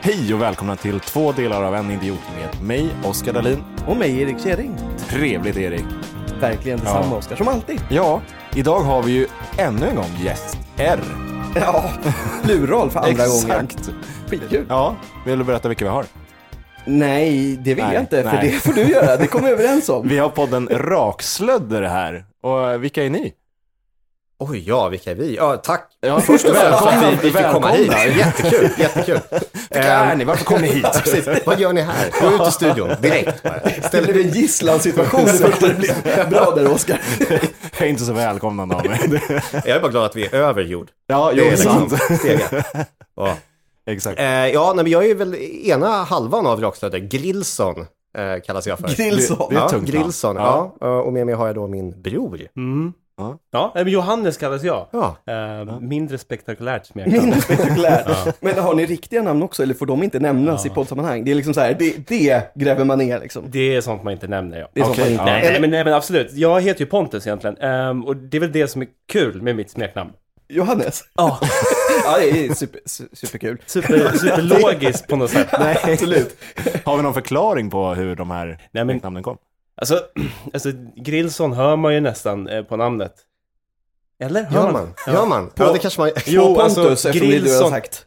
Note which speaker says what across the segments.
Speaker 1: Hej och välkomna till två delar av En idiot med mig, Oskar Dahlin.
Speaker 2: Och mig, Erik Kjering.
Speaker 1: Trevligt Erik.
Speaker 2: Verkligen detsamma,
Speaker 1: Ja.
Speaker 2: Oskar, som alltid.
Speaker 1: Ja, idag har vi ju ännu en gång gäst R.
Speaker 2: Ja, plural för andra gången.
Speaker 1: Exakt.
Speaker 2: Skitkul.
Speaker 1: Ja, vill du berätta vilka vi har?
Speaker 2: Nej, det vill
Speaker 1: Nej,
Speaker 2: jag inte, för
Speaker 1: nej.
Speaker 2: det får du göra. Det kommer vi överens om.
Speaker 1: Vi har podden Rakslödder här. Och eh, vilka är ni?
Speaker 3: Oj, ja, vilka är vi? Ja, tack
Speaker 1: Ja,
Speaker 3: först och främst för att vi, vi fick
Speaker 1: välkomna.
Speaker 3: komma hit. Jättekul, jättekul.
Speaker 1: Vilka är
Speaker 3: Ehm,
Speaker 1: ni? Varför kom ni hit?
Speaker 3: Precis, vad gör ni här? Gå ut i studion direkt bara.
Speaker 2: Det blev en gisslansituation det första det blev. Bra där, Oskar.
Speaker 1: Jag är inte så välkomnande av mig.
Speaker 3: Jag är bara glad att vi är över jord.
Speaker 1: Ja, jo,
Speaker 3: Det är
Speaker 1: sant.
Speaker 3: liksom steget. Ja,
Speaker 1: Exakt.
Speaker 3: Eh, ja nej, men jag är väl ena halvan av Rakstöder, Grillson eh, kallas jag för.
Speaker 2: Grillson.
Speaker 1: Det är ett
Speaker 3: ja,
Speaker 1: tungt namn.
Speaker 3: Grillson, ja. Eh, Och med mig har jag då min bror.
Speaker 4: Ja, nej, men Johannes kallas jag.
Speaker 3: Ja.
Speaker 4: Eh, Mindre spektakulärt smeknamn.
Speaker 2: Mindre spektakulärt. Men har ni riktiga namn också, eller får de inte nämnas i poddsammanhang? Det är liksom så här, det, det gräver man ner liksom.
Speaker 4: Det är sånt man inte nämner, ja.
Speaker 2: Det är sånt man
Speaker 1: Okej,
Speaker 2: inte...
Speaker 1: ja.
Speaker 4: Nej, nej, men, nej, men absolut. Jag heter ju Pontus egentligen. Ehm, och det är väl det som är kul med mitt smeknamn.
Speaker 2: Johannes?
Speaker 4: Ja,
Speaker 2: Ja, det är super, su- superkul.
Speaker 4: super, superlogiskt på något sätt.
Speaker 1: Nej, absolut. Har vi någon förklaring på hur de här
Speaker 4: Nej, men-
Speaker 1: namnen kom?
Speaker 4: Alltså, alltså, Grillson hör man ju nästan eh, på namnet. Eller? Hör
Speaker 3: Gör man? Gör man? Ja, det kanske man...
Speaker 2: Jo,
Speaker 4: Jo,
Speaker 2: Pontus,
Speaker 4: alltså,
Speaker 2: eftersom det är du har
Speaker 4: Grillson-
Speaker 2: sagt.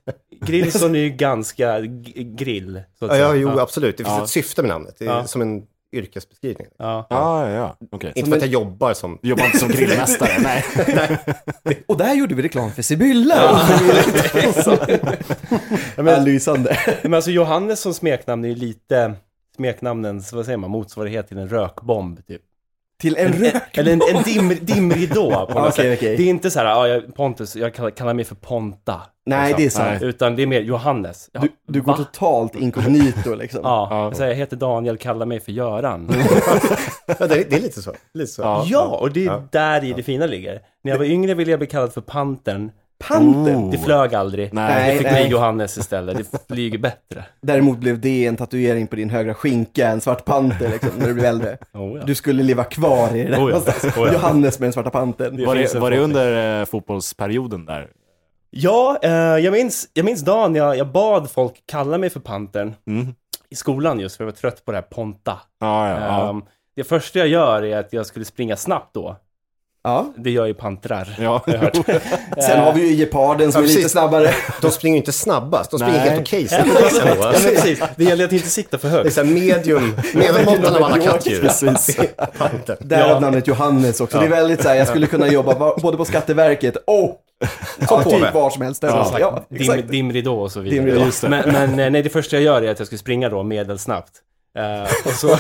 Speaker 4: Grillson är ju ganska g- grill, så att
Speaker 3: Ja, ja,
Speaker 4: säga.
Speaker 3: jo, absolut. Det finns
Speaker 1: Ja.
Speaker 3: ett syfte med namnet. Det är
Speaker 4: Ja.
Speaker 3: som en yrkesbeskrivning.
Speaker 4: ja.
Speaker 1: Ja, ja, Ah, ja. Okej.
Speaker 3: Inte för att jag jobbar som...
Speaker 1: Jobbar inte som grillmästare, nej.
Speaker 2: Och där gjorde vi reklam för Sibylla. Ja. men, lysande.
Speaker 4: Men alltså Johannes som smeknamn är ju lite smeknamnens, vad säger man, motsvarighet till en rökbomb typ.
Speaker 2: Till en rök.
Speaker 4: Eller en, en dim, dimridå på något
Speaker 2: Okej,
Speaker 4: sätt.
Speaker 2: okej.
Speaker 4: Det är inte så här, ja, jag, Pontus, jag kallar, kallar mig för Ponta.
Speaker 2: Nej,
Speaker 4: liksom.
Speaker 2: det är sant.
Speaker 4: Utan det är mer Johannes. Ja,
Speaker 2: Du, du går
Speaker 4: va?
Speaker 2: totalt inkognito liksom.
Speaker 4: Ja,
Speaker 1: Ja.
Speaker 4: jag säger, jag heter Daniel, kalla mig för Göran.
Speaker 3: Ja, det, är, det är lite så. Lite så.
Speaker 4: ja, och det är där i det fina ligger. När jag var yngre ville jag bli kallad för Pantern.
Speaker 2: Panten.
Speaker 1: Oh.
Speaker 4: Det flög aldrig.
Speaker 1: Nej.
Speaker 4: Det fick
Speaker 2: Nej.
Speaker 4: bli Johannes istället. Det flyger bättre.
Speaker 2: Däremot blev det en tatuering på din högra skinka, en svart panter liksom, när du blev äldre.
Speaker 4: Oh, ja.
Speaker 2: Du skulle leva kvar i det där
Speaker 4: Oh, ja.
Speaker 2: någonstans.
Speaker 4: Oh, ja.
Speaker 2: Johannes med den svarta pantern.
Speaker 1: Var
Speaker 4: finns
Speaker 1: det,
Speaker 4: en
Speaker 1: var det
Speaker 4: förhoppning.
Speaker 1: under eh, fotbollsperioden där?
Speaker 4: Ja, eh, jag, minns, jag minns dagen jag, jag bad folk kalla mig för Pantern
Speaker 1: Mm.
Speaker 4: i skolan just för jag var trött på det här Ponta.
Speaker 1: Ja, ja, ja.
Speaker 4: Ehm, det första jag gör är att jag skulle springa snabbt då.
Speaker 2: Ja.
Speaker 4: Det gör ju pantrar.
Speaker 1: Ja,
Speaker 2: Sen har vi ju geparden som
Speaker 3: Ja,
Speaker 2: är lite
Speaker 3: precis.
Speaker 2: snabbare.
Speaker 3: De springer ju inte snabbast, de springer
Speaker 1: Nej.
Speaker 3: helt okej
Speaker 4: Alltså, Ja, men
Speaker 3: snabbt. liksom.
Speaker 4: men precis. Det gäller att inte sikta för
Speaker 3: Det är
Speaker 4: högt.
Speaker 3: så här medium, medelmåttan av alla kattdjur.
Speaker 1: precis.
Speaker 2: Därav
Speaker 4: Ja.
Speaker 2: namnet Johannes också. Det är väldigt såhär, jag skulle kunna jobba va- både på Skatteverket och ja,
Speaker 3: påve.
Speaker 2: typ var som helst. Ja, ja,
Speaker 4: Dim,
Speaker 2: exakt.
Speaker 4: dimridå och så vidare.
Speaker 2: Dimridå.
Speaker 1: Just det.
Speaker 4: Men, men eh, nej, det första jag gör är att jag skulle springa då medelsnabbt. Eh, och, så,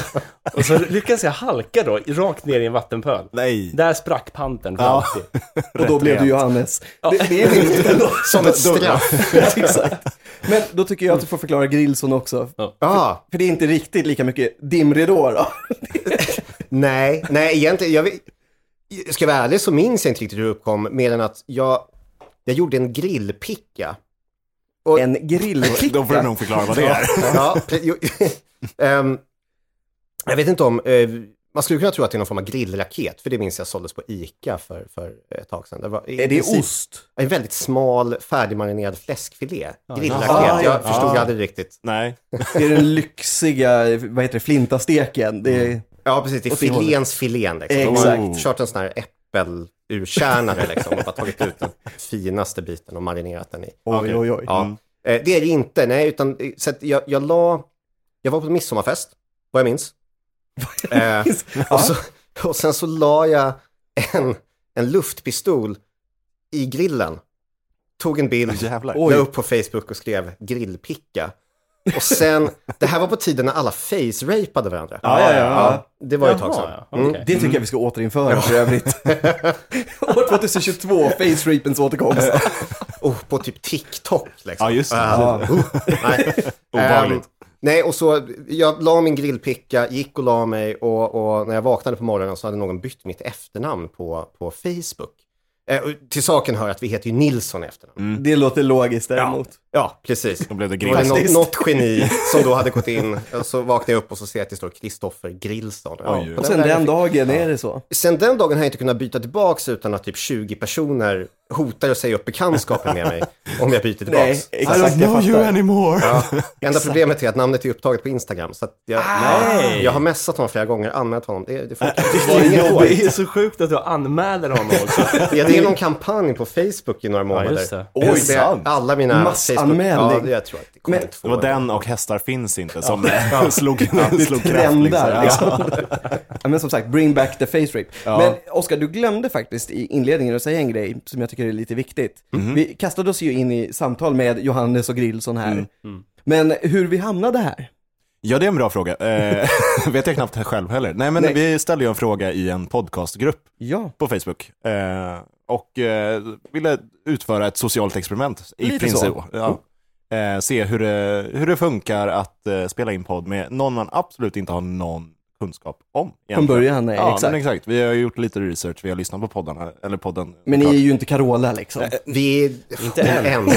Speaker 4: och så lyckas jag halka då rakt ner i en vattenpöl.
Speaker 1: Nej.
Speaker 4: Där sprack pantern för
Speaker 1: Ja.
Speaker 4: alltid.
Speaker 2: Och då blev du Johannes. Det, det är rimligt ändå.
Speaker 3: Som ett straff.
Speaker 2: Exakt. Men då tycker jag att du får förklara Grillson också.
Speaker 3: Ja,
Speaker 2: För det är inte riktigt lika mycket dimridå då.
Speaker 3: nej, nej egentligen, jag vill, ska jag vara ärlig så minns jag inte riktigt hur det uppkom, mer än att jag, jag gjorde en grillpicka.
Speaker 2: En
Speaker 1: Då får du
Speaker 2: grillkicka.
Speaker 1: nog förklara vad det är.
Speaker 3: Ja, pre- jo, ehm, jag vet inte om, eh, man skulle kunna tro att det är någon form av grillraket, för det minns jag såldes på ICA för, för ett tag sedan. Det var, i
Speaker 2: Är det
Speaker 3: princip-
Speaker 2: ost?
Speaker 3: En väldigt smal färdigmarinerad fläskfilé.
Speaker 2: jaha.
Speaker 3: Grillraket. Jag förstod aldrig riktigt.
Speaker 1: Nej.
Speaker 2: Det är den lyxiga, vad heter det, flintasteken. Det är,
Speaker 3: Ja, precis. Det är
Speaker 2: Åt det hållet.
Speaker 3: filéns filén. Liksom. De
Speaker 2: Exakt.
Speaker 3: har kört en sån här äppelurkärnare liksom. Och bara tagit ut den finaste biten och marinerat den i.
Speaker 2: oj, oj, oj.
Speaker 3: Ja. Eh, Det är det inte. Nej, utan eh, så att jag, jag la... Jag var på midsommarfest, vad jag minns. Eh, och, så, och sen så la jag en, en luftpistol i grillen. Tog en bild.
Speaker 1: Jävlar.
Speaker 3: la upp på Facebook och skrev grillpicka. Och sen, det här var på tiden när alla face-rapade varandra.
Speaker 1: Ja, ja, ja.
Speaker 3: det var ju ett tag sedan. Mm.
Speaker 4: Jaha, ja. Okej.
Speaker 2: Det tycker jag vi ska återinföra för övrigt. År 2022, face rapens återkomst.
Speaker 3: Och på typ TikTok liksom.
Speaker 1: Ja, just det.
Speaker 3: Ah. Oh, nej.
Speaker 1: Obehagligt.
Speaker 3: Ehm, nej, och så jag la min grillpicka, gick och la mig och, och när jag vaknade på morgonen så hade någon bytt mitt efternamn på, på Facebook. Eh, och till saken hör att vi heter ju Nilsson i efternamn.
Speaker 2: Det låter logiskt däremot.
Speaker 3: Ja, precis.
Speaker 1: Då blev det
Speaker 3: Då var det
Speaker 1: grill.
Speaker 3: något,
Speaker 2: Faktiskt.
Speaker 3: något geni som då hade gått in. Och Så vaknade jag upp och så ser jag att det står Kristoffer Grillstad. Ja,
Speaker 1: Oj, oj.
Speaker 3: på
Speaker 2: Och sen
Speaker 3: vägen
Speaker 2: den
Speaker 3: fick-
Speaker 2: dagen är det så.
Speaker 3: Sen den dagen har jag inte kunnat byta tillbaks utan att typ 20 personer hotar och säger upp bekantskapen med mig om jag byter
Speaker 2: Nej,
Speaker 3: tillbaks.
Speaker 1: I don't
Speaker 2: exakt.
Speaker 1: know
Speaker 2: Jag
Speaker 1: you
Speaker 2: fattar.
Speaker 1: anymore.
Speaker 3: Ja, enda problemet är att namnet är upptaget på Instagram. Så att jag,
Speaker 4: Nej.
Speaker 3: jag har messat honom flera gånger, anmält honom. Det, det, funkar.
Speaker 4: Vad
Speaker 3: det, är
Speaker 4: jobbigt.
Speaker 3: jobbigt.
Speaker 4: Det är så sjukt att du anmäler honom också.
Speaker 3: Ja, det är någon kampanj på Facebook i några månader.
Speaker 4: just det.
Speaker 2: Oj,
Speaker 3: Jag ser
Speaker 2: sant.
Speaker 3: Alla mina
Speaker 2: Massanmälning.
Speaker 3: Facebook... Ja, jag tror att det kommer
Speaker 2: Men-
Speaker 3: två.
Speaker 1: Det var den och hästar finns inte som slog, slog kraft.
Speaker 2: Trendar
Speaker 1: Liksom.
Speaker 2: liksom. Ja, Men som sagt, bring back the face rape. Men Oskar, du glömde faktiskt i inledningen att säga en grej som jag tycker är lite viktigt. Vi kastade oss ju in i samtal med Johannes och Grillson här. Men hur vi hamnade här?
Speaker 1: Ja, det är en bra fråga. Eh, vet jag knappt själv heller. Nej, men
Speaker 2: Nej.
Speaker 1: vi ställde ju en fråga i en podcastgrupp
Speaker 2: Ja,
Speaker 1: på Facebook eh, och eh, ville utföra ett socialt experiment i
Speaker 2: Lite
Speaker 1: princip.
Speaker 2: så.
Speaker 1: Ja. Eh, se hur det, hur det funkar att eh, spela in podd med någon man absolut inte har någon kunskap om.
Speaker 2: från
Speaker 1: egentligen.
Speaker 2: början, nej,
Speaker 1: Ja,
Speaker 2: exakt.
Speaker 1: Men
Speaker 2: Men,
Speaker 1: exakt. Vi har gjort lite research, vi har lyssnat på poddarna, eller podden.
Speaker 2: ni är
Speaker 1: såklart.
Speaker 2: ju inte Carola liksom.
Speaker 3: Vi är... Inte än. Nej,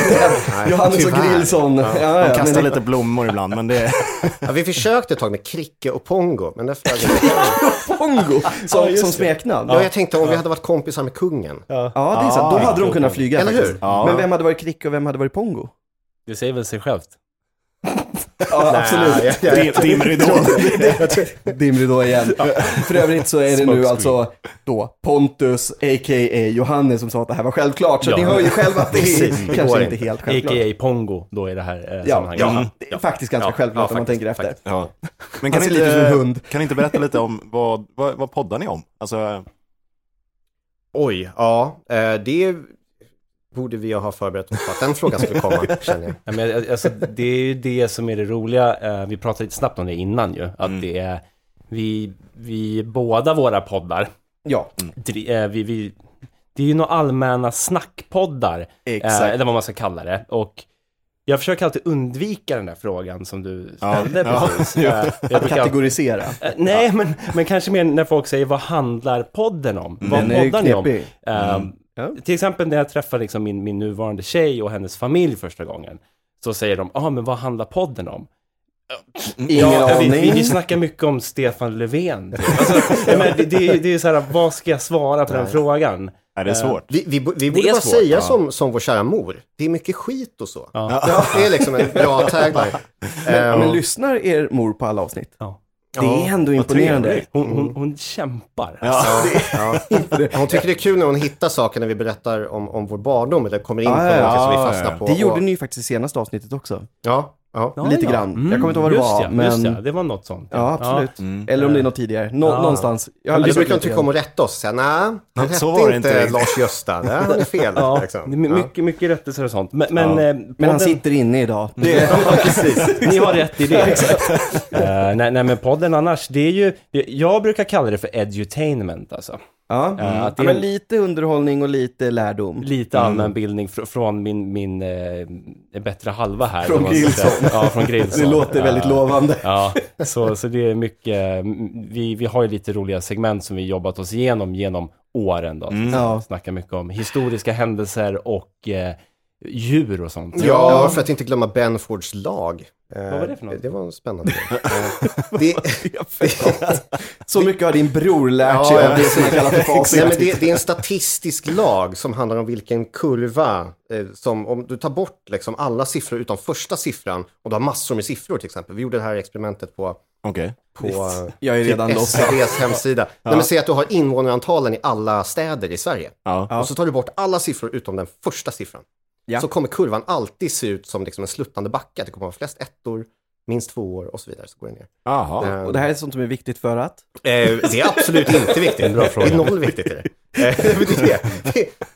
Speaker 2: Johannes och
Speaker 3: tyvärr.
Speaker 2: Grillson. Ja. Ja,
Speaker 1: De
Speaker 2: ja,
Speaker 1: kastar
Speaker 2: men-
Speaker 1: lite blommor ibland, men det...
Speaker 3: Ja, vi försökte ett tag med Kricke och Pongo, men därför... Ja,
Speaker 2: Pongo som,
Speaker 4: Ja, just
Speaker 2: som
Speaker 4: det.
Speaker 2: smeknamn.
Speaker 3: ja,
Speaker 2: Ja,
Speaker 3: jag tänkte om vi hade varit kompisar med kungen.
Speaker 2: det är sant. Då
Speaker 1: Ah,
Speaker 2: hade de
Speaker 1: klokt.
Speaker 2: kunnat flyga
Speaker 3: Eller
Speaker 2: faktiskt.
Speaker 3: hur?
Speaker 1: Ja.
Speaker 2: Men vem hade varit Krick och vem hade varit Pongo?
Speaker 4: Det säger väl sig självt.
Speaker 2: Ja, absolut.
Speaker 3: Nej, jag- jag-
Speaker 1: Dim- Dimridån.
Speaker 2: Dimridå igen. För övrigt så är det nu
Speaker 1: Smokescreen.
Speaker 2: alltså då Pontus, a.k.a. Johannes som sa att det här var självklart. Så
Speaker 4: Ja.
Speaker 2: ni hör ju själva att det
Speaker 3: Precis, det
Speaker 2: är kanske
Speaker 3: går
Speaker 2: inte
Speaker 3: inte.
Speaker 2: helt självklart.
Speaker 4: A.k.a. Pongo då i det här eh,
Speaker 2: Ja,
Speaker 4: sammanhanget.
Speaker 2: ja, det är faktiskt ganska
Speaker 3: Ja,
Speaker 2: självklart
Speaker 3: ja,
Speaker 2: om man
Speaker 3: faktiskt,
Speaker 2: tänker efter.
Speaker 3: faktiskt.
Speaker 1: Ja. Men
Speaker 2: Han
Speaker 1: kan
Speaker 2: ser
Speaker 1: ni
Speaker 2: Alltså, lite ut som en
Speaker 1: inte,
Speaker 2: hund.
Speaker 1: kan ni inte berätta lite om vad, vad, vad poddar ni om? Alltså,
Speaker 3: Oj, ja. eh, Det borde vi ha förberett oss på att den frågan skulle komma, känner jag.
Speaker 4: Ja, men, eh, alltså, det är ju det som är det roliga. Eh, Vi pratade lite snabbt om det innan ju. Att
Speaker 1: Mm.
Speaker 4: det är, vi, vi båda våra poddar,
Speaker 2: Ja,
Speaker 4: dri- eh, vi, vi, det är ju några allmänna snackpoddar.
Speaker 2: Exakt.
Speaker 4: eh, Eller vad man ska kalla det. Och jag försöker alltid undvika den där frågan som du ställde
Speaker 1: ja.
Speaker 4: precis. Eh, jag
Speaker 2: att
Speaker 4: brukar-
Speaker 2: kategorisera.
Speaker 4: eh, Nej, men, men kanske mer när folk säger vad handlar podden om? Vad
Speaker 2: Mm. Den är ju
Speaker 4: poddar ni om?
Speaker 2: knepig. Mm.
Speaker 4: Ehm,
Speaker 2: Ja.
Speaker 4: Till exempel när jag träffar liksom min, min nuvarande tjej och hennes familj första gången. Så säger de, ah, men vad handlar podden om?
Speaker 2: Ingen
Speaker 4: vi,
Speaker 2: aning.
Speaker 4: vi, vi snackar mycket om Stefan Löfven. typ. Alltså, ja, men det, det, är- det är så här, vad ska jag svara på den frågan?
Speaker 1: är
Speaker 2: Eh,
Speaker 1: det svårt?
Speaker 3: Vi, vi, bo- vi borde
Speaker 4: är
Speaker 3: bara
Speaker 4: svårt,
Speaker 3: säga
Speaker 4: ja.
Speaker 3: som, som vår kära mor. Det är mycket skit och så.
Speaker 4: Ja.
Speaker 3: Det är liksom en bra tagline. Eh,
Speaker 2: Men lyssnar er mor på alla avsnitt?
Speaker 4: Ja.
Speaker 2: Det är ändå imponerande. Mm.
Speaker 4: Hon, hon, hon kämpar.
Speaker 3: Ja, ja. Hon tycker det är kul när hon hittar saker när vi berättar om, om vår barndom eller kommer in på
Speaker 2: Ah,
Speaker 3: någonting
Speaker 2: ja,
Speaker 3: som vi
Speaker 1: ja,
Speaker 3: fastnar
Speaker 1: ja.
Speaker 3: på.
Speaker 2: Det gjorde
Speaker 3: och-
Speaker 2: ni ju faktiskt i senaste avsnittet också.
Speaker 3: Ja, ja.
Speaker 4: Ja,
Speaker 2: lite
Speaker 4: ja.
Speaker 2: grann. Jag kommer inte ihåg vad det
Speaker 4: just
Speaker 2: var,
Speaker 4: Ja,
Speaker 2: men-
Speaker 4: Just ja, det var något sånt.
Speaker 2: Ja, absolut. Eller om det är något tidigare. Nå-
Speaker 4: Ja.
Speaker 2: Någonstans. Jag har
Speaker 3: Eller så
Speaker 2: lyssnat
Speaker 3: brukar hon
Speaker 2: lite
Speaker 3: tycka
Speaker 2: grann.
Speaker 3: om att rätta oss. Säga, nej,
Speaker 1: Ja,
Speaker 3: det
Speaker 1: så
Speaker 3: hette
Speaker 1: var det
Speaker 3: inte
Speaker 1: inte.
Speaker 3: Lars-Gösta. Det är fel.
Speaker 4: Ja, det är
Speaker 3: liksom.
Speaker 4: my-
Speaker 3: ja.
Speaker 4: mycket, mycket rättelser och sånt. Men, men, eh,
Speaker 2: Men han
Speaker 4: podden-
Speaker 2: sitter inne idag. Det
Speaker 4: Ni har rätt i det. Eh, nej, nej, men podden annars, det är ju, det- jag brukar kalla det för edutainment alltså.
Speaker 2: Ja,
Speaker 4: Eh, att det
Speaker 2: Mm. ja men
Speaker 4: är
Speaker 2: lite underhållning och lite lärdom.
Speaker 4: lite allmänbildning fr- från min, min eh, bättre halva här.
Speaker 2: Från
Speaker 4: om man ska säga. Ja, från Grillson.
Speaker 2: Det låter väldigt
Speaker 4: Eh,
Speaker 2: lovande.
Speaker 4: Ja, så, så det är mycket, mm, vi, vi har ju lite roliga segment som vi jobbat oss igenom genom åren då. Mm.
Speaker 2: Ja.
Speaker 4: Snackar mycket om historiska händelser och eh, djur och sånt.
Speaker 3: Ja, för att inte glömma Benfords lag. Vad
Speaker 4: var det för något?
Speaker 3: Det var en spännande grej. Eh, det,
Speaker 2: Så mycket har din bror lärt
Speaker 3: Ja,
Speaker 2: sig
Speaker 3: ja,
Speaker 2: av det som han kallar för facit.
Speaker 3: nej, men det, det är en statistisk lag som handlar om vilken kurva eh, som, om du tar bort liksom alla siffror utom första siffran och du har massor med siffror till exempel. Vi gjorde det här experimentet på,
Speaker 1: Okej.
Speaker 3: på eh,
Speaker 2: Jag är redan loss.
Speaker 3: SCBs hemsida. Nej, men säg att du har invånarantalen i alla städer i Sverige.
Speaker 1: Ja.
Speaker 3: Och så tar du bort alla siffror utom den första siffran.
Speaker 2: Ja.
Speaker 3: Så kommer kurvan alltid se ut som liksom en sluttande backa. Det kommer vara flest ettor, minst tvåor och så vidare. Så går det ner.
Speaker 1: Jaha.
Speaker 3: Eh,
Speaker 2: Och det här är sånt som är viktigt för att?
Speaker 3: Eh, det är absolut inte viktigt.
Speaker 4: Bra fråga.
Speaker 3: Det är noll viktigt i det. Eh, men det, är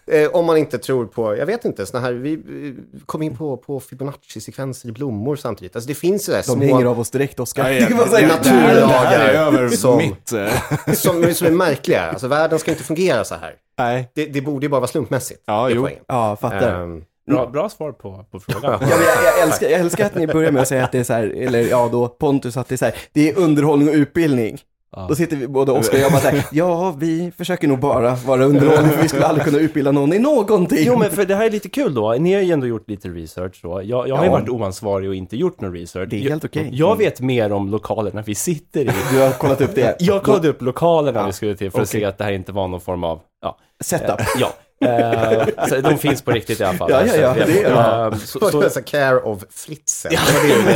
Speaker 3: det. Eh, om man inte tror på, jag vet inte, såna här, vi eh, kom in på, på Fibonacci-sekvenser i blommor samtidigt. Alltså det finns ju det här
Speaker 2: De hänger
Speaker 3: små,
Speaker 2: av oss direkt,
Speaker 1: Ja,
Speaker 2: Oskar. Det
Speaker 1: ja.
Speaker 2: kan man säga.
Speaker 1: Det här- Det här är
Speaker 3: naturlagar
Speaker 1: över
Speaker 3: som-
Speaker 1: mitt... eh,
Speaker 3: som, som är märkliga. Alltså världen ska inte fungera så här.
Speaker 1: Nej.
Speaker 3: Det, det borde ju bara vara slumpmässigt.
Speaker 1: Ja,
Speaker 3: det är
Speaker 1: jo.
Speaker 3: poängen.
Speaker 2: Ja, fattar.
Speaker 3: Ehm,
Speaker 4: Bra, bra svar på, på frågan.
Speaker 2: Ja, men jag, jag, älskar, jag älskar att ni börjar med att säga att det är så här, eller ja då Pontus, att det är så här, det är underhållning och utbildning.
Speaker 4: Ja.
Speaker 2: Då sitter vi både Oskar och jag bara så här, ja vi försöker nog bara vara underhållning för vi skulle aldrig kunna utbilda någon i någonting.
Speaker 4: Jo, men för det här är lite kul då. Ni har ju ändå gjort lite research då. Jag, jag har ju
Speaker 2: Ja.
Speaker 4: varit oansvarig och inte gjort någon research.
Speaker 2: Det är helt okej. Mm.
Speaker 4: Jag, jag vet mer om lokalerna vi sitter i.
Speaker 2: Du har kollat upp det?
Speaker 4: Jag kollade upp lokalerna vi skulle till för att
Speaker 2: okej.
Speaker 4: se att det här inte var någon form av, ja.
Speaker 2: Setup.
Speaker 4: ja. Eh, så de finns på riktigt i alla fall.
Speaker 2: Ja, ja, ja,
Speaker 4: Så att
Speaker 2: det är
Speaker 4: jag- eh, så, så,
Speaker 3: Alltså, care of Fritzen.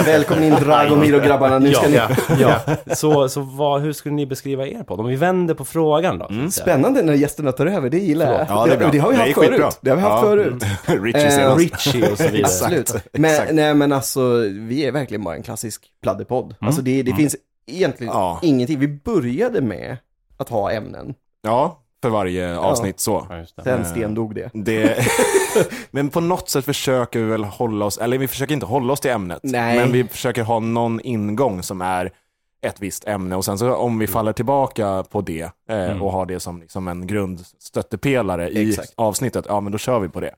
Speaker 2: Välkommen in Dragomir och grabbarna, nu ska
Speaker 4: Ja,
Speaker 2: ni...
Speaker 4: ja, ja. så, så vad, hur skulle ni beskriva er på? Om vi vänder på frågan då. så att
Speaker 2: Mm.
Speaker 4: säga.
Speaker 2: Spännande när gästerna tar över, det gillar jag.
Speaker 1: Ja, det är bra.
Speaker 2: Det har vi haft
Speaker 1: är skitbra.
Speaker 2: förut. Det har vi
Speaker 1: Ja.
Speaker 2: haft förut.
Speaker 1: Richie
Speaker 2: Eh,
Speaker 1: senast.
Speaker 4: Richie och så vidare.
Speaker 1: Exakt.
Speaker 2: Absolut. Men, nej men alltså, vi är verkligen bara en klassisk pladderpodd. Alltså det, det finns egentligen
Speaker 1: Ja.
Speaker 2: ingenting. Vi började med att ha ämnen,
Speaker 1: Ja, för varje avsnitt så.
Speaker 4: Ja, just det.
Speaker 2: sen stendog det.
Speaker 1: Det... men på något sätt försöker vi väl hålla oss, eller vi försöker inte hålla oss till ämnet,
Speaker 2: Nej.
Speaker 1: men vi försöker ha någon ingång som är ett visst ämne och sen så om vi faller tillbaka på det eh, och har det som liksom en grundstöttepelare i
Speaker 2: Exakt.
Speaker 1: avsnittet, ja men då kör vi på det.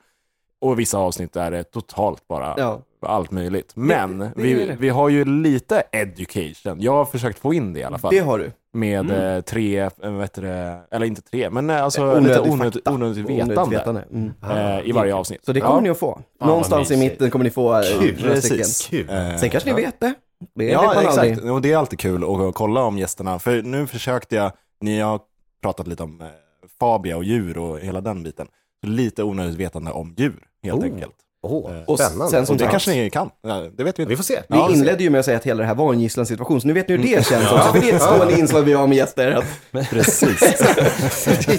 Speaker 1: Och vissa avsnitt är det totalt bara
Speaker 2: Ja.
Speaker 1: allt möjligt. Men
Speaker 2: det är
Speaker 1: vi,
Speaker 2: det.
Speaker 1: vi har ju lite education, jag har försökt få in det i alla fall
Speaker 2: Det har Mm. du.
Speaker 1: med eh, tre, eh, vad heter det, eller inte tre, men eh, alltså
Speaker 2: Onödig
Speaker 1: lite onödigt,
Speaker 2: fakta.
Speaker 1: onödigt vetande,
Speaker 2: Onödigt vetande. Mm.
Speaker 1: eh, i varje avsnitt.
Speaker 2: Så det kommer ni att få.
Speaker 4: vad
Speaker 2: Någonstans i
Speaker 4: mysigt.
Speaker 2: mitten kommer ni få eh, några stycken.
Speaker 3: Kul.
Speaker 1: Eh,
Speaker 2: Sen kanske ni vet det. Det vet man
Speaker 1: ja,
Speaker 2: aldrig.
Speaker 1: exakt. Och det är alltid kul att- att kolla om gästerna, för nu försökte jag, ni har pratat lite om eh, fabia och djur och hela den biten. Så Lite onödigt vetande om djur, helt
Speaker 3: Oh.
Speaker 1: enkelt.
Speaker 3: Åh,
Speaker 2: Och
Speaker 3: spännande.
Speaker 2: sen som
Speaker 1: Och det
Speaker 2: sagt-
Speaker 1: kanske ni kan, Nej, det vet vi
Speaker 3: Vi
Speaker 1: inte.
Speaker 3: får se.
Speaker 2: Vi inledde ju med att säga att hela det här var en gisslansituation, så nu vet ni hur det känns också.
Speaker 3: Ja.
Speaker 2: För det är ett stående inslag vi har med gäster. Att
Speaker 1: Precis.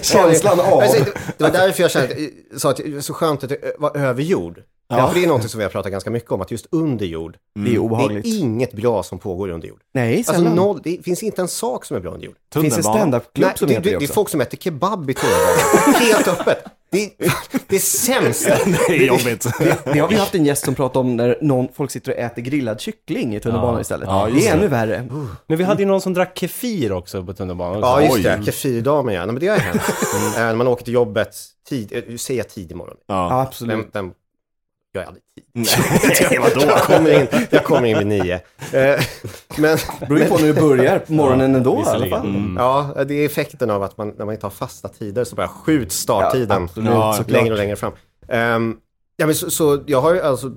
Speaker 2: känslan av.
Speaker 3: Alltså, det, det var därför jag kände, eh, sa att det var så skönt att det var över jord. Ja. för det är något som vi har pratat ganska mycket om, att just under jord,
Speaker 2: Det är
Speaker 3: det är
Speaker 2: Mm. obehagligt.
Speaker 3: inget bra som pågår under jord.
Speaker 2: Nej,
Speaker 3: Alltså,
Speaker 2: sällan.
Speaker 3: noll, det finns inte en sak som är bra under jord.
Speaker 2: det finns en
Speaker 1: Tunnelbanan.
Speaker 2: standup-klubb
Speaker 3: Nej,
Speaker 2: som
Speaker 3: det,
Speaker 2: heter
Speaker 3: det,
Speaker 2: det
Speaker 3: det är
Speaker 2: också.
Speaker 3: folk som äter kebab i tunnelbanan. Helt öppet. Det är det är sämsta.
Speaker 1: Det är jobbigt.
Speaker 2: Det har vi haft en gäst som pratade om när någon, folk sitter och äter grillad kyckling i tunnelbanan
Speaker 4: Ja.
Speaker 2: istället.
Speaker 1: Ja, just
Speaker 2: det är
Speaker 1: det.
Speaker 2: ännu värre.
Speaker 4: Men vi hade ju någon som drack kefir också på tunnelbanan.
Speaker 3: Ja,
Speaker 4: Så-
Speaker 3: just
Speaker 1: Oj.
Speaker 3: det. Kefirdamen, ja. Nej, men det har ju hänt. Eh, När man åker till jobbet, tid, eh, säger jag tidig morgon.
Speaker 1: Ja.
Speaker 2: Ja,
Speaker 3: Den,
Speaker 2: absolut.
Speaker 3: den, jag är aldrig tidig.
Speaker 1: Nej, vadå?
Speaker 3: Jag kommer in, jag kommer in vid nio. Eh, Men,
Speaker 2: beror ju på när du börjar på morgonen ändå i alla
Speaker 4: Visserligen.
Speaker 2: fall.
Speaker 4: Mm.
Speaker 3: ja, det är effekten av att man, när man inte har fasta tider så bara skjuts starttiden
Speaker 1: Ja,
Speaker 3: så längre och längre fram. Ehm, ja, men så, så jag har ju alltså,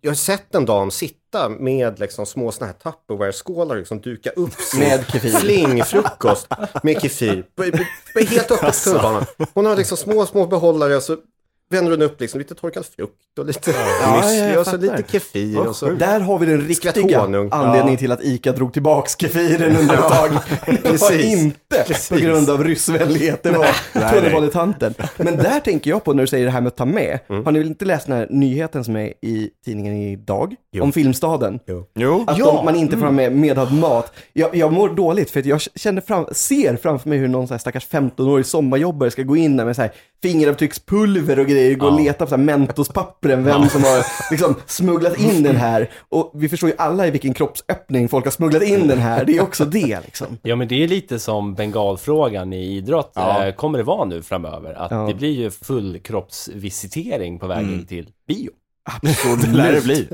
Speaker 3: jag har sett en dam sitta med liksom små såna här Tupperware-skålar och liksom duka upp sin
Speaker 2: Med kefir.
Speaker 3: flingfrukost med kefir. B- b- b- Helt öppet
Speaker 2: Alltså.
Speaker 3: på tunnelbanan. Hon har liksom små, små behållare och så vänder hon upp liksom lite torkad frukt och lite
Speaker 2: ja,
Speaker 3: müsli
Speaker 2: jag
Speaker 3: och så
Speaker 2: fattar.
Speaker 3: lite kefir och så.
Speaker 2: Där har vi den
Speaker 3: Skvätt
Speaker 2: riktiga
Speaker 3: honung.
Speaker 2: anledningen till att ICA drog tillbaks kefiren under ett tag. Det var
Speaker 3: Precis.
Speaker 2: inte på grund av ryssvänlighet, det var tunnelbanetanten. Men där tänker jag på när du säger det här med att ta med.
Speaker 3: Mm.
Speaker 2: Har ni väl inte läst den här nyheten som är i tidningen idag? Om Filmstaden?
Speaker 1: Jo.
Speaker 2: Att de, man inte får ha med medhavd mat. Jag, jag mår dåligt för att jag känner fram, ser framför mig hur någon så här stackars 15-årig sommarjobbare ska gå in där med så här fingeravtryckspulver och grejer, gå och leta på så här mentospappren, vem som har liksom smugglat in den här. Och vi förstår ju alla i vilken kroppsöppning folk har smugglat in den här. Det är också det liksom.
Speaker 4: Ja, men det är lite som bengalfrågan i idrott.
Speaker 1: Ja.
Speaker 4: Eh, Kommer det vara nu framöver? Att
Speaker 2: Ja.
Speaker 4: det blir ju fullkroppsvisitering på vägen till bio.
Speaker 1: Det lär det bli.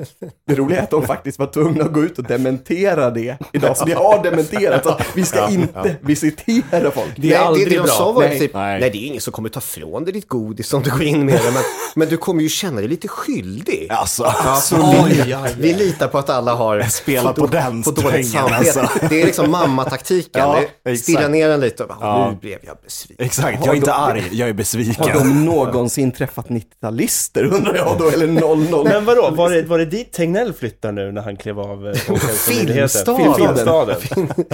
Speaker 2: Det roliga är att de faktiskt var tvungna att gå ut och dementera det idag, så det har dementerats. att Vi ska inte visitera folk.
Speaker 4: Det är aldrig
Speaker 3: det, det de
Speaker 4: bra.
Speaker 3: sa var
Speaker 2: Nej.
Speaker 3: nej. typ,
Speaker 1: Nej.
Speaker 3: nej. det är ingen som kommer ta från dig ditt godis om du går in med det, men, men du kommer ju känna dig lite skyldig.
Speaker 1: Alltså,
Speaker 3: Så vi, vi litar på att alla har
Speaker 1: spela på den
Speaker 3: på dåligt
Speaker 1: strängen
Speaker 3: samvete.
Speaker 1: alltså.
Speaker 3: Det är liksom mammataktiken.
Speaker 1: Ja,
Speaker 3: Det är-
Speaker 1: exakt.
Speaker 3: Stirra ner den lite och bara, nu blev jag besviken.
Speaker 1: Exakt, jag är inte arg, jag är
Speaker 2: Har
Speaker 1: besviken.
Speaker 2: de någonsin träffat 90-talister undrar jag då, eller 00?
Speaker 4: Men vadå, var det, var det dit Tegnell flyttar nu när han klev av eh, Folkhälsomyndigheten?
Speaker 2: Filmstaden.
Speaker 4: Filmstaden.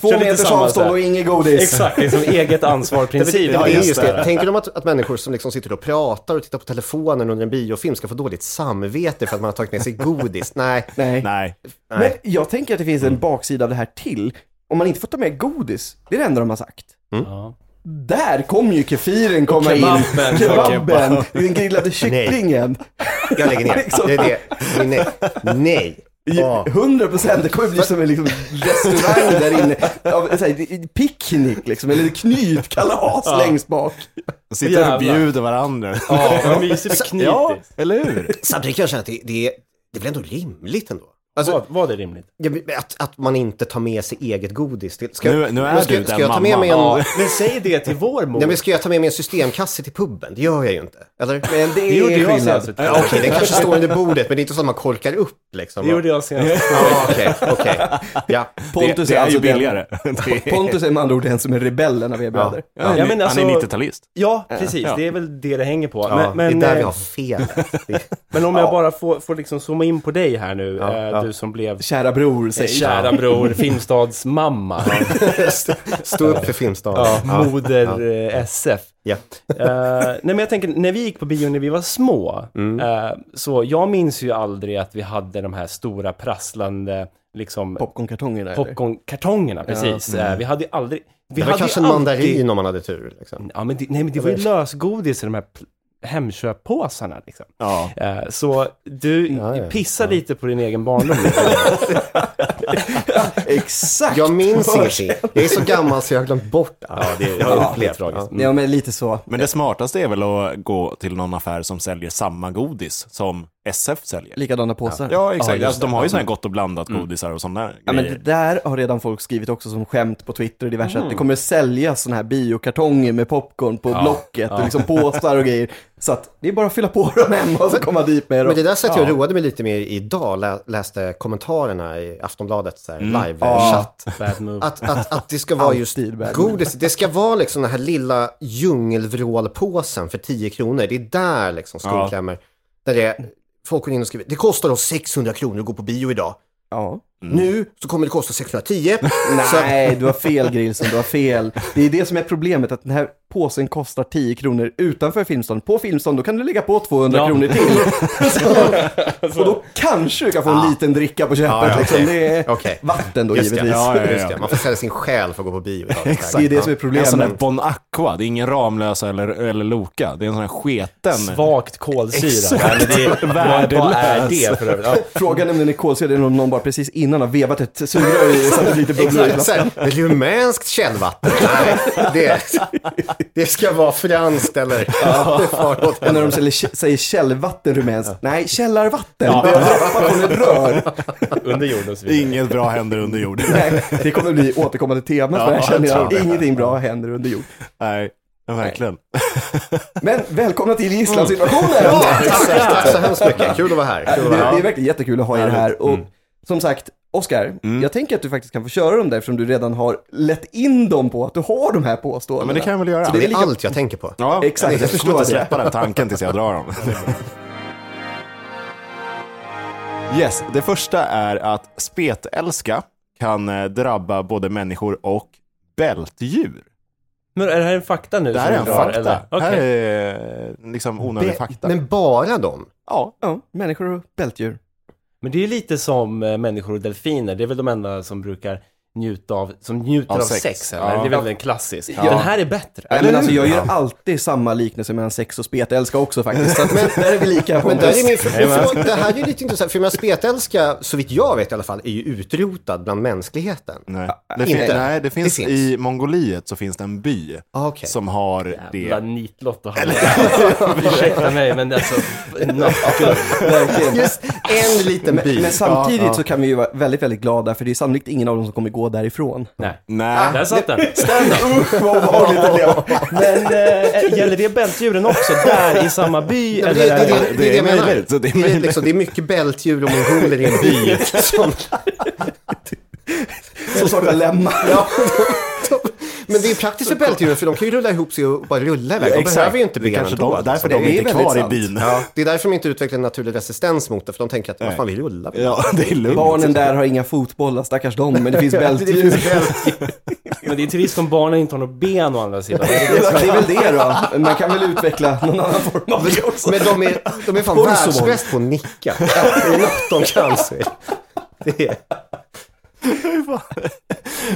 Speaker 2: Två
Speaker 4: Kör lite
Speaker 2: meters
Speaker 4: samma
Speaker 2: avstånd
Speaker 4: så här.
Speaker 2: och inget godis.
Speaker 4: Exakt, det är som eget ansvar-princip.
Speaker 3: Det
Speaker 1: Ja,
Speaker 3: är
Speaker 1: just
Speaker 3: just
Speaker 1: det.
Speaker 3: det. Tänker de att, att människor som liksom sitter och pratar och tittar på telefonen under en biofilm ska få dåligt samvete för att man har tagit med sig godis? Nej.
Speaker 2: Nej.
Speaker 1: Nej. Mm.
Speaker 2: Men jag tänker att det finns en baksida av det här till. Om man inte får ta med godis, det är det enda de har sagt.
Speaker 4: Ja.
Speaker 2: Där kommer ju kefiren komma in.
Speaker 4: kebaben.
Speaker 2: Kebaben. Den grillade kycklingen.
Speaker 3: Jag lägger ner. Det är det. Nej. Nej. Ja.
Speaker 2: 100 procent, det kommer bli som en liksom restaurang där inne. Av, så här, picknick liksom, eller knytkalas längst bak.
Speaker 1: Sitter och
Speaker 4: Jävlar.
Speaker 1: bjuder varandra.
Speaker 4: Ja, vad mysigt med knytis.
Speaker 1: eller hur?
Speaker 3: Samtidigt kan jag känna att det, det, är- det är väl ändå rimligt ändå? Alltså-
Speaker 4: vad, vad är rimligt?
Speaker 3: Ja, men Att, att man inte tar med sig eget godis. Till. Ska,
Speaker 1: Nu- nu är
Speaker 3: men ska,
Speaker 1: du
Speaker 3: ska
Speaker 1: den
Speaker 3: jag ta med
Speaker 1: mamman.
Speaker 3: mig en,
Speaker 1: Ja.
Speaker 4: Men säg det till vår mor.
Speaker 3: nej, men ska jag ta med mig en systemkasse till puben? Det gör jag ju inte. Eller?
Speaker 2: Men det
Speaker 4: det
Speaker 2: är
Speaker 4: gjorde jag
Speaker 2: skillnad.
Speaker 4: senast. vet du.
Speaker 3: Ja, Okej, den kanske står under bordet, men det är inte så att man korkar upp liksom.
Speaker 4: Det gjorde jag senast.
Speaker 3: Ja, okej, okej. Ja.
Speaker 1: Det,
Speaker 2: Pontus
Speaker 1: det är
Speaker 2: alltså
Speaker 1: ju
Speaker 2: den-
Speaker 1: billigare. Det är-
Speaker 2: Pontus är med andra ord den som är rebellen av er bröder.
Speaker 1: Ja,
Speaker 4: Ja,
Speaker 1: han-
Speaker 4: men alltså-
Speaker 1: Han är 90-talist.
Speaker 4: Ja, precis.
Speaker 1: Ja.
Speaker 4: Det är väl det det hänger på.
Speaker 3: Ja,
Speaker 4: men, men,
Speaker 3: det är där vi
Speaker 4: eh,
Speaker 3: har fel.
Speaker 4: men om jag bara får, får liksom zooma in på dig här nu,
Speaker 3: Ja,
Speaker 4: eh,
Speaker 3: ja.
Speaker 4: du som blev
Speaker 2: Kära bror, säger
Speaker 4: kära bror, Filmstads mamma,
Speaker 3: Stå upp för Filmstaden.
Speaker 4: ja, moder eh, SF.
Speaker 3: Ja.
Speaker 4: Eh, nej men jag tänker, när vi gick på bio när vi var små,
Speaker 3: Mm.
Speaker 4: eh, så jag minns ju aldrig att vi hade de här stora prasslande liksom,
Speaker 2: Popcornkartonger där. eller?
Speaker 4: popcornkartongerna. Precis. Eh, vi hade ju aldrig... Vi
Speaker 3: Mm. Det var
Speaker 4: hade
Speaker 3: kanske
Speaker 4: ju
Speaker 3: en
Speaker 4: alltid-
Speaker 3: mandarin om man hade tur. Liksom.
Speaker 4: Ja, men det, nej, men det var ju lösgodis i de här pl- Hemköppåsarna liksom.
Speaker 1: Ja.
Speaker 4: Eh, Så du
Speaker 3: Ja, ja.
Speaker 4: pissar lite på din egen barndom.
Speaker 2: Exakt!
Speaker 3: Jag minns ingenting. Jag är så gammal så jag har glömt bort allt. Ja, det
Speaker 4: ja, det är tragiskt.
Speaker 2: Ja, men lite så.
Speaker 1: Men det smartaste är väl att gå till någon affär som säljer samma godis som SF säljer.
Speaker 2: Likadana påsar.
Speaker 1: Ja,
Speaker 4: Ja,
Speaker 1: exakt.
Speaker 4: just
Speaker 1: alltså, de
Speaker 4: det.
Speaker 1: har ju sådana här gott och blandat godisar och sådana
Speaker 2: Ja, men det
Speaker 1: grejer.
Speaker 2: där har redan folk skrivit också som skämt på Twitter och diverse. Att det kommer säljas sådana här biokartonger med popcorn på Blocket och liksom påsar och grejer. Så att det är bara att fylla på dem hemma och så komma dit med dem.
Speaker 3: Men det där satt jag och roade mig lite med idag, lä- läste kommentarerna i Aftonbladets så här
Speaker 2: Mm.
Speaker 3: live-chatt.
Speaker 4: Bad move.
Speaker 3: Att, att, att det ska vara just
Speaker 2: Alltid bad.
Speaker 3: godis, det ska vara liksom den här lilla djungelvrålpåsen för 10 kronor. Det är där liksom skon
Speaker 1: Ja.
Speaker 3: klämmer. Där det är, folk går in och skriver, det kostar oss 600 kronor att gå på bio idag.
Speaker 2: Ja.
Speaker 3: Nu så kommer det kosta 610. Så att-
Speaker 2: Nej, du har fel Grilsen, du har fel. Det är det som är problemet, att den här påsen kostar 10 kronor utanför Filmstaden. På Filmstaden, då kan du lägga på 200
Speaker 4: Ja.
Speaker 2: kronor till. Så, och då kanske du kan få en liten dricka på köpet.
Speaker 3: Ja, ja,
Speaker 2: liksom.
Speaker 3: okej.
Speaker 2: Det är
Speaker 3: Okej.
Speaker 2: vatten då
Speaker 3: Just det,
Speaker 2: givetvis.
Speaker 1: Ja, ja, ja.
Speaker 3: Just det. Man får sälja sin själ för att gå på bio idag.
Speaker 2: Det är det som är
Speaker 1: En sån där
Speaker 2: problemet.
Speaker 1: Bon Aqua, det är ingen Ramlösa eller, eller Loka. Det är en sån här sketen.
Speaker 4: Svagt kolsyra.
Speaker 1: Exakt.
Speaker 4: Nej, men det, vad, vad är
Speaker 1: Värdelös.
Speaker 4: det för övrigt? Ja.
Speaker 2: Frågan är om den är kolsyrad eller om någon bara precis innan har vevat ett sugrör i Liksom. så att det blir lite bubblor. i
Speaker 3: Exakt, så
Speaker 2: flaskan.
Speaker 3: här, rumänskt källvatten. Nej, det, det ska vara franskt eller... Ja. det far åt
Speaker 2: Och när
Speaker 3: helvete.
Speaker 2: de säger, säger källvatten rumänskt, nej källarvatten. Det har droppat från ett rör.
Speaker 4: Under jorden och så vidare.
Speaker 1: Inget bra händer under jorden.
Speaker 2: Nej, det kommer bli återkommande tema för det
Speaker 1: Ja,
Speaker 2: här känner
Speaker 1: jag
Speaker 2: jag.
Speaker 1: tror det.
Speaker 2: Ingenting bra händer under jord.
Speaker 1: Nej, men verkligen.
Speaker 2: Men välkomna till
Speaker 1: Mm.
Speaker 2: gisslansituationen!
Speaker 3: Tack, tack så hemskt mycket. Kul att vara här. Kul
Speaker 2: Det,
Speaker 3: att
Speaker 2: det
Speaker 3: vara här.
Speaker 2: är verkligen jättekul att ha er här.
Speaker 1: Mm.
Speaker 2: Och som sagt, Oskar, jag tänker att du faktiskt kan få köra dem där eftersom du redan har lett in dem på att du har de här påståendena.
Speaker 1: Ja, men det kan jag väl göra.
Speaker 3: Det är allt jag tänker på.
Speaker 1: Ja,
Speaker 2: Exakt, jag
Speaker 1: jag
Speaker 2: förstår
Speaker 1: kommer inte
Speaker 2: det.
Speaker 1: släppa den tanken tills jag drar dem. Yes, det första är att spetälska kan eh, drabba både människor och bältdjur.
Speaker 4: Men är det här en fakta nu?
Speaker 1: Det här är
Speaker 4: som
Speaker 1: en
Speaker 4: vi drar,
Speaker 1: fakta.
Speaker 4: eller?
Speaker 1: Det här
Speaker 4: Okej.
Speaker 1: är eh, liksom onödig fakta.
Speaker 3: Men bara dem?
Speaker 1: ja,
Speaker 2: Ja, människor och bältdjur.
Speaker 4: Men det är ju lite som eh, människor och delfiner. Det är väl de enda som brukar njuta av, som njuter
Speaker 1: Av
Speaker 4: av sex.
Speaker 1: sex.
Speaker 4: eller?
Speaker 1: Ja.
Speaker 4: Det är väl en klassisk.
Speaker 2: Ja.
Speaker 4: Den här är bättre.
Speaker 2: Nej, men alltså, jag gör alltid samma liknelse mellan sex och spetälska också faktiskt. Så att, men där är vi lika
Speaker 3: Men där är
Speaker 2: Pontus.
Speaker 3: min, för, det här är ju lite intressant, för jag menar, spetälska, så vitt jag vet i alla fall, är ju utrotad bland mänskligheten.
Speaker 1: nej.
Speaker 3: inte.
Speaker 1: Det, fin- nej, det, finns,
Speaker 3: finns.
Speaker 1: I Mongoliet så finns det en by
Speaker 3: Ah, okej.
Speaker 1: som har
Speaker 4: Jävla
Speaker 1: det.
Speaker 4: nitlott och handla. Ursäkta mig, men alltså...
Speaker 2: Verkligen.
Speaker 3: Just en liten by.
Speaker 2: Men samtidigt så kan vi ju vara väldigt, väldigt glada för det är sannolikt ingen av dem som kommer gå därifrån.
Speaker 4: Nej.
Speaker 1: Nej,
Speaker 4: Ah, Där satt den.
Speaker 2: Usch vad obehagligt det blev.
Speaker 4: Men äh, gäller det bältdjuren också, där i samma by?
Speaker 3: Ja, men
Speaker 4: eller
Speaker 3: det, det, det,
Speaker 4: är
Speaker 3: det, är det jag menar.
Speaker 1: möjligt, så det är
Speaker 3: det, är
Speaker 1: möjligt.
Speaker 3: liksom, det är mycket bältdjur och mongoler i en by. Som,
Speaker 2: Som saknar lemmar.
Speaker 3: ja, de, de, men det är praktiskt för bältdjuren för de kan ju rulla ihop sig och bara rulla iväg. De
Speaker 1: Exakt.
Speaker 3: behöver ju inte
Speaker 1: det
Speaker 3: benen.
Speaker 1: är kanske
Speaker 3: då,
Speaker 1: de,
Speaker 3: liksom.
Speaker 1: därför
Speaker 2: Det
Speaker 1: de
Speaker 2: är
Speaker 1: är inte
Speaker 2: väldigt
Speaker 1: kvar
Speaker 2: sant.
Speaker 1: i byn.
Speaker 3: ja, det är därför de inte utvecklar en naturlig resistens mot det, för de tänker att vad fan, vi rullar. väl.
Speaker 1: Ja, det är lugnt.
Speaker 2: Barnen där har inga fotbollar, stackars dem, men det finns bältdjur.
Speaker 4: Men det är trist om barnen inte har något ben å andra sidan.
Speaker 2: det är väl det då. Man kan väl utveckla någon annan form av det också.
Speaker 3: Men de är, de är fan
Speaker 2: Bolsonaro.
Speaker 3: världsbäst på att nicka. Ja, Det är något de kan. så är det. Det är,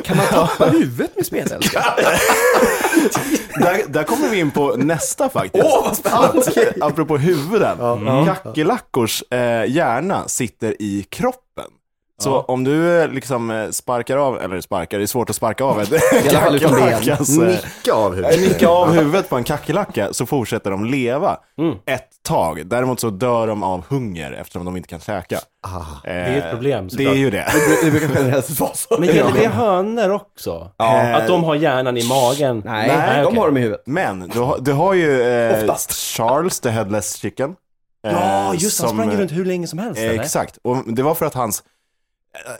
Speaker 2: Kan man tappa huvudet med spetälska?
Speaker 1: Där, där kommer vi in på nästa faktiskt. Åh, vad spännande! Apropå huvuden. Kackerlackors eh, hjärna sitter i kroppen. Så om du eh, liksom eh, sparkar av, eller sparkar, det är svårt att sparka av ett
Speaker 2: fall utan ben.
Speaker 1: kackerlackas... eh,
Speaker 3: Nicka av
Speaker 1: eh,
Speaker 3: huvudet.
Speaker 1: Nicka av huvudet på en kackerlacka så fortsätter de leva
Speaker 4: Mm.
Speaker 1: ett tag. Däremot så dör de av hunger eftersom de inte kan käka.
Speaker 3: Ah,
Speaker 1: det
Speaker 4: är ett problem,
Speaker 1: Det är
Speaker 4: såklart.
Speaker 1: ju det.
Speaker 2: Det brukar generellt vara så.
Speaker 4: Men gäller det hönor också? Eh,
Speaker 1: Ja.
Speaker 4: Att de har hjärnan i magen?
Speaker 2: Nej,
Speaker 1: Nej,
Speaker 2: de
Speaker 4: okej.
Speaker 2: har dem i huvudet.
Speaker 1: Men du har, du har ju eh,
Speaker 2: Oftast.
Speaker 1: Charles the Headless Chicken. eh,
Speaker 4: Ja, just det. Han
Speaker 1: som-
Speaker 4: sprang ju runt hur länge som helst,
Speaker 1: Eh,
Speaker 4: eller?
Speaker 1: Exakt, och det var för att hans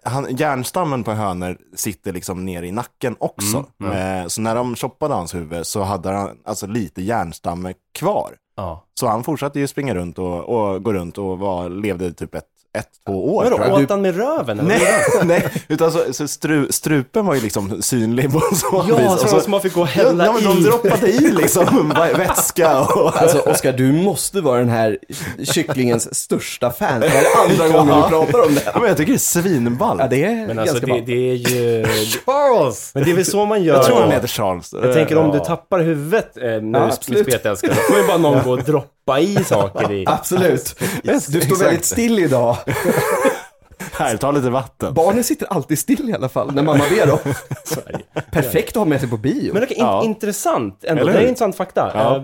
Speaker 1: eh, han, hjärnstammen på hönor sitter liksom ner i nacken också.
Speaker 4: Mm,
Speaker 1: Eh, så när de choppade hans huvud så hade han alltså lite hjärnstamme kvar.
Speaker 4: Ja.
Speaker 1: Så han fortsatte ju springa runt och, och gå runt och var, levde typ ett, ett två år.
Speaker 4: Vadå,
Speaker 1: tror jag.
Speaker 4: åt han med röven? eller?
Speaker 1: Nej, nej, utan så, så stru, strupen var ju liksom synlig på så vis.
Speaker 4: Ja,
Speaker 1: Och
Speaker 4: så
Speaker 1: så-
Speaker 4: som man fick gå och
Speaker 1: Ja,
Speaker 4: hälla
Speaker 1: ja, men de
Speaker 4: i.
Speaker 1: droppade i liksom vätska och...
Speaker 2: Alltså Oskar, du måste vara den här kycklingens största fan. Det här är andra gången du pratar om det.
Speaker 1: Ja, men jag tycker det är svinball.
Speaker 2: Ja, det är
Speaker 4: Men alltså,
Speaker 2: ganska
Speaker 4: det,
Speaker 2: bra.
Speaker 4: det är ju...
Speaker 3: Charles!
Speaker 4: Men det är väl så man gör?
Speaker 1: jag tror han heter Charles.
Speaker 4: Jag tänker om du tappar huvudet eh, när
Speaker 2: Ja,
Speaker 4: du
Speaker 2: absolut.
Speaker 4: blir spetälskad, då får ju bara någon gå och droppa i saker i.
Speaker 2: Absolut. Alltså, Du står
Speaker 1: Exakt.
Speaker 2: väldigt still idag.
Speaker 1: Här, ta lite vatten.
Speaker 2: Barnen sitter alltid still i alla fall, när mamma ber dem. Perfekt att ha med sig på bio.
Speaker 4: Men okej, in-
Speaker 1: Ja.
Speaker 4: intressant ändå.
Speaker 1: Eller
Speaker 4: Det är
Speaker 1: hur?
Speaker 4: intressant fakta.
Speaker 1: Ja.
Speaker 4: Eh,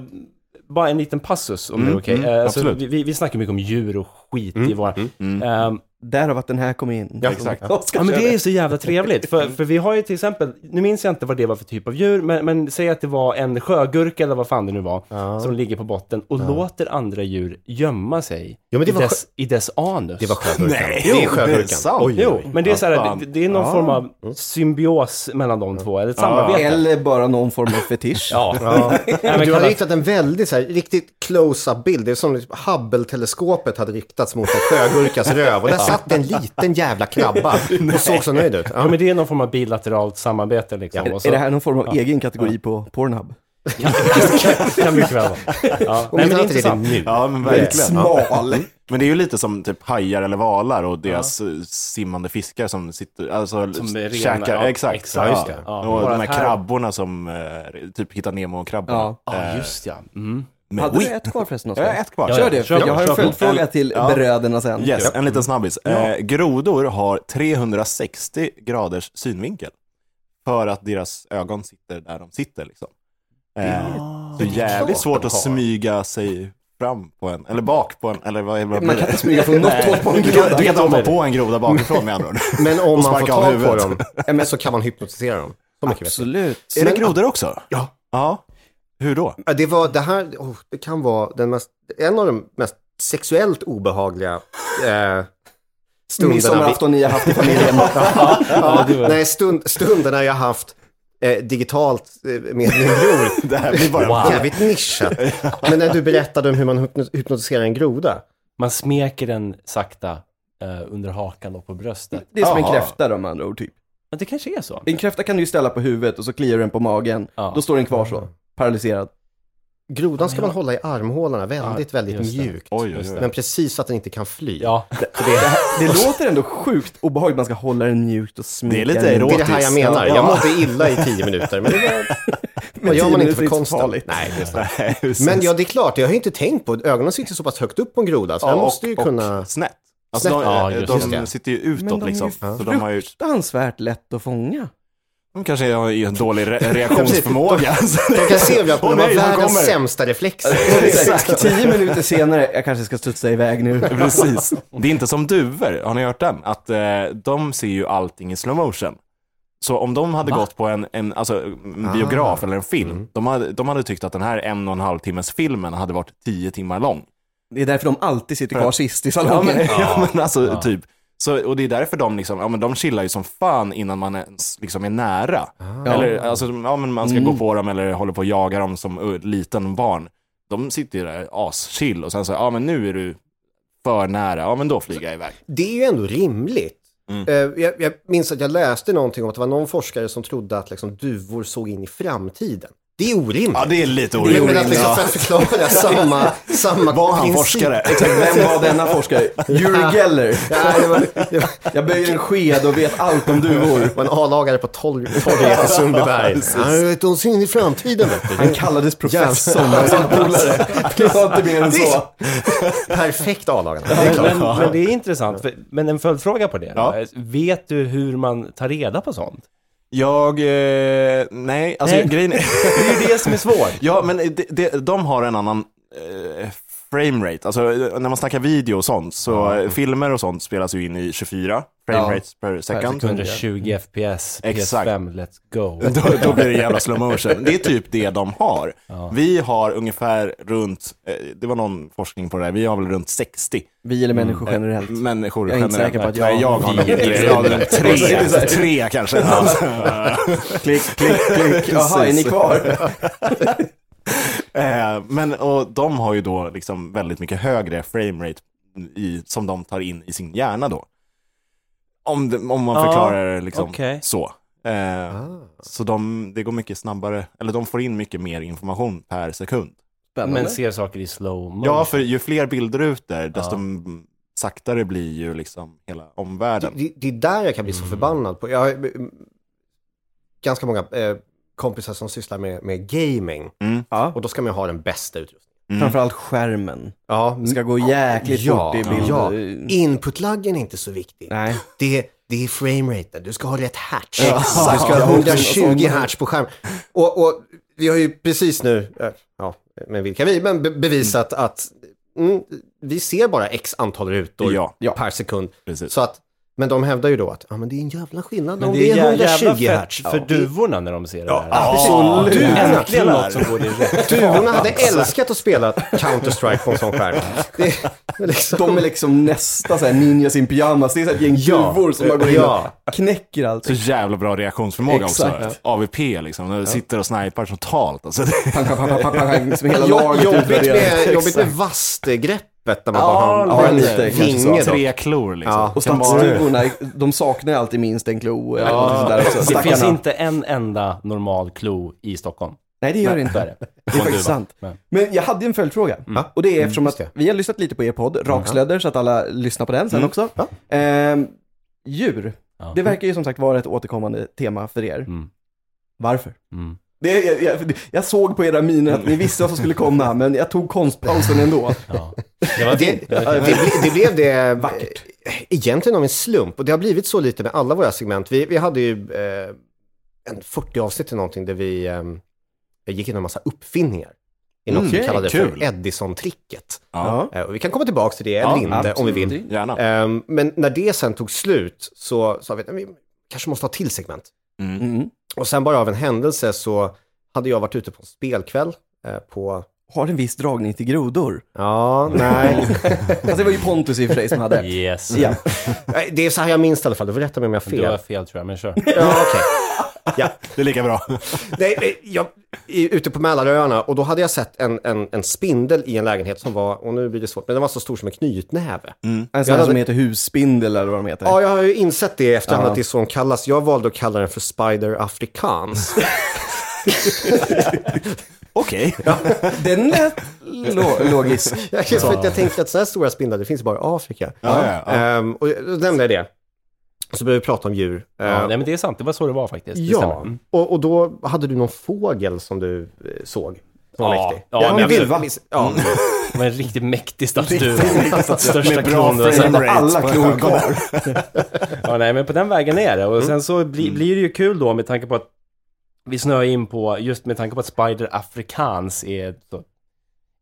Speaker 4: bara en liten passus om det är okej.
Speaker 1: mm,
Speaker 4: Eh, alltså,
Speaker 1: absolut.
Speaker 4: vi- vi, vi snackar mycket om djur och skit i våra... Ehm,
Speaker 2: Därav att den här kom in.
Speaker 3: Ja, exakt.
Speaker 2: Oskar
Speaker 4: Ja men
Speaker 2: kör
Speaker 4: det är ju så jävla trevligt, för, för vi har ju till exempel, nu minns jag inte vad det var för typ av djur, men, men säg att det var en sjögurka eller vad fan det nu var, som ligger på botten och låter andra djur gömma sig
Speaker 3: Ja, men det
Speaker 4: i,
Speaker 3: var
Speaker 4: dess, i dess anus.
Speaker 3: Det var sjögurkan.
Speaker 1: Nej,
Speaker 3: det är
Speaker 1: det är sant.
Speaker 3: sjögurkan. Oj,
Speaker 4: Jo,
Speaker 3: oj.
Speaker 4: men det är så
Speaker 1: Ja,
Speaker 4: här,
Speaker 1: fan.
Speaker 4: det, det är någon form av symbios mellan de två, eller ett samarbete.
Speaker 2: Eller bara någon form av fetisch.
Speaker 4: Ja.
Speaker 3: Ja.
Speaker 4: Nej, men
Speaker 3: Du har
Speaker 4: kalla-
Speaker 3: riktat en väldigt så här, riktigt close-up bild. Det är som typ Hubble-teleskopet hade riktats mot en sjögurkas röv. Och där satt en liten jävla krabba och såg så nöjd ut.
Speaker 4: Ja,
Speaker 3: Ja,
Speaker 4: men det är någon form av bilateralt samarbete liksom.
Speaker 2: Är,
Speaker 4: och så,
Speaker 2: är det här någon form av egen kategori på Pornhub?
Speaker 4: kan mycket väl vara. Ja.
Speaker 3: om
Speaker 4: Nej, men
Speaker 3: inte
Speaker 4: det är
Speaker 3: annat är det
Speaker 4: intressant.
Speaker 3: nu.
Speaker 1: Ja, men
Speaker 2: Väldigt
Speaker 1: verkligen.
Speaker 2: smal.
Speaker 1: Men det är ju lite som typ hajar eller valar och deras eh, simmande fiskar som sitter, alltså
Speaker 4: Som är rena,
Speaker 1: käkar.
Speaker 4: ja,
Speaker 1: exakt.
Speaker 4: exakt, just det. Ja,
Speaker 1: och
Speaker 4: bara
Speaker 1: de här
Speaker 4: här.
Speaker 1: krabborna som, eh, typ hittar Nemo-krabborna.
Speaker 2: Ja.
Speaker 4: Ja, just ja. Mm.
Speaker 1: Men
Speaker 2: Hade
Speaker 1: oj,
Speaker 2: du ett kvar förresten
Speaker 1: Eh, jag har
Speaker 2: Oskar?
Speaker 1: ett kvar.
Speaker 4: Ja,
Speaker 2: Kör det, för
Speaker 4: Kör på,
Speaker 2: jag har
Speaker 4: kör
Speaker 2: en
Speaker 4: på.
Speaker 2: följdfråga till bröderna sen.
Speaker 1: Yes, en liten snabbis. Eh, grodor har 360 graders synvinkel. För att deras ögon sitter där de sitter. Liksom. Eh, så jävligt svårt att smyga sig fram på en, eller bak på en, eller vad, vad
Speaker 2: Man
Speaker 1: blir
Speaker 2: kan
Speaker 1: det?
Speaker 2: inte smyga från något håll på en
Speaker 1: Du kan,
Speaker 2: groda.
Speaker 1: du kan inte hoppa på en groda bakifrån med andra ord.
Speaker 3: Men om man
Speaker 1: sparka av
Speaker 3: får tag på
Speaker 1: huvudet.
Speaker 3: dem så kan man hypnotisera dem. Så mycket vet jag.
Speaker 2: Absolut.
Speaker 1: Är det
Speaker 3: Men-
Speaker 1: grodor också? Ja. Ja. Hur då?
Speaker 3: Ja, Det, var, det här oh, det kan vara den mest, en av de mest sexuellt obehagliga eh, stunderna. vi-
Speaker 2: Midsommarafton ni har haft i familjen.
Speaker 3: Ja,
Speaker 4: det var-
Speaker 3: nej, stund, stunderna jag haft eh, digitalt eh, med min bror.
Speaker 1: Det här blir bara...
Speaker 3: Jävligt nischat. Men när du berättade om hur man hypno- hypnotiserar en groda.
Speaker 4: Man smeker den sakta eh, under hakan och på bröstet.
Speaker 2: Det är som en
Speaker 1: Jaha.
Speaker 2: kräfta då med andra ord typ.
Speaker 4: Men det kanske är så.
Speaker 2: En kräfta kan du ju ställa på huvudet och så kliar du den på magen.
Speaker 4: Ja.
Speaker 2: Då står den kvar så, paralyserad.
Speaker 3: Grodan ska man hålla i armhålorna väldigt, väldigt
Speaker 4: just det.
Speaker 3: mjukt.
Speaker 1: Oj, oj, oj.
Speaker 3: Men precis så att den inte kan fly.
Speaker 4: Ja,
Speaker 2: Det låter ändå sjukt obehagligt, man ska hålla den mjukt och smeka
Speaker 1: Det är lite
Speaker 2: den.
Speaker 3: Det
Speaker 1: erotiskt.
Speaker 3: är det här jag menar. Jag mådde illa i tio minuter. Men det var, vad gör
Speaker 2: tio
Speaker 3: man
Speaker 2: minuter
Speaker 3: inte
Speaker 2: är
Speaker 3: för
Speaker 2: inte så
Speaker 3: konsten?
Speaker 2: farligt.
Speaker 3: Nej, det är sant.
Speaker 1: Nej, precis.
Speaker 3: Men ja, det är klart. Jag har ju inte tänkt på Ögonen sitter så pass högt upp på en groda. Så
Speaker 1: Ja,
Speaker 3: den
Speaker 1: och,
Speaker 3: måste ju kunna...
Speaker 1: och snett. Alltså,
Speaker 3: Snett.
Speaker 1: De,
Speaker 4: Ja, just
Speaker 1: de
Speaker 3: det.
Speaker 1: sitter ju
Speaker 2: Men
Speaker 1: utåt
Speaker 2: de är
Speaker 1: liksom.
Speaker 2: ju
Speaker 1: Så de har ju
Speaker 2: Fruktansvärt lätt att fånga.
Speaker 1: De kanske har en dålig re- reaktionsförmåga.
Speaker 3: Jag kan se om jag
Speaker 1: Åh,
Speaker 3: kommer
Speaker 1: nej,
Speaker 3: vara
Speaker 1: han
Speaker 3: världens
Speaker 1: kommer.
Speaker 3: sämsta reflexer.
Speaker 2: Exakt. Tio minuter senare, jag kanske ska studsa iväg nu.
Speaker 1: Precis. Det är inte som duvor, har ni hört den? Att eh, de ser ju allting i slow motion. Så om de hade gått på en, en, alltså, en
Speaker 3: Ah.
Speaker 1: biograf eller en film,
Speaker 3: Mm.
Speaker 1: de, hade, de hade tyckt att den här en och en halv timmes filmen hade varit tio timmar lång.
Speaker 2: Det är därför de alltid sitter kvar sist i
Speaker 1: Ja, men,
Speaker 2: salongen.
Speaker 1: ja, men alltså typ. Så, och det är därför de liksom, ja men de chillar ju som fan innan man ens liksom är nära. Eller alltså, ja men man ska gå på dem eller håller på att jaga dem som uh, liten barn. De sitter ju där aschill och sen så, ja men nu är du för nära, ja men då flyger jag iväg.
Speaker 3: Det är ju ändå rimligt. Eh, Jag, jag minns att jag läste någonting om att det var någon forskare som trodde att liksom, duvor såg in i framtiden. Det är orimligt.
Speaker 1: Ja, det är lite
Speaker 3: men, men
Speaker 1: orimligt.
Speaker 3: att liksom för att förklara samma, samma
Speaker 1: Var han
Speaker 3: princip.
Speaker 1: forskare?
Speaker 2: Vem var denna forskare? Yuri Geller.
Speaker 3: Ja, det var, det var,
Speaker 2: Jag böjer en sked och vet allt om duvor.
Speaker 3: det var en A-lagare på torg- torget i Sundbyberg. Han vet oss in i framtiden. vet du.
Speaker 2: Han kallades professorn av sin polare. Det var inte mer än så.
Speaker 3: Perfekt A-lagare. Det är
Speaker 4: Men,
Speaker 3: klart.
Speaker 4: men, men det är intressant. För, men en följdfråga på det.
Speaker 1: Ja.
Speaker 4: då. Vet du hur man tar reda på sånt?
Speaker 1: Jag, eh, nej, alltså
Speaker 4: Nej.
Speaker 1: grejen är...
Speaker 4: Det är ju det som är svårt.
Speaker 1: Ja, men det, det, de har en annan eh, framerate. Alltså eh, när man snackar video och sånt, så eh, filmer och sånt spelas ju in i 24 framerates per second.
Speaker 2: sekund.
Speaker 4: 120 FPS, PS5,
Speaker 1: Exakt.
Speaker 4: let's go.
Speaker 1: Då, då blir det jävla slow motion. Det är typ det de har. Vi har ungefär runt, eh, det var någon forskning på det där, vi har väl runt 60
Speaker 2: Vi eller människor generellt.
Speaker 1: människor
Speaker 2: Jag är inte
Speaker 1: generellt.
Speaker 2: säker på att
Speaker 1: Nej, jag
Speaker 2: jag-
Speaker 1: har nog jag har runt tre, tre kanske. klick, klick, klick.
Speaker 2: Jaha, är ni kvar?
Speaker 1: Eh, men och de har ju då liksom väldigt mycket högre framerate i, som de tar in i sin hjärna då. Om, det, om man
Speaker 4: Ja,
Speaker 1: förklarar det liksom
Speaker 4: okej.
Speaker 1: så. Eh, Så de, det går mycket snabbare, eller de får in mycket mer information per sekund.
Speaker 4: Men ser saker i slow motion.
Speaker 1: Ja, för ju fler bildrutor, desto m- saktare blir ju liksom hela omvärlden.
Speaker 3: Det, det är där jag kan bli så förbannad på. Jag har mm, ganska många eh, kompisar som sysslar med, med gaming.
Speaker 1: Mm.
Speaker 2: Ja.
Speaker 3: Och då ska man ju ha den bästa utrustningen.
Speaker 2: Framförallt skärmen.
Speaker 3: Ja,
Speaker 2: Det ska gå jäkligt
Speaker 3: Ja,
Speaker 2: fort i bild.
Speaker 3: ja.
Speaker 2: Eh,
Speaker 3: Inputlaggen är inte så viktig.
Speaker 2: Nej.
Speaker 3: Det, det är frameraten, du ska ha rätt hertz.
Speaker 2: Ja,
Speaker 3: Du ska
Speaker 2: ja,
Speaker 3: ha 120
Speaker 2: sådana.
Speaker 3: hertz på skärm. Och, och vi har ju precis nu, eh, ja, men vilka vi, men be- bevisat att mm, vi ser bara x antal rutor
Speaker 1: Ja.
Speaker 2: Ja.
Speaker 3: per sekund.
Speaker 1: Precis.
Speaker 3: Så att, men de hävdar ju då att ja, men det är en jävla skillnad
Speaker 4: Men
Speaker 3: om
Speaker 4: det är jä- jävla
Speaker 3: 120
Speaker 4: fett
Speaker 3: hertz.
Speaker 4: för duvorna när de ser det här.
Speaker 3: Absolut.
Speaker 4: Det är
Speaker 3: Duvorna.
Speaker 4: Äntligen något som går i rätt.
Speaker 3: Duvorna hade
Speaker 2: Alltså.
Speaker 3: älskat att spela Counter-Strike på en sån skärm. Det är liksom...
Speaker 2: De är liksom nästa så här ninjas in pyjamas. Det är så här ett gäng
Speaker 3: Ja.
Speaker 2: duvor som bara går in
Speaker 3: Ja.
Speaker 2: och knäcker allt.
Speaker 1: Så jävla bra reaktionsförmåga också.
Speaker 2: Exakt.
Speaker 1: AVP liksom, när du sitter och snipar totalt. Alltså, det,
Speaker 2: Pang, pang, pang, pang, pang, pang, som hela
Speaker 3: Jo-
Speaker 2: laget
Speaker 3: jobbigt,
Speaker 2: utvärderar.
Speaker 3: med, jobbigt med
Speaker 2: Exakt.
Speaker 3: vastgreppet när man
Speaker 1: Ja,
Speaker 3: bara har
Speaker 2: ja,
Speaker 3: en
Speaker 2: lite kanske Alltså,
Speaker 3: vinge. då.
Speaker 1: tre klor liksom.
Speaker 3: Ja.
Speaker 2: Och
Speaker 1: Kan vara-
Speaker 2: stadsduvorna, de saknar ju alltid minst en klo. eller något sånt där också.
Speaker 4: Det finns
Speaker 2: Stackarna.
Speaker 4: inte en enda normal klo i Stockholm.
Speaker 2: Nej, det gör det inte. Det är faktiskt sant.
Speaker 4: Nej.
Speaker 2: Men jag hade en följdfråga. Och Mm. det Mm. är eftersom att vi har lyssnat lite på er podd, Rakslödder, så att alla lyssnar på den sen också. Ehm, djur.
Speaker 4: Ja.
Speaker 2: Det verkar ju som sagt vara ett återkommande tema för er.
Speaker 4: Mm.
Speaker 2: Varför?
Speaker 4: Mm.
Speaker 2: Det, jag, jag, jag såg på era miner att ni visste vad som skulle komma, men jag tog konstpausen ändå.
Speaker 4: Ja. Det var
Speaker 3: Det,
Speaker 4: fint. Det var
Speaker 3: det,
Speaker 4: fint.
Speaker 3: ble- det blev det
Speaker 2: Vackert.
Speaker 3: eh, egentligen av en slump. Och det har blivit så lite med alla våra segment. Vi, vi hade ju eh, en 40 avsnitt till någonting där vi eh, gick igenom en massa uppfinningar. I något
Speaker 2: Okej,
Speaker 3: vi kallade
Speaker 1: Mm, kul.
Speaker 3: för Edison-tricket.
Speaker 1: Ja,
Speaker 3: Eh, och vi kan komma tillbaka till det
Speaker 1: Ja,
Speaker 3: eller inte om vi vill.
Speaker 1: gärna.
Speaker 3: Ehm, men när det sen tog slut så sa vi att vi kanske måste ha till segment.
Speaker 1: Mm.
Speaker 2: Mm.
Speaker 3: Och sen bara av en händelse så hade jag varit ute på en spelkväll eh, på...
Speaker 2: Har en viss dragning till grodor.
Speaker 3: Ja, nej.
Speaker 2: Fast det var ju Pontus i och för sig som hade.
Speaker 4: Yes.
Speaker 2: Ja.
Speaker 3: Nej, Eh, det är så här jag minns det i alla fall. Du får rätta mig om jag har
Speaker 4: Det var
Speaker 3: fel.
Speaker 4: fel tror jag, men kör.
Speaker 3: Ja, okej.
Speaker 1: Det är lika bra.
Speaker 3: Nej, nej, jag är ute på Mälaröarna och då hade jag sett en, en, en spindel i en lägenhet som var, och nu blir det svårt, men den var så stor som en knytnäve.
Speaker 4: Mm.
Speaker 2: En sån här som heter husspindel eller vad de heter.
Speaker 3: Ja, jag har ju insett det i efterhand
Speaker 2: Ja.
Speaker 3: att det är så de kallas. Jag valde att kalla den för Spider Afrikans.
Speaker 1: Okej.
Speaker 2: Den lät lo- logisk.
Speaker 3: jag, för att jag tänkte att sådana här stora spindlar, det finns bara i Afrika.
Speaker 1: Ja, ja, ja.
Speaker 3: Ehm, och då nämnde jag det. Och så började vi prata om djur.
Speaker 4: Ja,
Speaker 3: Ehm,
Speaker 4: nej, men det är sant, det var så det var faktiskt. Det
Speaker 3: Ja,
Speaker 4: stämmer. Mm.
Speaker 3: och, och då hade du någon fågel som du eh, såg. Som var
Speaker 4: Ja,
Speaker 3: mäktig.
Speaker 4: ja, Mm. men
Speaker 3: men
Speaker 4: absolut.
Speaker 3: vilva. Ja.
Speaker 4: Det var en riktigt mäktig staty. Största
Speaker 1: Med bra
Speaker 4: klon. du har sett.
Speaker 1: framerate.
Speaker 2: alla klor kvar.
Speaker 4: Ja, nej, men på den vägen är det. Och sen så bli, blir det ju kul då med tanke på att vi snöar in på, just med tanke på att Spider Afrikans är så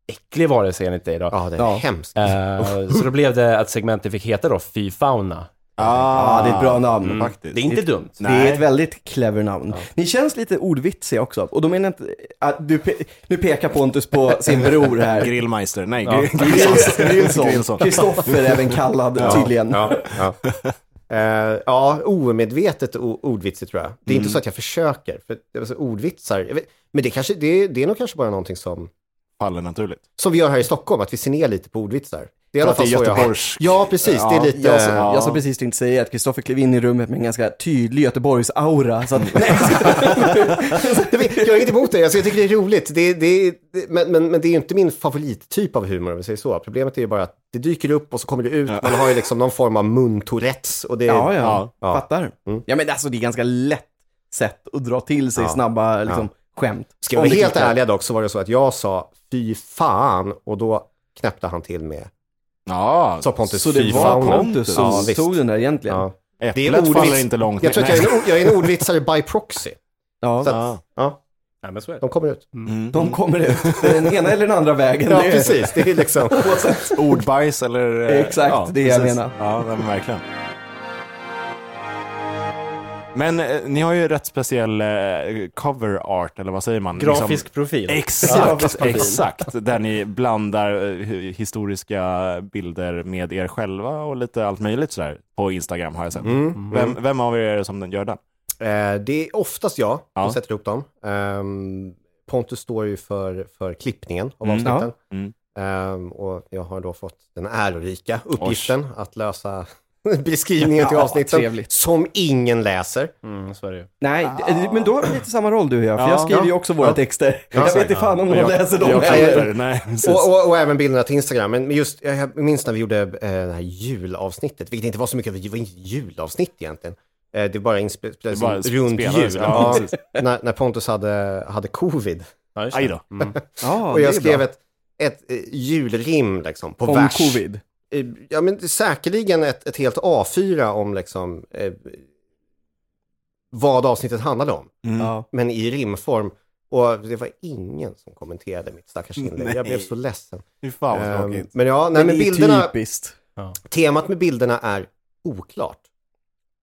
Speaker 4: äcklig varelse enligt dig då.
Speaker 3: ja, det är
Speaker 2: Ja.
Speaker 3: hemskt.
Speaker 4: Eh, så då blev det att segmentet fick heta då Fy Fauna.
Speaker 2: Ja, Ah, det är ett
Speaker 3: Ah.
Speaker 2: bra namn.
Speaker 1: Mm. Faktiskt.
Speaker 4: Det är inte dumt.
Speaker 2: Det
Speaker 1: Nej.
Speaker 2: är ett väldigt clever namn. Ni känns lite ordvitsiga också. Och då menar jag inte att du pe- nu pekar Pontus på sin bror här.
Speaker 1: Grillmeister, nej,
Speaker 4: Ja.
Speaker 1: gr- Grillson.
Speaker 2: Grillson.
Speaker 1: Grillson.
Speaker 2: Kristoffer även kallad tydligen.
Speaker 3: Ja, ja. Eh, ja omedvetet o- ordvitsigt tror jag. Det är inte så att jag försöker. För, alltså, ordvitsar, jag vet, men det, kanske, det, det är nog kanske bara någonting som,
Speaker 1: Faller naturligt.
Speaker 3: som vi gör här i Stockholm, att vi ser ner lite på ordvitsar. Det är i alla fall
Speaker 1: det är
Speaker 3: så jag har.
Speaker 1: Göteborgs-
Speaker 3: Ja, precis. Det är
Speaker 1: Ja,
Speaker 3: lite...
Speaker 2: Jag, sa,
Speaker 3: ja.
Speaker 2: jag sa precis tänkte säga att Kristoffer klev in i rummet med en ganska tydlig Göteborgs-aura. Så att, nej,
Speaker 3: Jag vet- jag har inget emot det, alltså, jag tycker det är roligt. Det, det, det, men, men, men det är ju inte min favorittyp av humor om vi säger så. Problemet är ju bara att det dyker upp och så kommer det ut. Man har ju liksom någon form av muntourette. Och det,
Speaker 2: ja, ja,
Speaker 3: ja. Mm.
Speaker 2: fattar. Ja, men alltså det är ganska lätt sätt att dra till sig snabba liksom, skämt.
Speaker 3: Ska vi
Speaker 2: Om
Speaker 3: vara
Speaker 2: det
Speaker 3: helt
Speaker 2: klickar.
Speaker 3: ärliga dock så var det så att jag sa fy fan och då knäppte han till med,
Speaker 1: Ja,
Speaker 3: sa Pontus,
Speaker 2: Så det
Speaker 3: fy
Speaker 2: var
Speaker 3: fan.
Speaker 2: Pontus som
Speaker 3: Ja, visst.
Speaker 2: tog den där egentligen.
Speaker 3: Ja.
Speaker 2: Ja.
Speaker 3: Det är
Speaker 1: äpplet
Speaker 3: ordvits.
Speaker 1: faller inte långt
Speaker 3: Jag tror att
Speaker 1: ner.
Speaker 3: jag är, en, jag är en ordvitsare by proxy. Så att,
Speaker 1: Ja.
Speaker 3: ja,
Speaker 4: Nej, men så är det.
Speaker 3: de kommer ut.
Speaker 2: De kommer ut den ena eller den andra vägen.
Speaker 3: Mm. Ja,
Speaker 2: Det är-
Speaker 3: precis. Det är liksom...
Speaker 2: Oavsett.
Speaker 1: Ordbajs eller... eh,
Speaker 2: Exakt, det jag
Speaker 1: precis.
Speaker 2: menar.
Speaker 1: Ja, nej, men verkligen. Men eh, ni har ju rätt speciell eh, cover art, eller vad säger man?
Speaker 4: Grafisk
Speaker 1: Liksom-
Speaker 4: profil.
Speaker 1: Exakt,
Speaker 4: profil.
Speaker 1: exakt. Där ni blandar eh, hu- historiska bilder med er själva och lite allt möjligt sådär på Instagram har jag sett.
Speaker 2: Mm.
Speaker 1: Vem, vem av er är det som den gör den?
Speaker 3: Eh, det är oftast jag som
Speaker 1: Ja.
Speaker 3: sätter ihop dem. Ehm, Pontus står ju för, för klippningen av
Speaker 1: Mm.
Speaker 3: avsnitten.
Speaker 1: Ja. Mm.
Speaker 3: Ehm, och jag har då fått den ärorika uppgiften att lösa beskrivningen till avsnitten
Speaker 2: trevligt.
Speaker 3: som ingen läser.
Speaker 4: Mm, så är det ju.
Speaker 2: Nej, d- men då har vi lite samma roll du och jag, för jag skriver ju också våra texter. jag vet
Speaker 3: exakt.
Speaker 2: inte fan om någon läser dem.
Speaker 1: jag
Speaker 2: heller.
Speaker 1: klipper. Nej, precis.
Speaker 3: Och, och, och även bilderna till Instagram. Men men just, jag- jag minns när vi gjorde eh, det här julavsnittet, vilket inte var så mycket, det var inget julavsnitt egentligen. Eh, det bara inspelades
Speaker 1: bara
Speaker 3: runt
Speaker 1: spelades,
Speaker 3: jul.
Speaker 1: ja,
Speaker 3: Ja, när, när Pontus hade, hade covid.
Speaker 4: Ja, just det.
Speaker 1: Aj då.
Speaker 2: Ja,
Speaker 3: Och
Speaker 2: det är
Speaker 3: jag skrev
Speaker 2: bra.
Speaker 3: ett, ett eh, julrim liksom, på
Speaker 2: om
Speaker 3: vers.
Speaker 2: covid.
Speaker 3: Eh, Ja, men det är säkerligen ett, ett helt A4 om liksom, eh, vad avsnittet handlade om,
Speaker 2: Ja.
Speaker 3: men i rimform. Och det var ingen som kommenterade mitt stackars inlägg. Jag blev så ledsen.
Speaker 1: Fy fan vad
Speaker 2: Ehm,
Speaker 3: Eh,
Speaker 1: tråkigt.
Speaker 3: men ja, nej, men
Speaker 2: Det är
Speaker 3: bilderna,
Speaker 2: typiskt.
Speaker 3: temat med bilderna är oklart.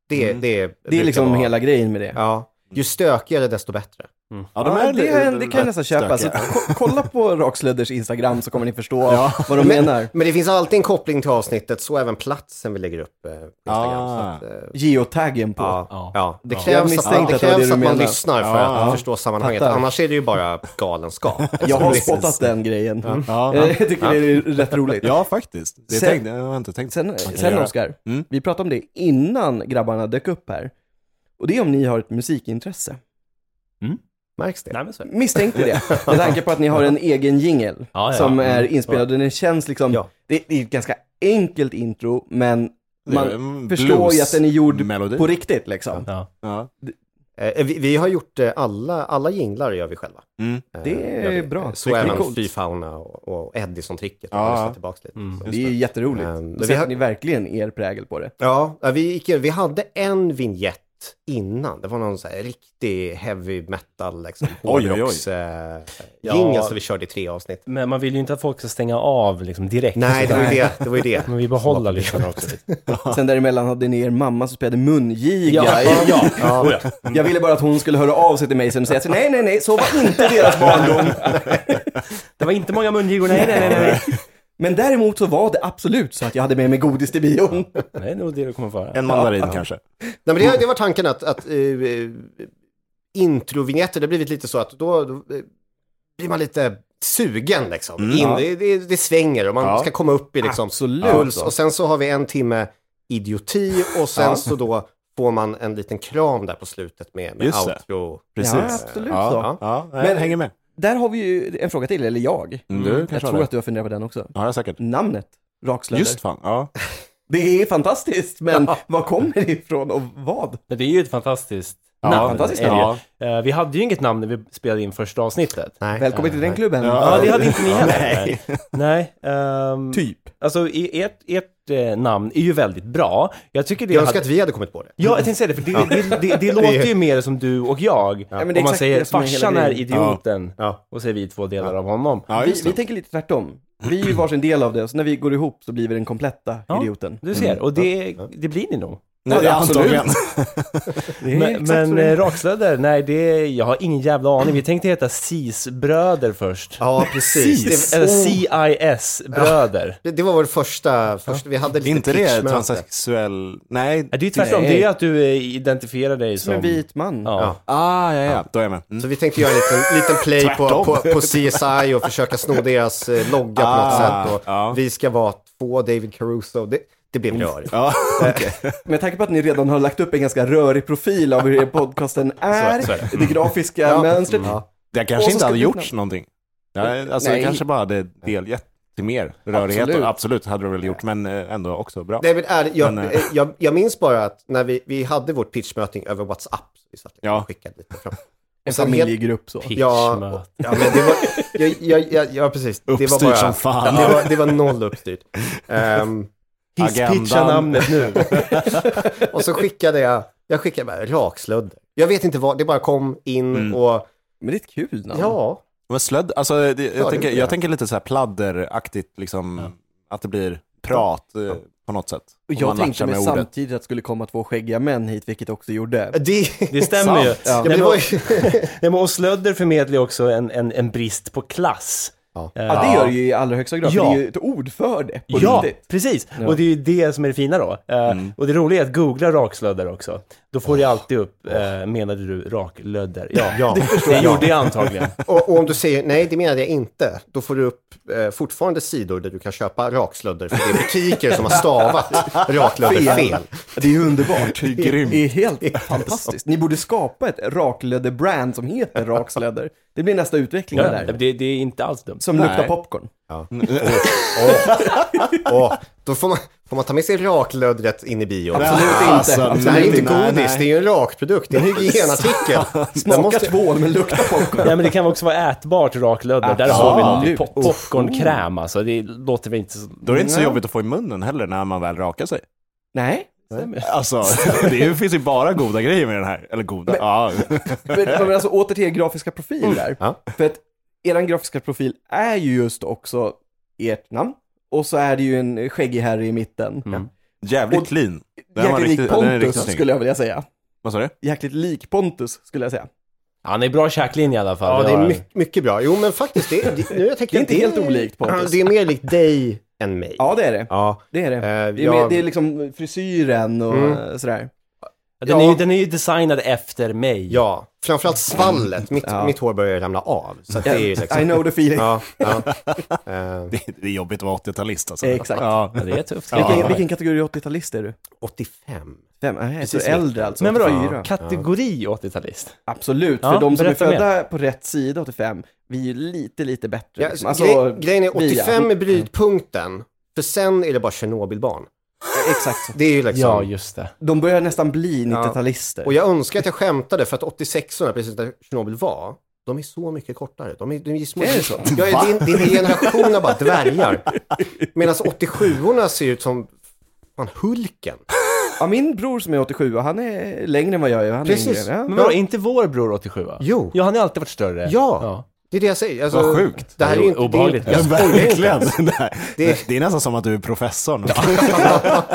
Speaker 3: Det,
Speaker 1: Mm.
Speaker 3: det,
Speaker 2: Det är
Speaker 3: brukar
Speaker 2: liksom
Speaker 3: vara-
Speaker 2: hela grejen med det.
Speaker 3: Ja, ju stökigare desto bättre.
Speaker 1: Ja, de
Speaker 2: Ja,
Speaker 1: är
Speaker 2: det,
Speaker 1: lite-
Speaker 2: är- det kan jag nästan köpa. Så
Speaker 1: stökiga.
Speaker 2: ko- kolla på Rocksledders Instagram så kommer ni förstå vad de menar.
Speaker 3: Men det finns alltid en koppling till avsnittet, så även platsen vi lägger upp eh, på Instagram.
Speaker 1: Ah.
Speaker 3: Så att, eh,
Speaker 2: Geotaggen på.
Speaker 3: Ja, ja. Det
Speaker 2: Jag
Speaker 3: krävs att
Speaker 2: misstänkte
Speaker 3: man, det
Speaker 2: att det var det
Speaker 3: krävs
Speaker 2: du
Speaker 3: att man
Speaker 2: menade.
Speaker 3: lyssnar för
Speaker 1: Ja,
Speaker 3: att
Speaker 1: ja.
Speaker 3: förstå sammanhanget.
Speaker 2: Fattar.
Speaker 3: Annars är det ju bara galenskap.
Speaker 2: Jag har
Speaker 3: Precis.
Speaker 2: spottat den grejen.
Speaker 1: Ja.
Speaker 2: Eh, Jag tycker det är rätt roligt.
Speaker 1: Ja, faktiskt. Det
Speaker 2: Sen-
Speaker 1: tänkte, jag har inte tänkt.
Speaker 2: Sen,
Speaker 1: kan
Speaker 2: sen
Speaker 1: göra.
Speaker 2: Oskar,
Speaker 1: Mm.
Speaker 2: vi pratade om det innan grabbarna dök upp här. Och det är om ni har ett musikintresse.
Speaker 3: Märks det?
Speaker 4: Nej, men så är det.
Speaker 2: Misstänkte det, med tanke på att ni har en egen jingel
Speaker 4: Ja, ja,
Speaker 2: som
Speaker 4: ja.
Speaker 2: är
Speaker 4: Mm.
Speaker 2: inspelad. Och den känns liksom,
Speaker 3: Ja.
Speaker 2: det, det är ett ganska enkelt intro, men
Speaker 1: Det är
Speaker 2: man
Speaker 1: en
Speaker 2: förstår ju att den är gjord
Speaker 1: bluesmelodi.
Speaker 2: på riktigt liksom.
Speaker 4: Ja.
Speaker 1: Ja.
Speaker 3: Eh, Vi, vi har gjort eh, alla, alla jinglar gör vi själva.
Speaker 1: Mm.
Speaker 3: Eh,
Speaker 2: Det är
Speaker 3: gör vi.
Speaker 2: bra.
Speaker 3: Så
Speaker 2: Det är
Speaker 3: även
Speaker 2: coolt.
Speaker 3: Fy Fauna och, och Edison-tricket.
Speaker 1: Ja.
Speaker 3: Ja. Tillbaka lite.
Speaker 4: Mm.
Speaker 3: Så.
Speaker 2: Det är ju jätteroligt.
Speaker 3: Ehm,
Speaker 2: Då
Speaker 3: vi
Speaker 2: sätter
Speaker 3: har-
Speaker 2: ni verkligen er prägel på det.
Speaker 3: Ja, eh, vi, gick, in- vi hade en vignett innan. Det var någon så här riktig heavy metal, liksom,
Speaker 1: Oj, oj, oj.
Speaker 3: hårdrocks eh,
Speaker 4: Ja.
Speaker 3: jingel som vi körde i tre avsnitt.
Speaker 4: Men man vill ju inte att folk ska stänga av liksom, direkt.
Speaker 3: Nej, det var ju det. det, var ju det.
Speaker 4: Men vi liksom. behåller lyssnarna också.
Speaker 2: Sen däremellan hade ni er mamma som spelade mungiga.
Speaker 4: ja.
Speaker 2: Jag ville bara att hon skulle höra av sig till mig sen och säga så, nej, nej, nej, så var inte deras barndom.
Speaker 4: Det var inte många mungigor, nej, nej, nej. nej.
Speaker 2: Men däremot så var det absolut så att jag hade med mig godis till bion.
Speaker 4: Det är nog det du kommer få höra.
Speaker 1: En mandarin kanske.
Speaker 3: Nej, men det, det var tanken att, att eh, eh, introvinjetter, det har blivit lite så att då, då eh, blir man lite sugen liksom. In,
Speaker 1: Mm. ja.
Speaker 3: det, det, det svänger och man
Speaker 1: Ja.
Speaker 3: ska komma upp i liksom,
Speaker 2: Absolut.
Speaker 3: puls. Och sen så har vi en timme idioti och sen
Speaker 1: Ja.
Speaker 3: så då får man en liten kram där på slutet med, med
Speaker 1: Just det.
Speaker 3: outro.
Speaker 1: Precis.
Speaker 2: Ja, absolut
Speaker 1: ja,
Speaker 2: så.
Speaker 1: Ja, ja,
Speaker 2: Men-
Speaker 1: jag hänger med.
Speaker 2: Där har vi ju en fråga till, eller jag.
Speaker 1: Mm, du kanske
Speaker 2: jag
Speaker 1: har
Speaker 2: tror
Speaker 1: det.
Speaker 2: att du har funderat på den också.
Speaker 1: Ja, jag säkert.
Speaker 2: Namnet, Rakslöder.
Speaker 1: Just fan, ja.
Speaker 2: Det är fantastiskt, men var kommer det ifrån och vad?
Speaker 4: Men det är ju ett fantastiskt
Speaker 1: Ja,
Speaker 4: namn.
Speaker 2: fantastiskt
Speaker 4: är det ju.
Speaker 1: namn.
Speaker 4: Eh, Vi hade ju inget namn när vi spelade in första avsnittet.
Speaker 3: Nej.
Speaker 2: Välkommen till den klubben.
Speaker 4: Ja, det hade inte ni heller. Nej. Nej. ehm,
Speaker 2: Typ.
Speaker 4: Alltså, i- ert, ert eh, namn är ju väldigt bra. Jag tycker det
Speaker 3: Jag önskar
Speaker 4: hade-
Speaker 3: att vi hade kommit på det.
Speaker 4: Ja, jag tänkte säga det, för det, det, det, det låter ju mer som du och jag.
Speaker 2: men det är
Speaker 4: Om man
Speaker 2: exakt
Speaker 4: säger
Speaker 2: det som är hela
Speaker 4: farsan är
Speaker 2: grejen."
Speaker 4: idioten,
Speaker 3: Ja.
Speaker 4: och så är vi två delar av honom.
Speaker 1: Ja,
Speaker 2: vi,
Speaker 1: just
Speaker 2: vi
Speaker 1: det.
Speaker 2: tänker lite tvärtom. Vi är ju varsin del av det, och så när vi går ihop så blir vi den kompletta
Speaker 4: Ja.
Speaker 2: idioten.
Speaker 4: Du ser, och det, det blir ni nog.
Speaker 1: Nej,
Speaker 2: Ja, absolut.
Speaker 1: antagligen.
Speaker 2: Det är
Speaker 4: Men,
Speaker 2: exakt så
Speaker 4: men
Speaker 2: det är.
Speaker 4: eh, rakslöder, nej det, jag har ingen jävla aning. Vi tänkte heta CIS-bröder först.
Speaker 3: Ja, precis.
Speaker 4: Eller
Speaker 3: Det,
Speaker 4: CIS-bröder.
Speaker 3: det, det var vår första, första vi hade
Speaker 1: Är
Speaker 3: lite
Speaker 1: inte det
Speaker 3: pitchmöte.
Speaker 1: transsexuell? Nej.
Speaker 4: Nej, Det är ju tvärtom,
Speaker 2: Nej.
Speaker 4: det är ju att du eh, identifierar dig som...
Speaker 2: Som en vit man.
Speaker 4: Ja.
Speaker 1: Ah, ja, ja. Då är jag med. Mm.
Speaker 3: Så vi tänkte göra en liten, liten play
Speaker 1: Tvärtom.
Speaker 3: på, på, på CSI och försöka sno deras eh, logga på något
Speaker 1: Ah,
Speaker 3: sätt. Och
Speaker 1: ja. Mm.
Speaker 3: Vi ska vara två David Caruso. Det, det blev rörigt.
Speaker 1: Ja,
Speaker 2: Med tanke på att ni redan har lagt upp en ganska rörig profil av hur podcasten är,
Speaker 1: så är det.
Speaker 2: det. Mm. grafiska mönstret.
Speaker 3: Ja.
Speaker 1: det
Speaker 2: Och
Speaker 1: kanske
Speaker 2: så
Speaker 1: inte hade
Speaker 2: ska vi
Speaker 1: gjorts
Speaker 2: knappt-
Speaker 1: någonting. Ja, alltså
Speaker 2: Nej.
Speaker 1: det kanske bara hade delgett till mer rörighet.
Speaker 2: Absolut.
Speaker 1: Absolut, absolut hade det väl gjort, men eh, ändå också bra.
Speaker 3: Nej, men är, jag,
Speaker 1: Men, eh.
Speaker 3: jag, jag minns bara att när vi, vi hade vårt pitchmöting över WhatsApp, vi satt liksom
Speaker 1: Ja.
Speaker 3: och skickade lite fram.
Speaker 2: En
Speaker 3: sen
Speaker 2: familjegrupp så.
Speaker 3: Ja,
Speaker 4: Pitchmöte.
Speaker 3: ja, men det var, jag, jag, jag, ja, precis. det var
Speaker 1: Uppstyrt
Speaker 3: bara,
Speaker 1: som fan.
Speaker 3: Det var, det var noll uppstyrt. Ehm,
Speaker 4: Hisspitcha namnet nu.
Speaker 3: och så skickade jag, jag skickade bara rakslödd. Jag vet inte vad, det bara kom in
Speaker 1: Mm.
Speaker 3: och
Speaker 2: Men det är ett kul namn.
Speaker 3: ja,
Speaker 1: Men slödd, alltså det, jag,
Speaker 3: det
Speaker 1: tänker,
Speaker 3: blir det.
Speaker 1: jag tänker lite så här pladderaktigt, liksom, att det blir prat eh, på något sätt.
Speaker 2: Och
Speaker 1: Om
Speaker 2: jag
Speaker 1: man
Speaker 2: tänkte
Speaker 1: latchar
Speaker 2: mig
Speaker 1: med ordet.
Speaker 2: samtidigt att det skulle komma två skäggiga män hit, vilket det också gjorde.
Speaker 3: det...
Speaker 4: Det stämmer ju.
Speaker 1: Sant.
Speaker 2: Ja.
Speaker 3: Ja, men det var ju...
Speaker 4: Nej, men och Slödder förmedlar ju också en, en, en brist på klass.
Speaker 3: Ja.
Speaker 4: Eh,
Speaker 2: Ja, det gör det ju i allra högsta grad, för
Speaker 4: Ja.
Speaker 2: det är ju ett ord för det på
Speaker 4: Ja,
Speaker 2: riktigt.
Speaker 4: precis. Och det är ju det som är det fina då. Eh, Och det roliga är att googla raklödder också. Då får du alltid upp, eh, menade du raklödder? Ja, det, gjorde jag antagligen.
Speaker 3: och, och om du säger nej, det menade jag inte, då får du upp eh, fortfarande sidor där du kan köpa rakslödder, för det är butiker som har stavat raklödder fel.
Speaker 2: Det är ju
Speaker 1: är
Speaker 2: underbart.
Speaker 1: grymt.
Speaker 2: Det är helt fantastiskt. Ni borde skapa ett raklödder-brand som heter raksledder. Det blir nästa utveckling
Speaker 4: Ja,
Speaker 2: där.
Speaker 4: det, det är inte alls dumt.
Speaker 2: Som
Speaker 1: Nej.
Speaker 2: luktar popcorn.
Speaker 3: Åh, då får man, får man ta med sig raklödret in i bio.
Speaker 2: Absolut inte. Absolut
Speaker 3: Det här är inte
Speaker 1: Alltså, nej, nej.
Speaker 3: godis, det är ju en rakprodukt, det är en hygienartikel.
Speaker 2: Smaka tvål men lukta popcorn.
Speaker 4: Ja, men det kan också vara ätbart raklödder. Där
Speaker 1: Absolut.
Speaker 4: har vi någonting. Pop- popcornkräm alltså. Det låter väl inte så...
Speaker 1: Då är det inte så jobbigt att få i munnen heller när man väl rakar sig.
Speaker 2: Nej,
Speaker 1: Alltså, det är- finns ju bara goda grejer med den här. Eller goda, ja.
Speaker 2: men, men alltså åter till er grafiska profil
Speaker 1: Mm.
Speaker 2: där.
Speaker 3: Ja.
Speaker 2: För att er grafiska profil är ju just också ert namn. Och så är det ju en skäggig herre i mitten.
Speaker 1: Jävligt
Speaker 2: Och-
Speaker 1: clean. Mm. Den var
Speaker 2: Jäkligt lik
Speaker 1: riktigt, den är riktigt
Speaker 2: Pontus
Speaker 1: snygg.
Speaker 2: skulle jag vilja säga.
Speaker 1: Vad sa du?
Speaker 2: Jäkligt lik Pontus skulle jag säga.
Speaker 4: Han är bra käklinje i alla fall.
Speaker 3: Ja,
Speaker 4: Vi
Speaker 3: det
Speaker 4: har
Speaker 3: är
Speaker 4: en-
Speaker 3: mycket, mycket bra. Jo, men faktiskt, det, det, nu jag tänker
Speaker 2: Det är inte
Speaker 3: att
Speaker 2: helt olikt Pontus.
Speaker 3: Det är mer likt dig än mig.
Speaker 2: Ja det är det.
Speaker 3: Ja.
Speaker 2: Det är det.
Speaker 3: Eh,
Speaker 2: Det är, med,
Speaker 3: jag-
Speaker 2: det är liksom frisyren och
Speaker 3: Mm.
Speaker 2: sådär.
Speaker 4: Den, är
Speaker 3: Ja.
Speaker 4: ju, den är ju designad efter mig.
Speaker 3: Ja, framförallt svallet. Mitt,
Speaker 2: Ja.
Speaker 3: mitt hår börjar ramla av. Så att det är ju liksom...
Speaker 2: I know the feeling.
Speaker 3: Ja, ja. Eh,
Speaker 1: Det, det är jobbigt att vara 80-talist alltså.
Speaker 2: Exakt.
Speaker 1: Ja.
Speaker 4: Ja, det är tufft.
Speaker 2: Vilken, vilken kategori 80-talist är du?
Speaker 3: 85.
Speaker 2: Fem? Nej, så
Speaker 3: Precis.
Speaker 2: äldre alltså.
Speaker 4: Men vadå,
Speaker 2: 84.
Speaker 4: kategori 80-talist?
Speaker 2: Absolut, för
Speaker 4: Ja,
Speaker 2: de som är
Speaker 4: berätta mer.
Speaker 2: födda på rätt sida 85, vi är ju lite, lite bättre.
Speaker 3: Ja,
Speaker 2: liksom.
Speaker 3: alltså, gre- grejen är 85 är brytpunkten. För sen är det bara Tjernobylbarn.
Speaker 2: Exakt så.
Speaker 3: Det är ju liksom...
Speaker 4: Ja, just det.
Speaker 2: De börjar nästan bli
Speaker 3: Ja.
Speaker 2: 90-talister.
Speaker 3: Och jag önskar att jag skämtade för att 86 orna precis där Tjernobyl var, de är så mycket kortare. De är, de är små.
Speaker 2: Är det så?
Speaker 3: Jag är, din, din generation av bara dvärgar. Medan 87 orna ser ut som fan, Hulken.
Speaker 2: Ja, min bror som är 87, han är längre än vad jag är. Han
Speaker 3: Precis.
Speaker 2: Är yngre.
Speaker 4: Men
Speaker 2: ja.
Speaker 4: vadå, är inte vår bror 87 va?
Speaker 3: Jo.
Speaker 4: Ja, han har alltid varit större.
Speaker 3: Ja. Det är det jag säger. Alltså,
Speaker 1: Vad sjukt.
Speaker 3: Det här är
Speaker 4: Jo,
Speaker 3: ju inte...
Speaker 4: obehagligt.
Speaker 3: Det är, jag skojar inte.
Speaker 1: Verkligen. Nej.
Speaker 3: Det-
Speaker 1: Det är nästan som att du är professorn.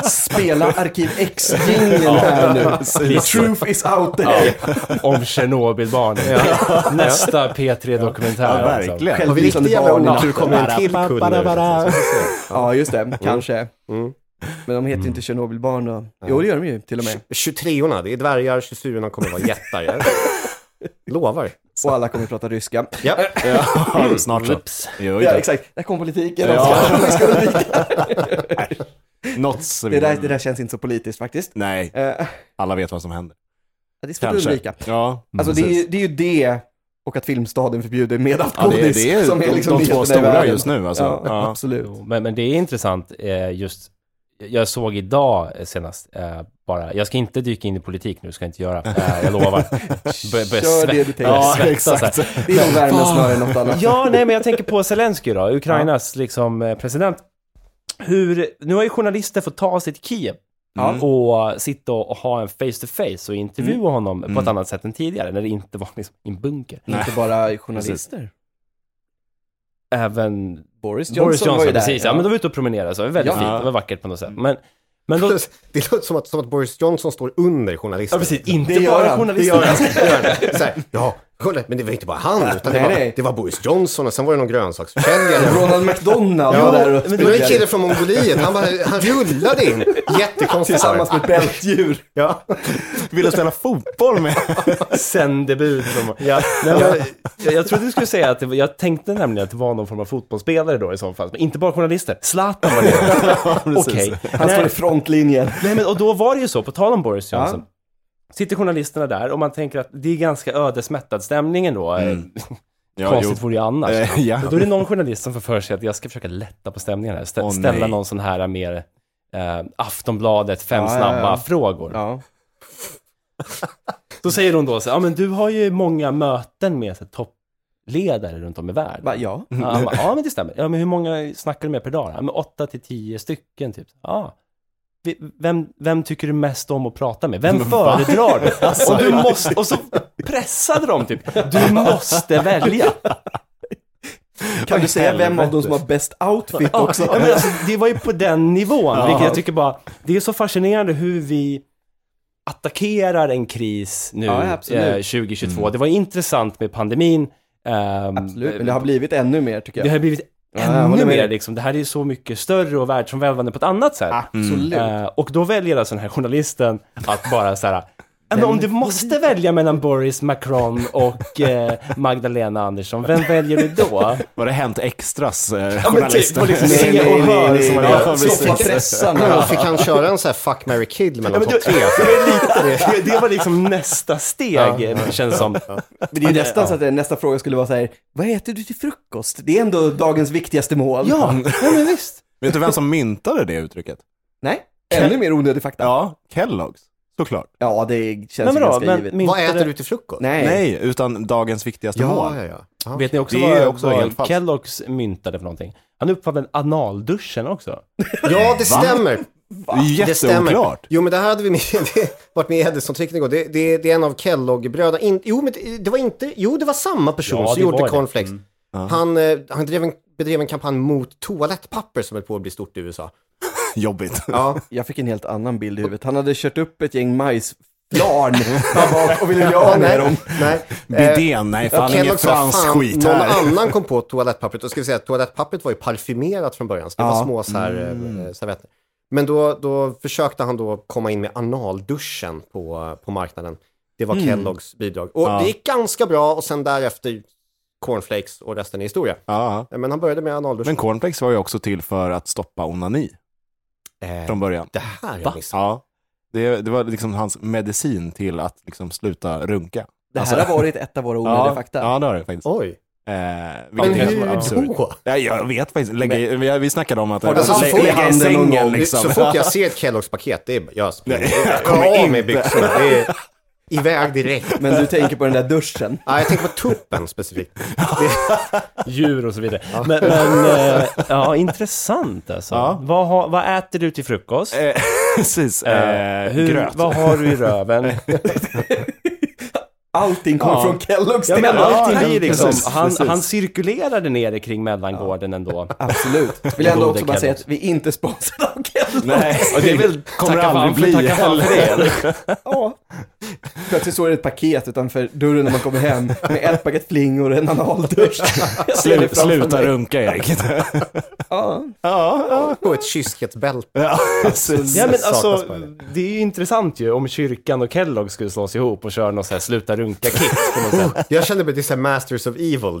Speaker 2: Spela Arkiv X-jingeln här nu. The truth is out there.
Speaker 4: Om Tjernobylbarnen. Nästa P3-dokumentär.
Speaker 1: Ja,
Speaker 4: alltså.
Speaker 1: verkligen.
Speaker 3: Vad vi
Speaker 2: Självlysande
Speaker 3: riktiga
Speaker 2: barn.
Speaker 3: jävla
Speaker 2: Ja.
Speaker 3: naturkommer en till kund nu.
Speaker 2: ja, just
Speaker 1: Mm.
Speaker 2: det. Kanske. Men de heter ju inte Tjernobylbarn och... Jo, det gör de ju till och med.
Speaker 3: 23 orna det är dvärgar, 24 orna kommer vara jättar. Jag lovar.
Speaker 2: Och alla kommer att prata ryska.
Speaker 3: Ja.
Speaker 1: Ja, Snart så. Jo,
Speaker 2: Ja,
Speaker 1: ja,
Speaker 2: exakt. Där kom politiken.
Speaker 1: Ja.
Speaker 2: Vi ska undvika.
Speaker 1: Något så
Speaker 2: Det där, det där känns inte så politiskt faktiskt.
Speaker 1: Nej,
Speaker 2: Eh, ja,
Speaker 1: alla vet vad som händer.
Speaker 2: det är svårt att
Speaker 1: Kanske. Mm,
Speaker 2: undvika.
Speaker 1: Ja,
Speaker 2: Alltså det är, ju- det är ju det och att Filmstaden förbjuder
Speaker 1: Ja, det är,
Speaker 2: medalkoholism
Speaker 1: det är
Speaker 2: som är liksom
Speaker 1: de, de två
Speaker 2: nyheterna i
Speaker 1: stora
Speaker 2: världen.
Speaker 1: just nu. Alltså.
Speaker 2: Ja,
Speaker 1: Ja.
Speaker 2: absolut.
Speaker 4: Jo, Men, men det är intressant eh, just, jag såg idag eh, senast, eh, bara, jag ska inte dyka in i politik nu, ska jag inte göra, eh, jag lovar. Bör, börja
Speaker 2: Kör det
Speaker 4: svett-
Speaker 2: du tänker.
Speaker 4: börja
Speaker 1: Ja,
Speaker 4: svettas här.
Speaker 1: exakt.
Speaker 2: Det är nog värmen snarare än något annat.
Speaker 4: Ja, nej, men jag tänker på Zelensky då, Ukrainas liksom, eh, president. Hur, nu har ju journalister fått ta sig till Kiev
Speaker 1: Mm.
Speaker 4: och sitta och ha en face to face och intervjua honom
Speaker 1: Mm.
Speaker 4: på ett annat sätt än tidigare, när det inte var liksom i en bunker.
Speaker 2: Inte bara journalister.
Speaker 4: Även
Speaker 2: Boris Johnson,
Speaker 4: Boris Johnson,
Speaker 2: var ju där.
Speaker 4: precis. Ja, men de var ute och promenerade, så det var väldigt
Speaker 2: Ja.
Speaker 4: fint, det var vackert på något sätt. Men, men då,
Speaker 3: Det låter som att, som att Boris Johnson står under journalister.
Speaker 4: Ja, precis. Inte
Speaker 2: Det gör
Speaker 4: bara
Speaker 2: han,
Speaker 4: journalister.
Speaker 3: Så här, ja, Kolla, Men det var inte bara han,
Speaker 2: Nej,
Speaker 3: utan det, var,
Speaker 2: nej.
Speaker 3: det var Boris Johnson och sen var det någon grönsaksförsäljare.
Speaker 2: Ronald McDonald
Speaker 3: Ja,
Speaker 2: var där och
Speaker 3: men det var en kille
Speaker 2: sprillade
Speaker 3: från Mongoliet, han, bara, han rullade in. Jättekonstigt.
Speaker 2: tillsammans med ett bältdjur.
Speaker 3: Ja.
Speaker 1: Vill du spela fotboll med?
Speaker 4: Sändebud. Som... Ja. Nej, men, jag, jag trodde du skulle säga att det var, jag tänkte nämligen att det var någon form av fotbollsspelare då i så fall. Men inte bara journalister. Zlatan var det. Okej.
Speaker 2: Han står
Speaker 4: Nej.
Speaker 2: i frontlinjen.
Speaker 4: Nej, men och då var det ju så, på tal om Boris Johnson. Sitter journalisterna där och man tänker att det är ganska ödesmättad stämning ändå.
Speaker 2: Mm.
Speaker 4: Konstigt vore ju annars.
Speaker 1: Eh, ja.
Speaker 4: Då är det någon journalist som får för sig att jag ska försöka lätta på stämningen här. Stä-
Speaker 1: Åh,
Speaker 4: ställa
Speaker 1: nej.
Speaker 4: någon sån här mer eh, Aftonbladet, fem
Speaker 2: Ja, ja,
Speaker 4: snabba
Speaker 2: ja.
Speaker 4: frågor.
Speaker 2: Ja.
Speaker 4: Då säger hon då så här, ja men du har ju många möten med så här, toppledare runt om i världen.
Speaker 2: Va, ja.
Speaker 4: Ja, han bara, ja men det stämmer. Ja men hur många snackar du med per dag? då?" Ja men åtta till tio stycken typ. Ja. Vi- Vem, vem tycker du mest om att prata med? Vem föredrar du?
Speaker 2: Alltså,
Speaker 4: och, du måste, och så pressade de typ. Du måste välja.
Speaker 2: Kan du säga vem av dem som har bäst outfit också?
Speaker 4: Ja, men alltså, det var ju på den nivån, vilket jag tycker bara, det är så fascinerande hur vi attackerar en kris nu
Speaker 2: Ja, absolut. Mm.
Speaker 4: eh, 2022. Det var intressant med pandemin. ehm,
Speaker 2: Absolut, men det har blivit ännu mer tycker
Speaker 4: det
Speaker 2: jag.
Speaker 4: har blivit
Speaker 2: jag håller
Speaker 4: ännu
Speaker 2: med
Speaker 4: mer
Speaker 2: dig.
Speaker 4: liksom. Det här är ju så mycket större och världsomvälvande på ett annat sätt.
Speaker 2: Absolut.
Speaker 4: Eh, och då väljer alltså den här journalisten att bara så här, "Ja, men om du måste välja mellan Boris Macron och eh, Magdalena Andersson, vem väljer du då?
Speaker 1: Var det Hänt Extras eh,
Speaker 4: men typ,
Speaker 1: journalister?
Speaker 4: och liksom
Speaker 2: Nej,
Speaker 4: se
Speaker 2: nej,
Speaker 4: och
Speaker 2: nej,
Speaker 4: hör
Speaker 2: nej,
Speaker 4: som man
Speaker 2: nej.
Speaker 4: gör.
Speaker 1: precis.
Speaker 2: Stoppa pressarna.
Speaker 3: Men Fick han köra en sån här fuck, marry, kill mellan
Speaker 4: Ja, men
Speaker 3: de
Speaker 4: du-
Speaker 3: tre?
Speaker 4: det, var lite, det var liksom nästa steg, eh, känns som.
Speaker 2: Men det är ju nästan så att eh, nästa fråga skulle vara så här, vad äter du till frukost? Det är ändå dagens viktigaste mål.
Speaker 4: Ja, ja men visst.
Speaker 1: Vet du vem som myntade det uttrycket?
Speaker 2: Nej, ännu mer onödig fakta. Ja,
Speaker 1: Ja, Kellogg's. Såklart.
Speaker 2: det
Speaker 4: Nej,
Speaker 2: känns ju
Speaker 4: men då,
Speaker 2: ganska
Speaker 4: men
Speaker 2: givet.
Speaker 4: myntade-
Speaker 3: Vad äter du till frukost?
Speaker 2: Nej.
Speaker 1: Nej, utan dagens viktigaste
Speaker 3: Ja,
Speaker 1: mål.
Speaker 3: ja, ja. ja.
Speaker 4: Vet ni också
Speaker 1: Det är
Speaker 4: vad,
Speaker 1: också helt
Speaker 4: vad
Speaker 1: falskt.
Speaker 4: Kelloggs myntade för någonting? Han uppfann analduschen också.
Speaker 3: ja det stämmer.
Speaker 1: Det är
Speaker 3: Det stämmer.
Speaker 1: jätteoklart.
Speaker 3: Jo, men det här hade vi med, det, varit med i Hedison-teckning igår. Det, det, det är en av Kellogg-bröderna. In- Jo, men det, det var inte... Jo, det var samma person
Speaker 4: Ja, det
Speaker 3: som gjorde
Speaker 4: var det. Mm.
Speaker 3: cornflakes. Han, eh, han drev en, bedrev en kampanj mot toalettpapper som höll på att bli stort i USA.
Speaker 1: Jobbigt.
Speaker 3: Ja.
Speaker 2: Jag fick en helt annan bild i huvudet. Han hade kört upp ett gäng majsflarn där bak och ville bli av med dem.
Speaker 3: Nej.
Speaker 1: Bidén, nej
Speaker 3: Eh, Ja,
Speaker 1: fan inget
Speaker 3: Kellogg sa,
Speaker 1: fransk
Speaker 3: "Fan,
Speaker 1: skit
Speaker 3: någon
Speaker 1: här.
Speaker 3: annan kom på toalettpappret. Då ska vi säga att toalettpappret var ju parfymerat från början. Så det
Speaker 2: Ja.
Speaker 3: var små så här, eh,
Speaker 1: Mm.
Speaker 3: servetter. Men då, då försökte han då komma in med analduschen på, på marknaden. Det
Speaker 1: Mm.
Speaker 3: var Kelloggs bidrag. Och det gick ganska bra och sen därefter cornflakes och resten är historia. Eh,
Speaker 1: Ja.
Speaker 3: Men han började med analduschen.
Speaker 1: Men cornflakes var ju också till för att stoppa onani
Speaker 3: eh,
Speaker 1: från början.
Speaker 3: det här har jag
Speaker 4: Va?
Speaker 3: missat.
Speaker 1: Ja. Det, det var liksom hans medicin till att liksom sluta runka.
Speaker 2: Det här
Speaker 4: Alltså-
Speaker 2: har varit ett av våra onödiga
Speaker 1: Ja,
Speaker 2: fakta.
Speaker 1: ja, det har det faktiskt.
Speaker 3: Oj.
Speaker 1: Eh, vilket
Speaker 3: Men
Speaker 1: är helt
Speaker 3: hur
Speaker 1: absurt.
Speaker 3: då?
Speaker 1: Nej, jag vet faktiskt Lägga, i- vi- Vi snackade om att
Speaker 2: Har du
Speaker 1: alltså,
Speaker 3: fått
Speaker 1: lä- lägga i
Speaker 2: handen någon
Speaker 1: sängen
Speaker 2: gång?
Speaker 1: liksom.
Speaker 3: Så fort jag ser ett Kelloggs-paket, det är jag springer.
Speaker 1: Nej, jag
Speaker 3: Jag
Speaker 1: kommer
Speaker 3: kommer av
Speaker 1: inte.
Speaker 3: med byxorna. Det är iväg direkt.
Speaker 2: Men du tänker på den där duschen.
Speaker 3: Ja, jag tänker på tuppen specifikt.
Speaker 4: Djur och så vidare. Men, men eh, ja, intressant alltså.
Speaker 1: Ja.
Speaker 4: Vad, har, vad äter du till frukost?
Speaker 1: Eh, Precis, eh,
Speaker 4: Eh, hur,
Speaker 1: gröt.
Speaker 4: vad har du i röven?
Speaker 2: Allting kom
Speaker 4: Ja.
Speaker 2: från Kelloggs.
Speaker 4: Ja,
Speaker 2: det
Speaker 4: men
Speaker 2: är allting.
Speaker 4: allting blir liksom,
Speaker 1: precis,
Speaker 4: han,
Speaker 1: precis.
Speaker 4: han cirkulerade nere kring mellangården ändå.
Speaker 2: Absolut. Vill jag ändå
Speaker 4: Gode
Speaker 2: också bara säga
Speaker 4: Kelloggs.
Speaker 2: att vi är inte sponsrade av Kelloggs.
Speaker 1: Nej,
Speaker 4: det är väl-
Speaker 1: kommer
Speaker 4: tacka
Speaker 1: aldrig
Speaker 4: fan för-
Speaker 1: bli
Speaker 4: tacka fan för det,
Speaker 1: heller.
Speaker 2: Ja. Plötsligt står det ett paket utanför dörren när man kommer hem med ett paket flingor och en analdusch. Jag
Speaker 1: Slut,
Speaker 2: ser det framför
Speaker 1: sluta
Speaker 2: mig.
Speaker 1: runka Erik.
Speaker 2: Ja.
Speaker 3: Och ett kyskhetsbälte.
Speaker 1: Ja, precis.
Speaker 4: Ja men
Speaker 3: Saknas
Speaker 4: alltså,
Speaker 3: bara det.
Speaker 4: det är ju intressant ju om kyrkan och Kellogg skulle slås ihop och köra något så här sluta runka-kit på något sätt.
Speaker 3: Jag kände mig till så här Masters of Evil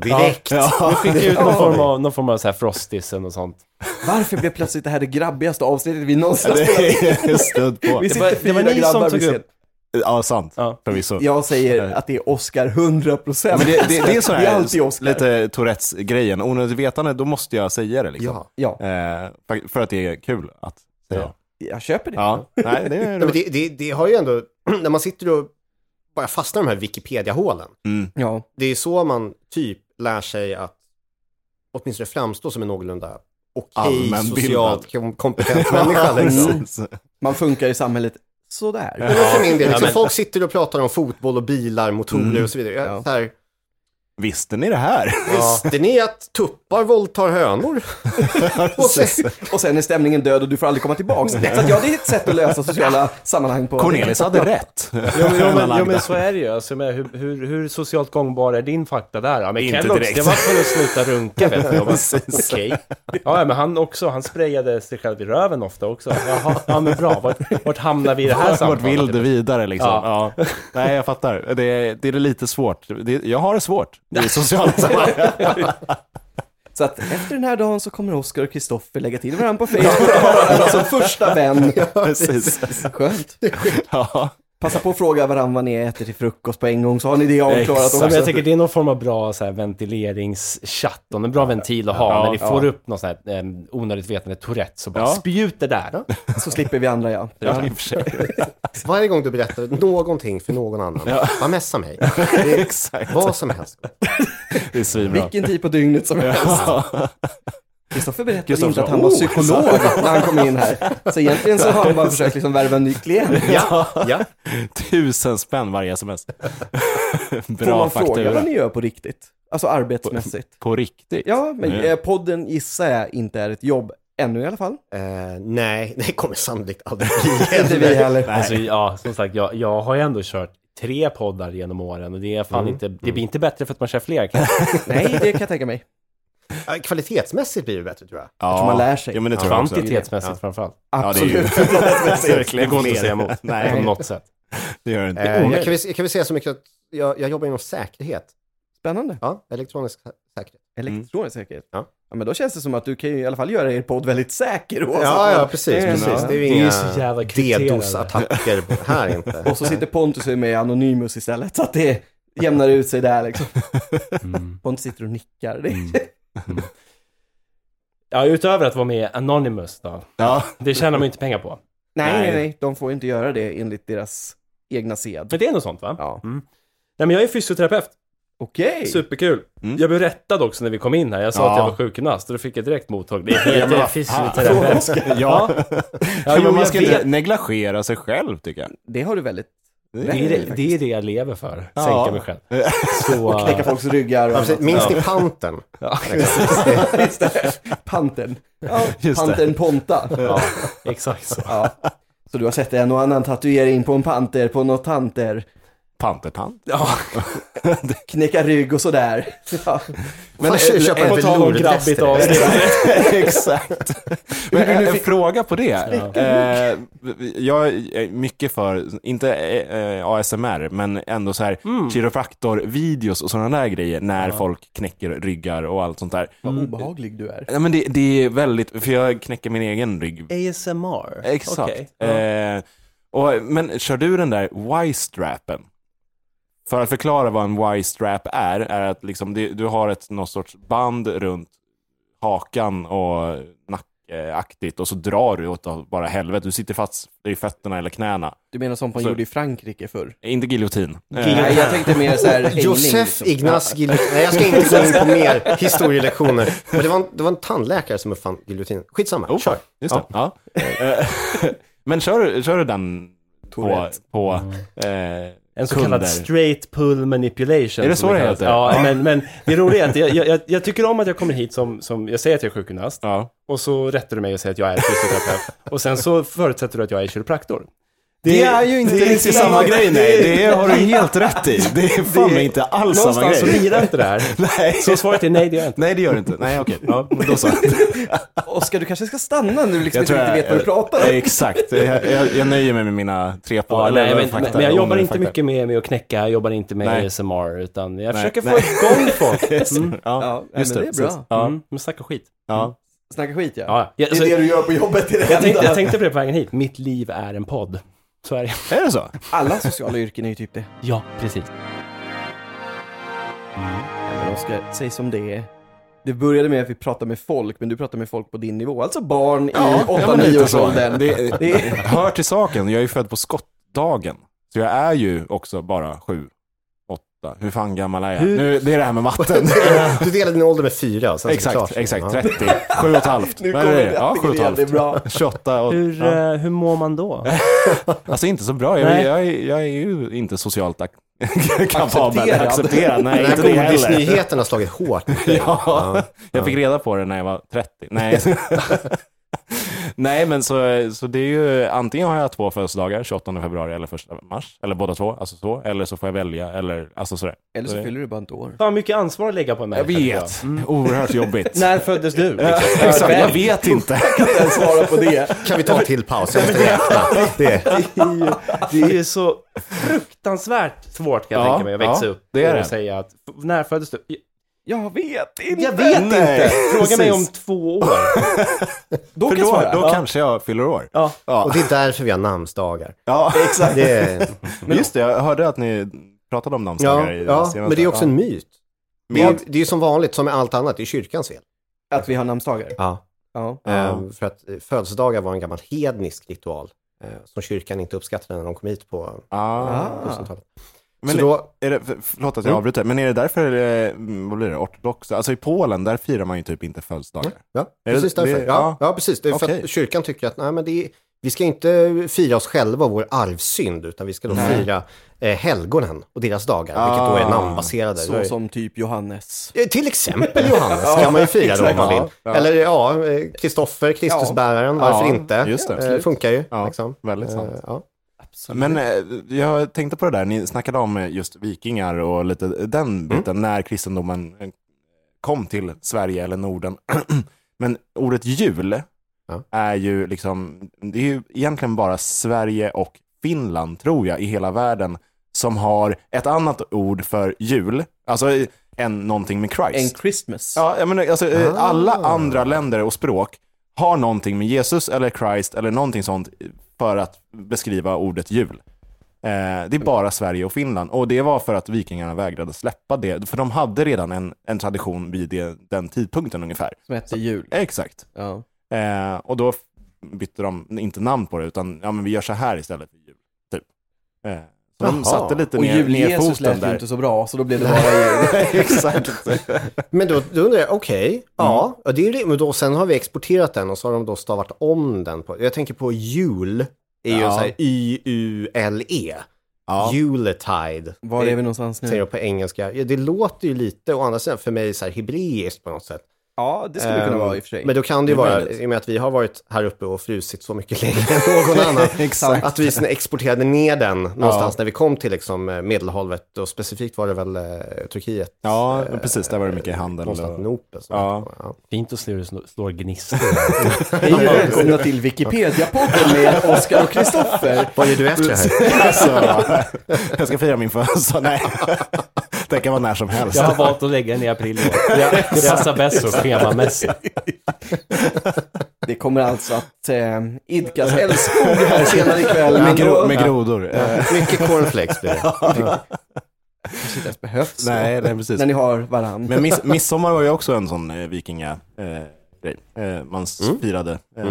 Speaker 3: direkt.
Speaker 1: Ja.
Speaker 4: Fick ut någon form av, någon form av så här frostisen och sånt.
Speaker 2: Varför blev plötsligt det här det grabbigaste avsnittet vi någonsin har spelat?
Speaker 1: Det är stöd på.
Speaker 2: Vi
Speaker 4: Det var,
Speaker 2: sitter
Speaker 4: det var
Speaker 2: fyra
Speaker 4: ni som
Speaker 2: grabbar
Speaker 4: tog
Speaker 2: vid scen.
Speaker 4: upp.
Speaker 1: Ja, sant.
Speaker 4: Ja.
Speaker 1: Förvisso.
Speaker 2: Jag säger att det är Oscar 100%.
Speaker 1: Men det, det, det är sån
Speaker 2: Det är
Speaker 1: här
Speaker 2: alltid Oscar.
Speaker 1: lite Tourettes-grejen. Onödigt vetande, då måste jag säga det liksom.
Speaker 3: Ja.
Speaker 2: Ja,
Speaker 1: Eh, för- för att det är kul att säga.
Speaker 2: jag köper det.
Speaker 1: Ja, nej det är
Speaker 3: Nej, men det, det, det har ju ändå, när man sitter och bara fastnar i de här Wikipedia-hålen,
Speaker 1: Mm.
Speaker 2: Ja.
Speaker 3: det är så man typ lär sig att åtminstone framstå som en någorlunda okej,
Speaker 1: Allmänbildad.
Speaker 3: socialt kom- kompetent människa. Liksom.
Speaker 1: Mm. Precis.
Speaker 2: Man funkar i samhället sådär.
Speaker 3: Men för min del, liksom,
Speaker 4: Ja, men-
Speaker 1: Mm.
Speaker 3: folk sitter och pratar om fotboll och bilar, motorer och så vidare. Jag,
Speaker 2: Ja.
Speaker 3: så här,
Speaker 1: Visste ni det här?
Speaker 3: Visste ni att tuppar våldtar hönor? Och sen,
Speaker 2: Och sen är stämningen död och du får aldrig komma tillbaks. Så att ja, det är ett sätt att lösa sociala sammanhang på.
Speaker 1: Cornelis hade rätt.
Speaker 4: Jo, men, jo, men,
Speaker 1: Lagda.
Speaker 4: jo, men så är det ju. Alltså, jag menar, hur, hur, hur socialt gångbar är din fakta där? Ja, men
Speaker 1: Inte
Speaker 4: Kellogg's,
Speaker 1: direkt.
Speaker 4: det var för att sluta runka vet du. Jag bara, Okej. Ja, ja, men han också, han sprayade sig själv i röven ofta också. Jaha, ja men bra. Vart, vart hamnar vi i det här
Speaker 1: Vart
Speaker 4: samtalet?
Speaker 1: vill du vidare liksom? Ja.
Speaker 4: Ja.
Speaker 1: Nej, jag fattar. Det är, det är lite svårt. Det, jag har det svårt i sociala sammanhang.
Speaker 2: Så att efter den här dagen så kommer Oskar och Kristoffer lägga till varandra på Facebook och ha varandra som första vän.
Speaker 1: Precis.
Speaker 2: Skönt.
Speaker 1: Ja.
Speaker 2: Passa på att fråga varandra vad ni äter till frukost på en gång så har ni det avklarat
Speaker 1: Exakt.
Speaker 4: Ja, men
Speaker 2: också.
Speaker 4: jag tänker det är någon form av bra så här, ventileringschatt, och en bra ventil att ha
Speaker 1: Ja,
Speaker 4: när ni
Speaker 1: ja.
Speaker 4: får upp någon sån här eh, onödigt vetande Tourette, så bara
Speaker 1: Ja.
Speaker 4: spjut det där.
Speaker 2: Så slipper vi andra ja.
Speaker 1: Ja, i och för sig.
Speaker 3: varje gång du berättar någonting för någon annan, bara messa mig.
Speaker 1: Exakt.
Speaker 3: Vad som helst.
Speaker 1: Det är svinbra.
Speaker 2: Vilken tid på dygnet som helst.
Speaker 1: Ja.
Speaker 2: Kristoffer berättade
Speaker 1: Kristoffer
Speaker 2: inte att
Speaker 1: sa,
Speaker 2: han var
Speaker 1: "Oh."
Speaker 2: psykolog när han kom in här. Så egentligen så har han bara försökt liksom värva en ny klient.
Speaker 3: Ja, ja.
Speaker 1: Tusen spänn varje sms.
Speaker 2: Får
Speaker 1: Bra
Speaker 2: man fråga vad
Speaker 1: faktura.
Speaker 2: ni gör på riktigt? Alltså arbetsmässigt.
Speaker 1: På riktigt.
Speaker 2: Ja, men
Speaker 1: Mm.
Speaker 2: eh, podden gissar jag inte är ett jobb ännu i alla fall.
Speaker 3: Eh, nej, det kommer sannolikt aldrig bli.
Speaker 2: Inte vi heller.
Speaker 4: Alltså, ja, som sagt, jag, jag har ju ändå kört tre poddar genom åren och det är fan
Speaker 1: Mm.
Speaker 4: inte, det blir inte bättre för att man kör fler kanske.
Speaker 2: Nej, det kan jag tänka mig.
Speaker 3: Ja, Kvalitetsmässigt blir det bättre tror jag.
Speaker 1: Ja.
Speaker 2: tror man lär sig.
Speaker 1: Ja, men det tror jag också.
Speaker 4: Kvantitetsmässigt framförallt.
Speaker 1: Ja, det är ju
Speaker 2: Absolut.
Speaker 4: Det
Speaker 1: verkligen
Speaker 4: går inte att
Speaker 1: mer.
Speaker 4: säga emot på
Speaker 1: Nej,
Speaker 4: något sätt.
Speaker 1: det gör det inte.
Speaker 3: Eh, jag, kan väl, jag kan väl säga så mycket att jag, jag jobbar inom säkerhet.
Speaker 2: Spännande.
Speaker 3: Ja, elektronisk sä- säkerhet.
Speaker 2: Elektronisk säkerhet.
Speaker 3: Mm. Ja.
Speaker 2: Ja, men då känns det som att du kan ju i alla fall göra er podd väldigt säker. Åsa.
Speaker 3: precis.
Speaker 2: precis.
Speaker 3: Det är ju
Speaker 4: Det är
Speaker 3: inga
Speaker 4: så jävla krypterade.
Speaker 3: DDoS-attacker på- här inte.
Speaker 2: Och så sitter Pontus med Anonymous istället, så att det jämnar ut sig där liksom. Pontus sitter och nickar. Det
Speaker 4: Ja, utöver att vara med i Anonymous då.
Speaker 1: Ja.
Speaker 4: Det tjänar man ju inte pengar på.
Speaker 2: Nej,
Speaker 1: Nej.
Speaker 2: nej, nej, de får inte göra det enligt deras egna sed.
Speaker 4: Men det är något sånt va?
Speaker 2: Ja.
Speaker 4: Nej, men jag är fysioterapeut.
Speaker 2: Okej.
Speaker 4: Superkul. Jag blev rättad också när vi kom in här. Jag sa
Speaker 1: Mm. Ja.
Speaker 4: att jag var sjukgymnast och då fick jag direkt mottag. Det är
Speaker 1: men vad
Speaker 4: helt fysioterapeut.
Speaker 1: Ja.
Speaker 4: Ja, jo,
Speaker 1: men man
Speaker 4: jag
Speaker 1: ska inte
Speaker 4: vet.
Speaker 1: negligera sig själv tycker jag.
Speaker 2: Det har du väldigt...
Speaker 4: Det är det, det är det jag lever för. Sänka mig själv. Så,
Speaker 2: Knäcka folks ryggar och
Speaker 3: Ja, precis. Minns ni panten?
Speaker 2: Just det. Panten. Ja,
Speaker 1: Just det.
Speaker 2: panten Ponta.
Speaker 4: ja, exakt så.
Speaker 2: Ja. Så du har sett en och annan tatuering på en panter, på något tanter,
Speaker 1: Pantertant.
Speaker 4: Ja,
Speaker 2: knäcka rygg och sådär. Ja.
Speaker 3: Fan, kö- köpa en
Speaker 4: eh, på tal om
Speaker 3: velourdress
Speaker 4: grabbigt
Speaker 3: till dig.
Speaker 4: avsnitt.
Speaker 1: Exakt. Men en, en fråga på det. Eh, jag är mycket för, inte eh, eh, ASMR, men ändå så här
Speaker 4: Mm.
Speaker 1: kiropraktor-videos och sådana där grejer när folk knäcker ryggar och allt sånt där.
Speaker 2: Vad obehaglig du är.
Speaker 1: Ja, men det, det är väldigt, för jag knäcker min egen rygg.
Speaker 4: ASMR.
Speaker 1: Exakt.
Speaker 4: Okej.
Speaker 1: Eh, och, men kör du den där Y-strappen? För att förklara vad en Y-strap är, är att liksom det, du har ett någon sorts band runt hakan och nackaktigt och så drar du åt bara helvete. Du sitter fast i fötterna eller knäna.
Speaker 2: Du menar som man
Speaker 1: Så-
Speaker 2: gjorde i Frankrike förr?
Speaker 1: Inte giljotin. Eh,
Speaker 2: Nej, jag tänkte mer så här hängning.
Speaker 3: Josef
Speaker 2: liksom.
Speaker 3: Ignaz Giljotin. Nej, jag ska inte gå in på mer historielektioner. Men det var en, det var en tandläkare som uppfann giljotinen. Skitsamma,
Speaker 1: oh,
Speaker 3: kör.
Speaker 1: Just det. Ja. Eh, men kör, du- kör du den på,
Speaker 2: Tourette.
Speaker 1: på eh,
Speaker 4: En så
Speaker 1: kunder?
Speaker 4: kallad straight pull manipulation.
Speaker 1: Är det
Speaker 4: som
Speaker 1: så det
Speaker 4: kallas.
Speaker 1: heter?
Speaker 4: Ja, men, men det roliga är att jag, jag, jag, jag tycker om att jag kommer hit som, som jag säger att jag är sjukgymnast.
Speaker 1: Ja.
Speaker 4: Och så rättar du mig och säger att jag är fysioterapeut. och sen så förutsätter du att jag är kiropraktor.
Speaker 1: Det är ju inte riktigt samma grej, nej. Det har du helt rätt i. Det är fan mig inte alls samma
Speaker 4: Någonstans så
Speaker 1: grej.
Speaker 4: lirar inte det här.
Speaker 1: Nej.
Speaker 4: Så svaret är nej, det gör jag inte.
Speaker 1: nej, det gör det inte. Nej, okej. Ja, men då så.
Speaker 2: Oskar, du kanske ska stanna nu liksom
Speaker 1: Jag
Speaker 2: inte
Speaker 1: tror
Speaker 2: riktigt
Speaker 1: jag- eh,
Speaker 2: vet vad du pratar
Speaker 1: Ja,
Speaker 2: om.
Speaker 1: Exakt. Jag, jag, jag nöjer mig med mina tre på.
Speaker 4: Ja,
Speaker 1: eller
Speaker 4: nej, men,
Speaker 1: fakta,
Speaker 4: men jag jobbar
Speaker 1: om
Speaker 4: inte
Speaker 1: fakta.
Speaker 4: mycket med, med att knäcka, jag jobbar inte med
Speaker 1: Nej.
Speaker 4: ASMR, utan jag
Speaker 1: Nej,
Speaker 4: försöker få
Speaker 1: nej.
Speaker 4: igång folk. Mm.
Speaker 1: Ja,
Speaker 2: Ja, nej,
Speaker 1: just
Speaker 2: men det är bra.
Speaker 1: precis. Ja,
Speaker 4: Mm. Men snacka skit.
Speaker 1: ja.
Speaker 2: Snacka skit ja.
Speaker 4: Ja, ja.
Speaker 2: Det är
Speaker 4: Så,
Speaker 2: det du gör på jobbet, det är det
Speaker 4: jag, tänkte, jag
Speaker 2: enda.
Speaker 4: tänkte på det på vägen hit. Mitt liv är en podd. Så är det.
Speaker 1: Är det så?
Speaker 2: Alla sociala yrken är ju typ det.
Speaker 4: Ja, precis.
Speaker 2: Men Oskar, säg som det är. Det började med att vi pratade med folk, men du pratade med folk på din nivå. Alltså barn i
Speaker 1: men lite
Speaker 2: 8-9-årsåldern.
Speaker 1: så. Det,
Speaker 2: Det är-
Speaker 1: hör till saken, jag är ju född på skottdagen. Så jag är ju också bara sju, åt, 38. Hur fan gammal är jag?
Speaker 4: Hur-
Speaker 1: Nu, det är det här med matten.
Speaker 3: Du delade din ålder med fyra. och sen så är det klart.
Speaker 1: exakt, exakt.
Speaker 3: Ja.
Speaker 1: 30. Sju och ett halvt.
Speaker 2: Nu
Speaker 1: Vad
Speaker 2: kommer
Speaker 1: är
Speaker 2: det
Speaker 1: Ja, sju och ett
Speaker 2: igen, det är
Speaker 1: halvt.
Speaker 2: bra.
Speaker 1: 28 och...
Speaker 4: Hur,
Speaker 1: Ja.
Speaker 4: eh, hur mår man då?
Speaker 1: Alltså inte så bra. Jag,
Speaker 4: Nej.
Speaker 1: jag, är- jag är ju inte socialt ak- kapabel.
Speaker 2: Accepterad.
Speaker 1: Accepterad.
Speaker 3: Den
Speaker 1: Nej,
Speaker 3: här
Speaker 1: inte det heller.
Speaker 3: godisnyheten har slagit hårt.
Speaker 1: Ja, jag fick reda på det när jag var 30. Nej, Nej men så, så det är ju antingen har jag två födelsedagar, 28 februari eller 1 mars, eller båda två, alltså så, eller så får jag välja, eller alltså sådär.
Speaker 2: Eller
Speaker 1: så
Speaker 2: så fyller du bara ett år.
Speaker 4: Fan, mycket ansvar att lägga på en
Speaker 1: Jag
Speaker 4: människa. Mm. tycker
Speaker 1: vet, oerhört jobbigt.
Speaker 4: När föddes du?
Speaker 1: Exakt, jag vet inte.
Speaker 2: Jag svara på det.
Speaker 3: Kan vi ta en till paus? Jag måste räkna. Det.
Speaker 4: Det är ju- Det är ju så fruktansvärt svårt kan jag
Speaker 1: Ja,
Speaker 4: tänka mig att växa
Speaker 1: ja,
Speaker 4: upp
Speaker 1: det är
Speaker 4: och
Speaker 1: det.
Speaker 4: säga att f- när föddes du? Jag-
Speaker 2: Jag vet inte.
Speaker 4: Jag vet inte! Fråga mig om
Speaker 1: precis.
Speaker 4: två år.
Speaker 2: Då
Speaker 1: För
Speaker 2: kan jag
Speaker 1: då,
Speaker 2: svara.
Speaker 1: då
Speaker 2: Ja.
Speaker 1: kanske jag fyller år.
Speaker 4: Ja.
Speaker 3: Och det är därför vi har namnsdagar.
Speaker 1: Ja, exakt.
Speaker 3: Det är,
Speaker 1: Men just det, jag hörde att ni pratade om namnsdagar
Speaker 3: ja,
Speaker 1: i
Speaker 3: ja,
Speaker 1: senaste.
Speaker 3: men det är också en myt. Det är,
Speaker 1: Med-
Speaker 3: det är ju som vanligt, som med allt annat, det är kyrkans fel.
Speaker 2: Att vi har namnsdagar.
Speaker 3: Ja.
Speaker 2: Ja.
Speaker 1: Ja.
Speaker 3: För att eh, födelsedagar var en gammal hednisk ritual eh, som kyrkan inte uppskattade när de kom hit på
Speaker 1: Ah.
Speaker 2: Ah.
Speaker 3: 1000-talet.
Speaker 1: Men
Speaker 3: Så då, Mm.
Speaker 1: Är det, för- förlåt att jag avbryter, men är det därför, eh, mm, vad blir det, ortodoxa? Alltså i Polen, där firar man ju typ inte födelsedagar.
Speaker 3: ja,
Speaker 1: det-
Speaker 3: precis därför.
Speaker 1: det-
Speaker 3: ja, ja, precis. Det är för
Speaker 1: Okej.
Speaker 3: att kyrkan tycker att nej, men det är, vi ska inte fira oss själva och vår arvsynd, utan vi ska då fira eh, helgonen och deras dagar, vilket då är
Speaker 1: Ah.
Speaker 3: namnbaserade. Då är-
Speaker 2: Så som typ Johannes.
Speaker 3: Eh, Till exempel Johannes kan man ju fira då om man vill.
Speaker 1: exakt. Ja, ja.
Speaker 3: Eller ja, eh, Kristoffer, Kristusbäraren, varför
Speaker 1: Ja,
Speaker 3: inte?
Speaker 1: just det.
Speaker 3: Eh, funkar ju.
Speaker 1: Ja,
Speaker 3: Liksom.
Speaker 1: väldigt
Speaker 3: Eh,
Speaker 1: sant.
Speaker 3: Ja.
Speaker 1: Men eh, jag tänkte på det där, ni snackade om eh, just vikingar och lite den biten, när kristendomen eh, kom till Sverige eller Norden. men ordet jul
Speaker 3: Ja.
Speaker 1: är ju liksom, det är ju egentligen bara Sverige och Finland, tror jag, i hela världen, som har ett annat ord för jul, alltså eh, än någonting med Christ.
Speaker 2: En Christmas.
Speaker 1: Ja, jag menar, alltså, eh,
Speaker 3: Ah.
Speaker 1: alla andra länder och språk har någonting med Jesus eller Christ eller någonting sånt för att beskriva ordet jul. Eh, det är bara Sverige och Finland. Och det var för att vikingarna vägrade släppa det. För de hade redan en, en tradition vid det, den tidpunkten ungefär.
Speaker 2: Som hette jul.
Speaker 1: Exakt.
Speaker 2: Ja.
Speaker 1: Eh, och då f- bytte de inte namn på det, utan ja, men vi gör så här istället för jul. Typ. Eh, så de
Speaker 3: Jaha.
Speaker 1: satte lite
Speaker 2: Och
Speaker 1: ner, ner
Speaker 2: jul-Jesus
Speaker 1: foten
Speaker 2: lät ju
Speaker 1: där.
Speaker 2: inte så bra, så då blev det bara jul.
Speaker 1: Exakt.
Speaker 3: Men då, då undrar jag, okej,
Speaker 1: Mm.
Speaker 3: ja, ja, det är ju men då Sen har vi exporterat den och så har de då stavat om den. På, jag tänker på jul, är ju
Speaker 1: Ja.
Speaker 3: en sån här Y-U-L-E.
Speaker 1: Ja.
Speaker 3: Yuletide.
Speaker 2: Var är vi någonstans
Speaker 3: Säger
Speaker 2: nu?
Speaker 3: de på engelska. Ja, det låter ju lite, å andra sidan, för mig så här hebreiskt på något sätt.
Speaker 2: Ja, det skulle kunna vara i och för sig.
Speaker 3: Men då kan det ju
Speaker 1: Ehm, Det är
Speaker 3: vara,
Speaker 1: möjligt.
Speaker 3: i och med att vi har varit här uppe och frusit så mycket längre än någon annan,
Speaker 2: Exakt.
Speaker 3: att vi sen exporterade ner den någonstans när vi kom till liksom eh, Medelhavet och specifikt var det väl eh, Turkiet,
Speaker 1: ja, precis. Där var det mycket handel.
Speaker 3: någonstans
Speaker 1: och-
Speaker 3: Nopel.
Speaker 1: Ja.
Speaker 3: Ja.
Speaker 4: Fint att slå slår, slår gnistor.
Speaker 2: Hej och välkomna till Wikipedia-podden med Oskar och Kristoffer.
Speaker 3: Vad gör du efter det här?
Speaker 1: Alltså, jag ska fira min födelsedag. Nej, det kan vara när som helst.
Speaker 4: Jag har valt att lägga den i april i år. Det passar bäst så schemamässigt.
Speaker 2: Det kommer alltså att eh, idkas älskog här senare ikväll.
Speaker 1: med,
Speaker 2: Men
Speaker 1: gro-
Speaker 2: då
Speaker 1: med grodor. Eh,
Speaker 3: Mycket cornflakes blir det.
Speaker 2: kanske inte ens behövs.
Speaker 1: Nej, nej, precis.
Speaker 2: När ni har varandra.
Speaker 1: Men miss, midsommar var ju också en sån eh, vikinga eh, grej. eh, man s-
Speaker 4: Mm.
Speaker 1: firade. Eh,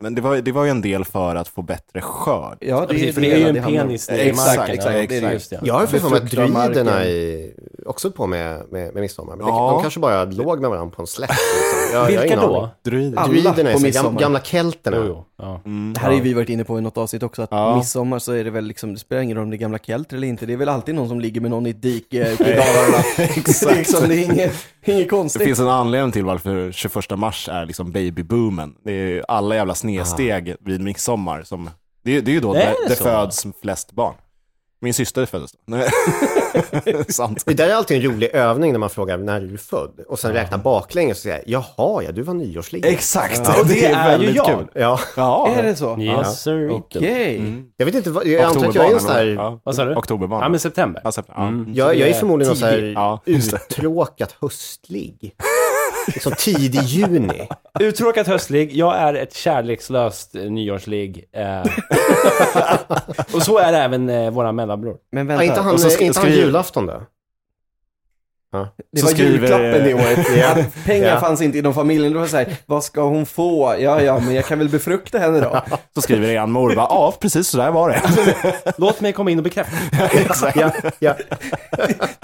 Speaker 1: Men det var, det var ju en del för att få bättre skörd.
Speaker 2: Ja, det,
Speaker 4: Precis, för det är ju en
Speaker 2: handlar om.
Speaker 4: penis nere i
Speaker 1: Exakt,
Speaker 4: marken.
Speaker 2: exakt,
Speaker 4: Ja,
Speaker 2: exakt.
Speaker 4: det är just det.
Speaker 3: Jag har för mig att
Speaker 2: Befruktar marken.
Speaker 3: druiderna är också på med, med, med midsommar. Men
Speaker 1: Ja.
Speaker 3: det, de kanske bara låg med varandra på en slätt. Liksom. Jag, jag har
Speaker 4: Vilka
Speaker 3: ingen
Speaker 4: då?
Speaker 3: aning.
Speaker 1: Druider.
Speaker 2: Alla
Speaker 3: Druiderna är
Speaker 2: på
Speaker 3: så här gam,
Speaker 2: midsommar.
Speaker 3: gamla kelterna.
Speaker 4: Jo, jo. Ja.
Speaker 2: Det här har ju vi varit inne på i något avsnitt också, att
Speaker 1: Ja.
Speaker 2: midsommar så är det väl liksom, det spelar ingen roll om det är gamla kelter eller inte, det är väl alltid någon som ligger med någon i ett dike i Dalarna. Det är liksom, det är inget, inget
Speaker 1: Det
Speaker 2: konstigt.
Speaker 1: finns en anledning till varför 21 mars är liksom babyboomen. Det är ju alla jävla snedsteg vid midsommar. Som, det, är- det är ju då
Speaker 4: Det
Speaker 1: det,
Speaker 4: Ah. är
Speaker 1: det,
Speaker 4: så.
Speaker 1: föds flest barn. Min syster föddes då. Nej. Sant.
Speaker 3: Det där är alltid en rolig övning när man frågar när är du född? Och sen räkna baklänges och säga jaha, ja du var nyårslig.
Speaker 1: Exakt,
Speaker 4: Ja, och
Speaker 1: det,
Speaker 4: det
Speaker 1: är,
Speaker 4: är ju
Speaker 1: väldigt
Speaker 4: jag.
Speaker 1: kul.
Speaker 3: Ja,
Speaker 1: Ja. Mm.
Speaker 2: Är det så?
Speaker 4: Yes, sir.
Speaker 2: Okej.
Speaker 3: jag vet inte, vad, jag antar att jag är en sån här,
Speaker 1: Ja.
Speaker 4: Vad sa du?
Speaker 1: Oktoberbarn.
Speaker 4: Ja, men Mm. september.
Speaker 1: Ja, september. Ja.
Speaker 3: jag, jag är förmodligen någon sån här
Speaker 1: Ja, just det.
Speaker 3: uttråkat höstlig. Liksom tidig juni.
Speaker 4: Uttråkat höstlig, jag är ett kärlekslöst eh, nyårsligg. Eh. och så är det även eh, våra mellanbror.
Speaker 2: Men
Speaker 3: Ja, inte
Speaker 2: vänta,
Speaker 3: han,
Speaker 1: och så sk-
Speaker 3: inte han
Speaker 1: skriver-
Speaker 3: julafton då?
Speaker 2: Det
Speaker 1: Så
Speaker 2: var
Speaker 1: skriver-
Speaker 2: julklappen i år.
Speaker 3: Ja.
Speaker 2: Att Pengar
Speaker 3: Ja.
Speaker 2: fanns inte inom familjen. Det var så här, vad ska hon få? Ja, ja, men jag kan väl befrukta henne då.
Speaker 1: Så skriver eran mor bara, ja precis så där var det.
Speaker 4: Låt mig komma in och bekräfta.
Speaker 3: Ja, ja.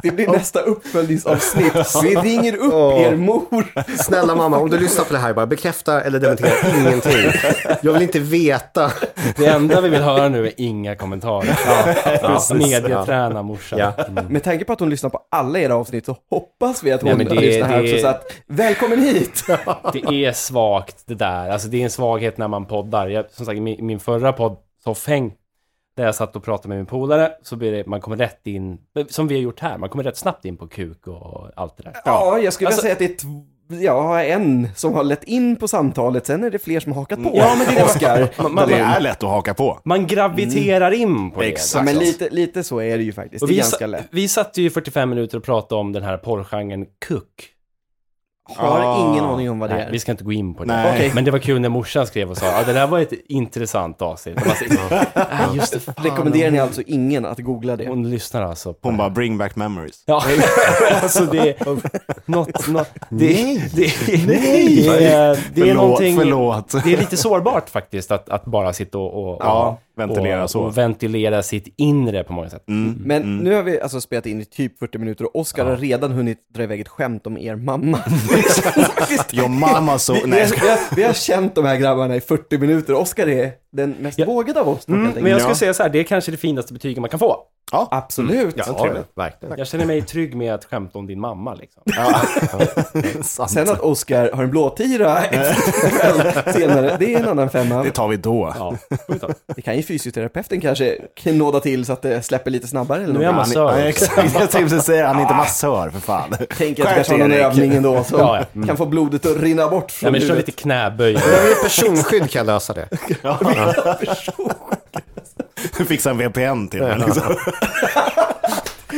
Speaker 2: Det blir nästa uppföljningsavsnitt. Vi ringer upp
Speaker 3: Åh.
Speaker 2: er mor.
Speaker 3: Snälla mamma, om du lyssnar på det här, bara bekräfta eller dementera ingenting. Jag vill inte veta.
Speaker 4: Det enda vi vill höra nu är inga kommentarer. Ja, Medieträna morsan.
Speaker 3: Ja.
Speaker 4: Mm.
Speaker 2: Med tanke på att hon lyssnar på alla era avsnitt så hoppas vi att hon
Speaker 4: Nej, men det-
Speaker 2: lyssnar här
Speaker 4: det-
Speaker 2: också. Så att, välkommen hit!
Speaker 4: Det är svagt det där. Alltså det är en svaghet när man poddar. Jag, som sagt, min, min förra podd, Soffhäng, där jag satt och pratade med min polare, så blir det, man kommer rätt in, som vi har gjort här, man kommer rätt snabbt in på kuk och allt det där.
Speaker 2: Ja, jag skulle vilja
Speaker 4: Alltså-
Speaker 2: säga att det är tv- ja, en som har lett in på samtalet, sen är det fler som har hakat på.
Speaker 4: Ja, men det är-
Speaker 2: Oscar.
Speaker 4: Man, man,
Speaker 1: Det är lätt att haka på.
Speaker 4: man graviterar in på det.
Speaker 1: Exakt.
Speaker 2: Men lite, lite så är det ju faktiskt.
Speaker 4: Och
Speaker 2: Mm. Det är
Speaker 4: vi,
Speaker 2: ganska
Speaker 4: sa,
Speaker 2: lätt.
Speaker 4: vi satt ju i 45 minuter och pratade om den här porrgenren kuck.
Speaker 2: Har
Speaker 1: Ah.
Speaker 2: ingen aning om vad det
Speaker 4: Nej,
Speaker 2: är.
Speaker 4: vi ska inte gå in på det.
Speaker 1: Nej.
Speaker 2: Okej.
Speaker 4: Men det var kul när morsan skrev och sa att det där var ett intressant avsnitt. Och man säger, "Ah, just det, fan,
Speaker 2: Rekommenderar ni alltså ingen att googla det?
Speaker 4: Hon lyssnar alltså. På
Speaker 1: Hon bara, bring back memories.
Speaker 4: Ja, alltså det är något, något det,
Speaker 1: Nej.
Speaker 4: det, det, är, det är
Speaker 1: förlåt,
Speaker 4: någonting,
Speaker 1: förlåt.
Speaker 4: det är lite sårbart faktiskt att, att bara sitta och, och,
Speaker 1: Ja,
Speaker 4: och,
Speaker 1: ventilera
Speaker 4: och,
Speaker 1: så. Mm.
Speaker 4: och ventilera sitt inre på många sätt.
Speaker 2: Mm. Men
Speaker 4: Mm.
Speaker 2: nu har vi alltså spelat in i typ 40 minuter och Oskar har redan hunnit dra iväg ett skämt om er mamma. Det känns faktiskt-
Speaker 1: Your mama so...
Speaker 2: Vi,
Speaker 1: Nej, jag
Speaker 2: vi,
Speaker 1: ska...
Speaker 2: vi, har, vi har känt de här grabbarna i 40 minuter. Oskar är den mest
Speaker 4: Ja. Mm,
Speaker 2: vågade av oss. helt
Speaker 4: Men jag Mm.
Speaker 2: enkelt.
Speaker 4: skulle säga så här, det är kanske det finaste betyget man kan få. Ah.
Speaker 2: Absolut.
Speaker 3: Ja, verkligen.
Speaker 4: Jag känner mig trygg med att skämta om din mamma liksom.
Speaker 2: Sen att Oskar har en blåtira ikväll senare, det är en annan femma.
Speaker 1: Det tar vi då.
Speaker 4: Ja,
Speaker 2: Det kan ju fysioterapeuten kanske knåda till så att det släpper lite snabbare eller
Speaker 4: nu är jag
Speaker 2: något.
Speaker 1: Ja,
Speaker 4: massör.
Speaker 1: exakt. Jag tänkte precis säga han är inte massör för fan.
Speaker 2: Tänk att
Speaker 1: Skärp
Speaker 2: jag tar någon
Speaker 1: dig, Erik.
Speaker 2: övning ändå som
Speaker 4: Ja, ja. Mm.
Speaker 2: kan få blodet att rinna bort
Speaker 4: Ja,
Speaker 2: från
Speaker 4: men kör
Speaker 2: huvudet.
Speaker 4: lite knäböj.
Speaker 3: Personskydd kan lösa det.
Speaker 1: Fixa en VPN till den. Liksom.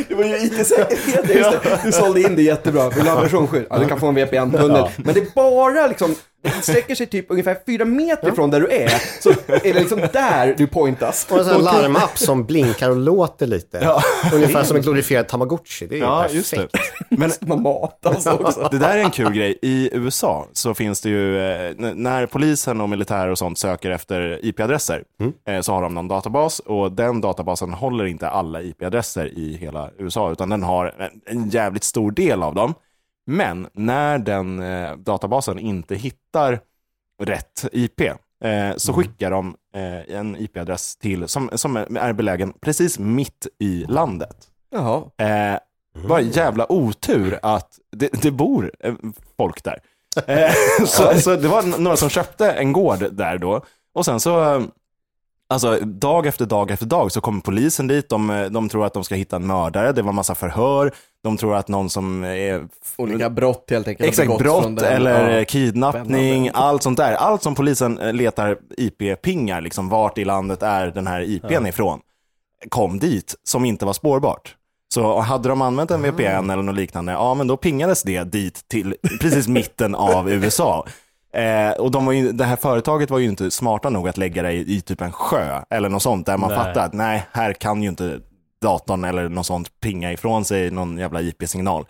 Speaker 2: Det var ju IT-säkerhet, just det. Du sålde in det jättebra. Vill du ha personskydd? Ja, du kan få en VPN-tunnel. Men det är bara liksom, det sträcker sig typ ungefär fyra meter från där du är. Så är det liksom där du pointas.
Speaker 3: Och en sån här larmapp som blinkar och låter lite. Ungefär som en glorifierad tamagotchi. Det är ju
Speaker 1: Ja,
Speaker 3: perfekt.
Speaker 1: just det. Men
Speaker 2: Man matas också.
Speaker 1: det där är en kul grej. I USA så finns det ju, eh, n- när polisen och militär och sånt söker efter IP-adresser, eh, så har de någon databas och den databasen håller inte alla IP-adresser i hela USA, utan den har en- en jävligt stor del av dem. Men när den eh, databasen inte hittar rätt IP, eh, så skickar de eh, en IP-adress till, som, som är belägen precis mitt i landet.
Speaker 2: Jaha.
Speaker 1: Eh, Vad
Speaker 2: Mm.
Speaker 1: en jävla otur att det, det bor eh, folk där. Eh, så, så det var n- några som köpte en gård där då. Och sen så, eh, alltså dag efter dag efter dag så kommer polisen dit. De, eh, de tror att de ska hitta en mördare. Det var massa förhör. De tror att någon som är
Speaker 2: Olika brott helt enkelt.
Speaker 1: Exakt,
Speaker 2: Begåtts från
Speaker 1: brott
Speaker 2: den.
Speaker 1: eller
Speaker 2: Ja.
Speaker 1: eh, kidnappning, allt sånt där. Allt som polisen eh, letar IP-pingar, liksom vart i landet är den här IPn ifrån, kom dit som inte var spårbart. Så hade de använt en VPN eller något liknande, ja men då pingades det dit till precis mitten av USA. Eh, och de var ju, det här företaget var ju inte smarta nog att lägga det i, i typ en sjö eller något sånt där man
Speaker 4: Nej.
Speaker 1: fattar att nej, här kan ju inte datorn eller något sånt pinga ifrån sig någon jävla IP-signal.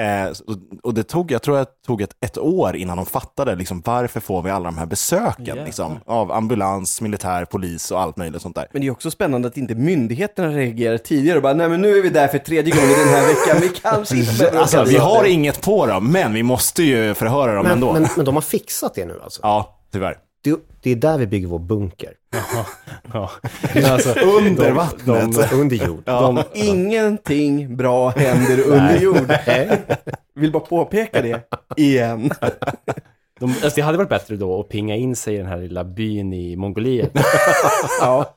Speaker 1: Eh, så- och det tog, jag tror att det tog ett, ett år innan de fattade liksom, varför får vi alla de här besöken
Speaker 4: Jävlar.
Speaker 1: liksom, av ambulans, militär, polis och allt möjligt sånt där.
Speaker 2: Men det är också spännande att inte myndigheterna reagerar tidigare och bara, nej men nu är vi där för tredje gången den här veckan, vi kanske inte behöver
Speaker 1: Alltså, vi
Speaker 2: åka
Speaker 1: har inget på dem, men vi måste ju förhöra dem
Speaker 3: Men,
Speaker 1: ändå.
Speaker 3: men, men de har fixat det nu alltså.
Speaker 1: Ja, tyvärr.
Speaker 3: Det, det är där vi bygger vår bunker.
Speaker 4: Ja. Alltså,
Speaker 1: Under vattnet.
Speaker 3: Under jord.
Speaker 4: de,
Speaker 2: Ingenting bra händer under jord. Vill bara påpeka det igen.
Speaker 4: De, alltså det hade varit bättre då att pinga in sig i den här lilla byn i Mongoliet.
Speaker 2: Ja.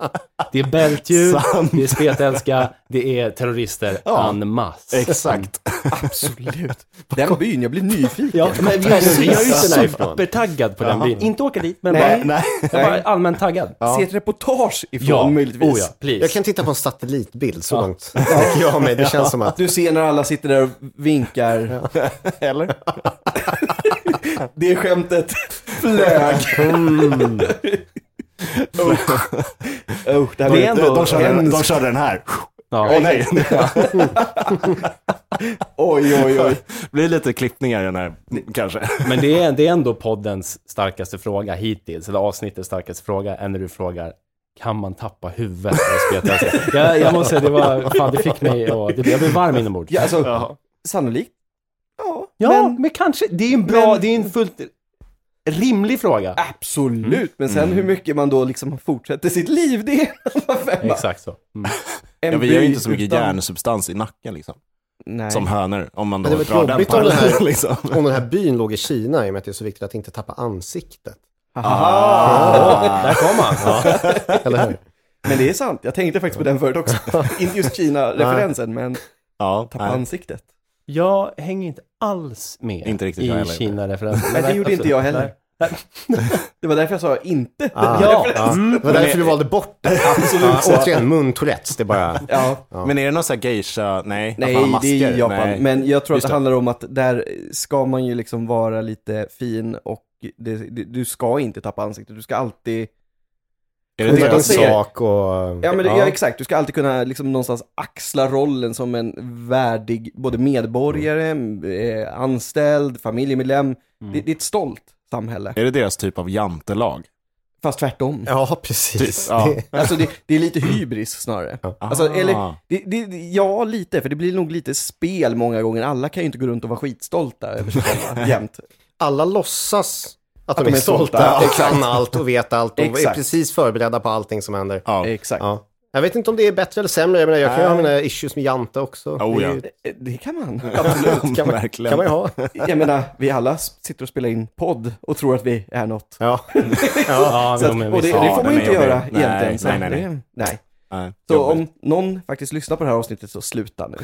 Speaker 4: Det är bältljud, det är spetälska, det är terrorister
Speaker 1: Ja.
Speaker 4: en masse.
Speaker 1: Exakt.
Speaker 2: Absolut. Den byn, jag blir nyfiken.
Speaker 4: Ja, men vi är,
Speaker 3: vi
Speaker 4: jag
Speaker 3: är ju inte
Speaker 4: är ju
Speaker 3: därifrån.
Speaker 4: supertaggad på den byn. Inte åka dit, men
Speaker 2: Nej.
Speaker 4: bara,
Speaker 1: Nej.
Speaker 4: jag är bara allmänt taggad. Ja,
Speaker 2: Se ett reportage ifrån möjligtvis.
Speaker 4: Oh, ja. please.
Speaker 3: Jag kan titta på en satellitbild så långt. tänker jag mig. Det känns som att...
Speaker 2: Du ser när alla sitter där och vinkar.
Speaker 1: Eller?
Speaker 2: Det skämtet flög. Usch. Usch, det
Speaker 1: De,
Speaker 2: här var
Speaker 1: de,
Speaker 2: ändå
Speaker 1: körde,
Speaker 2: hemskt.
Speaker 1: de körde den här. Åh nej,
Speaker 2: Oj, oj, oj.
Speaker 1: det blir lite klippningar i den här kanske.
Speaker 4: Men det är, det är ändå poddens starkaste fråga hittills, eller avsnittets starkaste fråga, än när du frågar kan man tappa huvudet när det spelar jag, jag måste säga, det var, fan det fick mig att, det- jag blev varm inombords.
Speaker 2: Ja, alltså,
Speaker 1: Ja.
Speaker 2: sannolikt. Ja,
Speaker 4: Ja, men,
Speaker 2: men
Speaker 4: kanske. Det är en bra,
Speaker 2: Men-
Speaker 4: det är en fullt rimlig fråga.
Speaker 2: absolut. Men sen hur mycket man då liksom fortsätter sitt liv, det är en annan femma.
Speaker 4: Exakt så. Mm.
Speaker 2: En
Speaker 1: Ja, vi har ju
Speaker 2: by
Speaker 1: inte så mycket
Speaker 2: utan-
Speaker 1: järnsubstans i nacken liksom.
Speaker 2: Nej.
Speaker 1: Som hönor, om man då
Speaker 3: Men det var
Speaker 1: drar den
Speaker 3: jobbigt om det här-
Speaker 1: parallellen liksom.
Speaker 3: Om den här byn låg i Kina i och med att det är så viktigt att inte tappa ansiktet.
Speaker 1: Ah.
Speaker 4: Där kom han. Ja.
Speaker 3: Eller hur?
Speaker 2: Men det är sant, jag tänkte faktiskt på den förut också. inte just Kina-referensen, men
Speaker 1: Ja,
Speaker 2: tappa
Speaker 1: nej.
Speaker 2: ansiktet.
Speaker 4: Jag hänger inte alls med
Speaker 1: Inte riktigt jag
Speaker 4: i
Speaker 1: heller.
Speaker 4: Kina-referensen.
Speaker 2: Nej, det gjorde inte jag heller.
Speaker 4: Nej.
Speaker 2: Det var därför jag sa inte
Speaker 3: Ah.
Speaker 2: den
Speaker 4: Ja.
Speaker 2: referensen.
Speaker 3: Det var därför du valde bort det. Absolut. Återigen, mun-tourettes. Det är bara...
Speaker 2: Ja.
Speaker 1: Men är det någon sån här geisha, nej,
Speaker 2: Nej,
Speaker 1: att man har
Speaker 2: det är
Speaker 1: masker?
Speaker 2: ju Japan.
Speaker 1: Nej.
Speaker 2: Men jag tror att
Speaker 1: Just
Speaker 2: det,
Speaker 1: det.
Speaker 2: handlar om att där ska man ju liksom vara lite fin och det, det, du ska inte tappa ansiktet. Du ska alltid,
Speaker 1: Är
Speaker 3: Det
Speaker 1: det
Speaker 3: är
Speaker 2: jag
Speaker 3: en
Speaker 1: deras
Speaker 2: säger-
Speaker 1: sak?
Speaker 3: sak och...
Speaker 2: ja men det, ja. exakt, du ska alltid kunna liksom någonstans axla rollen som en värdig både medborgare, eh, anställd, familjemedlem. Det, det är ett stolt samhälle.
Speaker 1: Är det deras typ av jantelag?
Speaker 2: Fast tvärtom.
Speaker 3: Ja, precis.
Speaker 1: Ja.
Speaker 3: Det-
Speaker 2: Alltså det, det är lite hybris snarare. Alltså,
Speaker 1: Ah.
Speaker 2: eller, det, det, ja, lite, för det blir nog lite spel många gånger. Alla kan ju inte gå runt och vara skitstolta över sig själva jämt.
Speaker 3: Alla låtsas att, de,
Speaker 2: de
Speaker 3: är
Speaker 2: är
Speaker 3: stolta,
Speaker 2: stolta.
Speaker 3: och kan allt och vet allt och är
Speaker 2: Exakt.
Speaker 3: precis förberedda på allting som händer.
Speaker 1: Ja.
Speaker 2: Exakt.
Speaker 3: Ja. Jag vet inte om det är bättre eller sämre. Jag, menar, jag kan ju ha mina issues med Jante också.
Speaker 1: Oh,
Speaker 3: det är
Speaker 1: ja.
Speaker 3: ju-
Speaker 2: Eh, Det kan man.
Speaker 1: Absolut, kan man, verkligen.
Speaker 3: kan man ju ha.
Speaker 2: Jag menar, vi alla s- sitter och spelar in podd och tror att vi är något.
Speaker 3: Ja.
Speaker 4: Ja,
Speaker 2: Så att,
Speaker 4: men
Speaker 2: och det,
Speaker 4: visst.
Speaker 2: det
Speaker 1: Ja,
Speaker 2: får man
Speaker 1: den
Speaker 2: ju
Speaker 1: är
Speaker 2: inte
Speaker 1: jobbig.
Speaker 2: göra
Speaker 1: Nej,
Speaker 2: egentligen. så
Speaker 1: nej, nej,
Speaker 2: det- nej.
Speaker 1: Nej,
Speaker 2: Så
Speaker 1: jobbigt.
Speaker 2: om någon faktiskt lyssnar på det här avsnittet så sluta nu.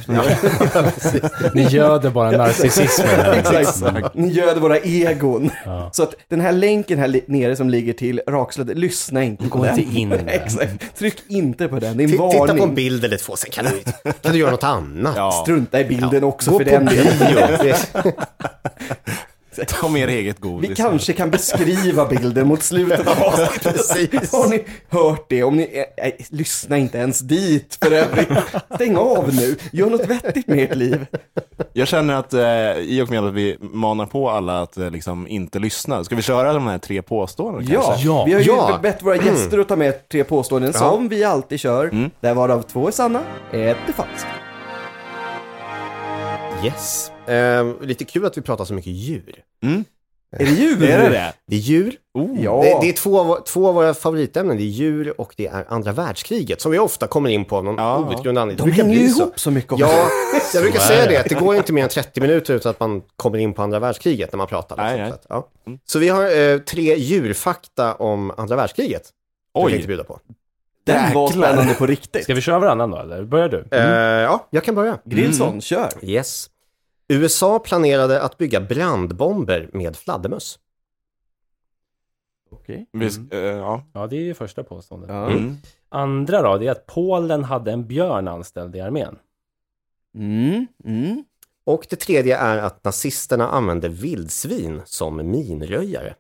Speaker 4: Ni göder bara narcissismen. här.
Speaker 2: Exakt. Ni göder våra egon. Så att den här länken här li- nere som ligger till rakslöjd, lyssna inte på
Speaker 4: Gå
Speaker 2: den.
Speaker 4: inte in där.
Speaker 2: Exakt. Tryck inte på den, det är en
Speaker 3: T-
Speaker 2: varning.
Speaker 3: Titta på en bild eller två, sen kan du, kan du göra något annat.
Speaker 1: Ja.
Speaker 2: Strunta i bilden också
Speaker 3: Gå
Speaker 2: för
Speaker 3: på
Speaker 2: den delen.
Speaker 3: bio.
Speaker 1: Ta med er eget
Speaker 2: Vi
Speaker 3: Liksom.
Speaker 1: godis.
Speaker 2: kanske kan beskriva bilden mot slutet av avsnittet.
Speaker 3: Precis.
Speaker 2: Har ni hört det? Om ni, eh, eh, lyssna inte ens dit för övrigt. Stäng av nu. Gör något vettigt med ert liv.
Speaker 1: Jag känner att eh, i och med att vi manar på alla att eh, liksom inte lyssna, ska vi köra de här tre påståendena
Speaker 2: Ja,
Speaker 1: kanske?
Speaker 4: Ja,
Speaker 2: vi har ju
Speaker 3: ja. Mm.
Speaker 2: bett våra gäster att ta med tre påståenden som vi alltid kör. Där varav två är sanna, ett är falskt.
Speaker 3: Yes. Ehm, lite kul att vi pratar så mycket djur.
Speaker 2: Är det djur?
Speaker 4: Mm.
Speaker 1: Är det det?
Speaker 3: Det är djur.
Speaker 2: Ja.
Speaker 3: Det, det är två av, två av våra favoritämnen. Det är djur och det är andra världskriget. Som vi ofta kommer in på av någon
Speaker 1: Ja.
Speaker 3: outgrundlig anledning.
Speaker 2: De
Speaker 3: Det brukar
Speaker 2: hänger
Speaker 3: bli
Speaker 2: ju
Speaker 3: så.
Speaker 2: ihop så mycket. också.
Speaker 3: Ja, jag brukar
Speaker 4: Så är
Speaker 3: säga
Speaker 4: det.
Speaker 3: det. att Det går inte mer än 30 minuter utan att man kommer in på andra världskriget när man pratar. liksom.
Speaker 1: Nej, nej.
Speaker 3: Så, att, ja. så vi har eh, tre djurfakta om andra världskriget. som Jag tänkte
Speaker 1: Oj,
Speaker 3: bjuda på.
Speaker 2: Den var
Speaker 1: jäklar.
Speaker 2: spännande på riktigt.
Speaker 4: Ska vi köra varannan då, eller? Börjar du?
Speaker 3: Eh, ja, jag kan börja.
Speaker 2: Grillson,
Speaker 3: Mm.
Speaker 2: kör.
Speaker 3: Yes. USA planerade att bygga brandbomber med fladdermöss.
Speaker 1: vi, sk- eh, ja.
Speaker 4: Ja, det är ju första påståendet.
Speaker 2: Ja.
Speaker 1: Mm.
Speaker 4: Andra då, det är att Polen hade en björn anställd i armén.
Speaker 2: Mm, mm.
Speaker 3: Och det tredje är att nazisterna använde vildsvin som minröjare.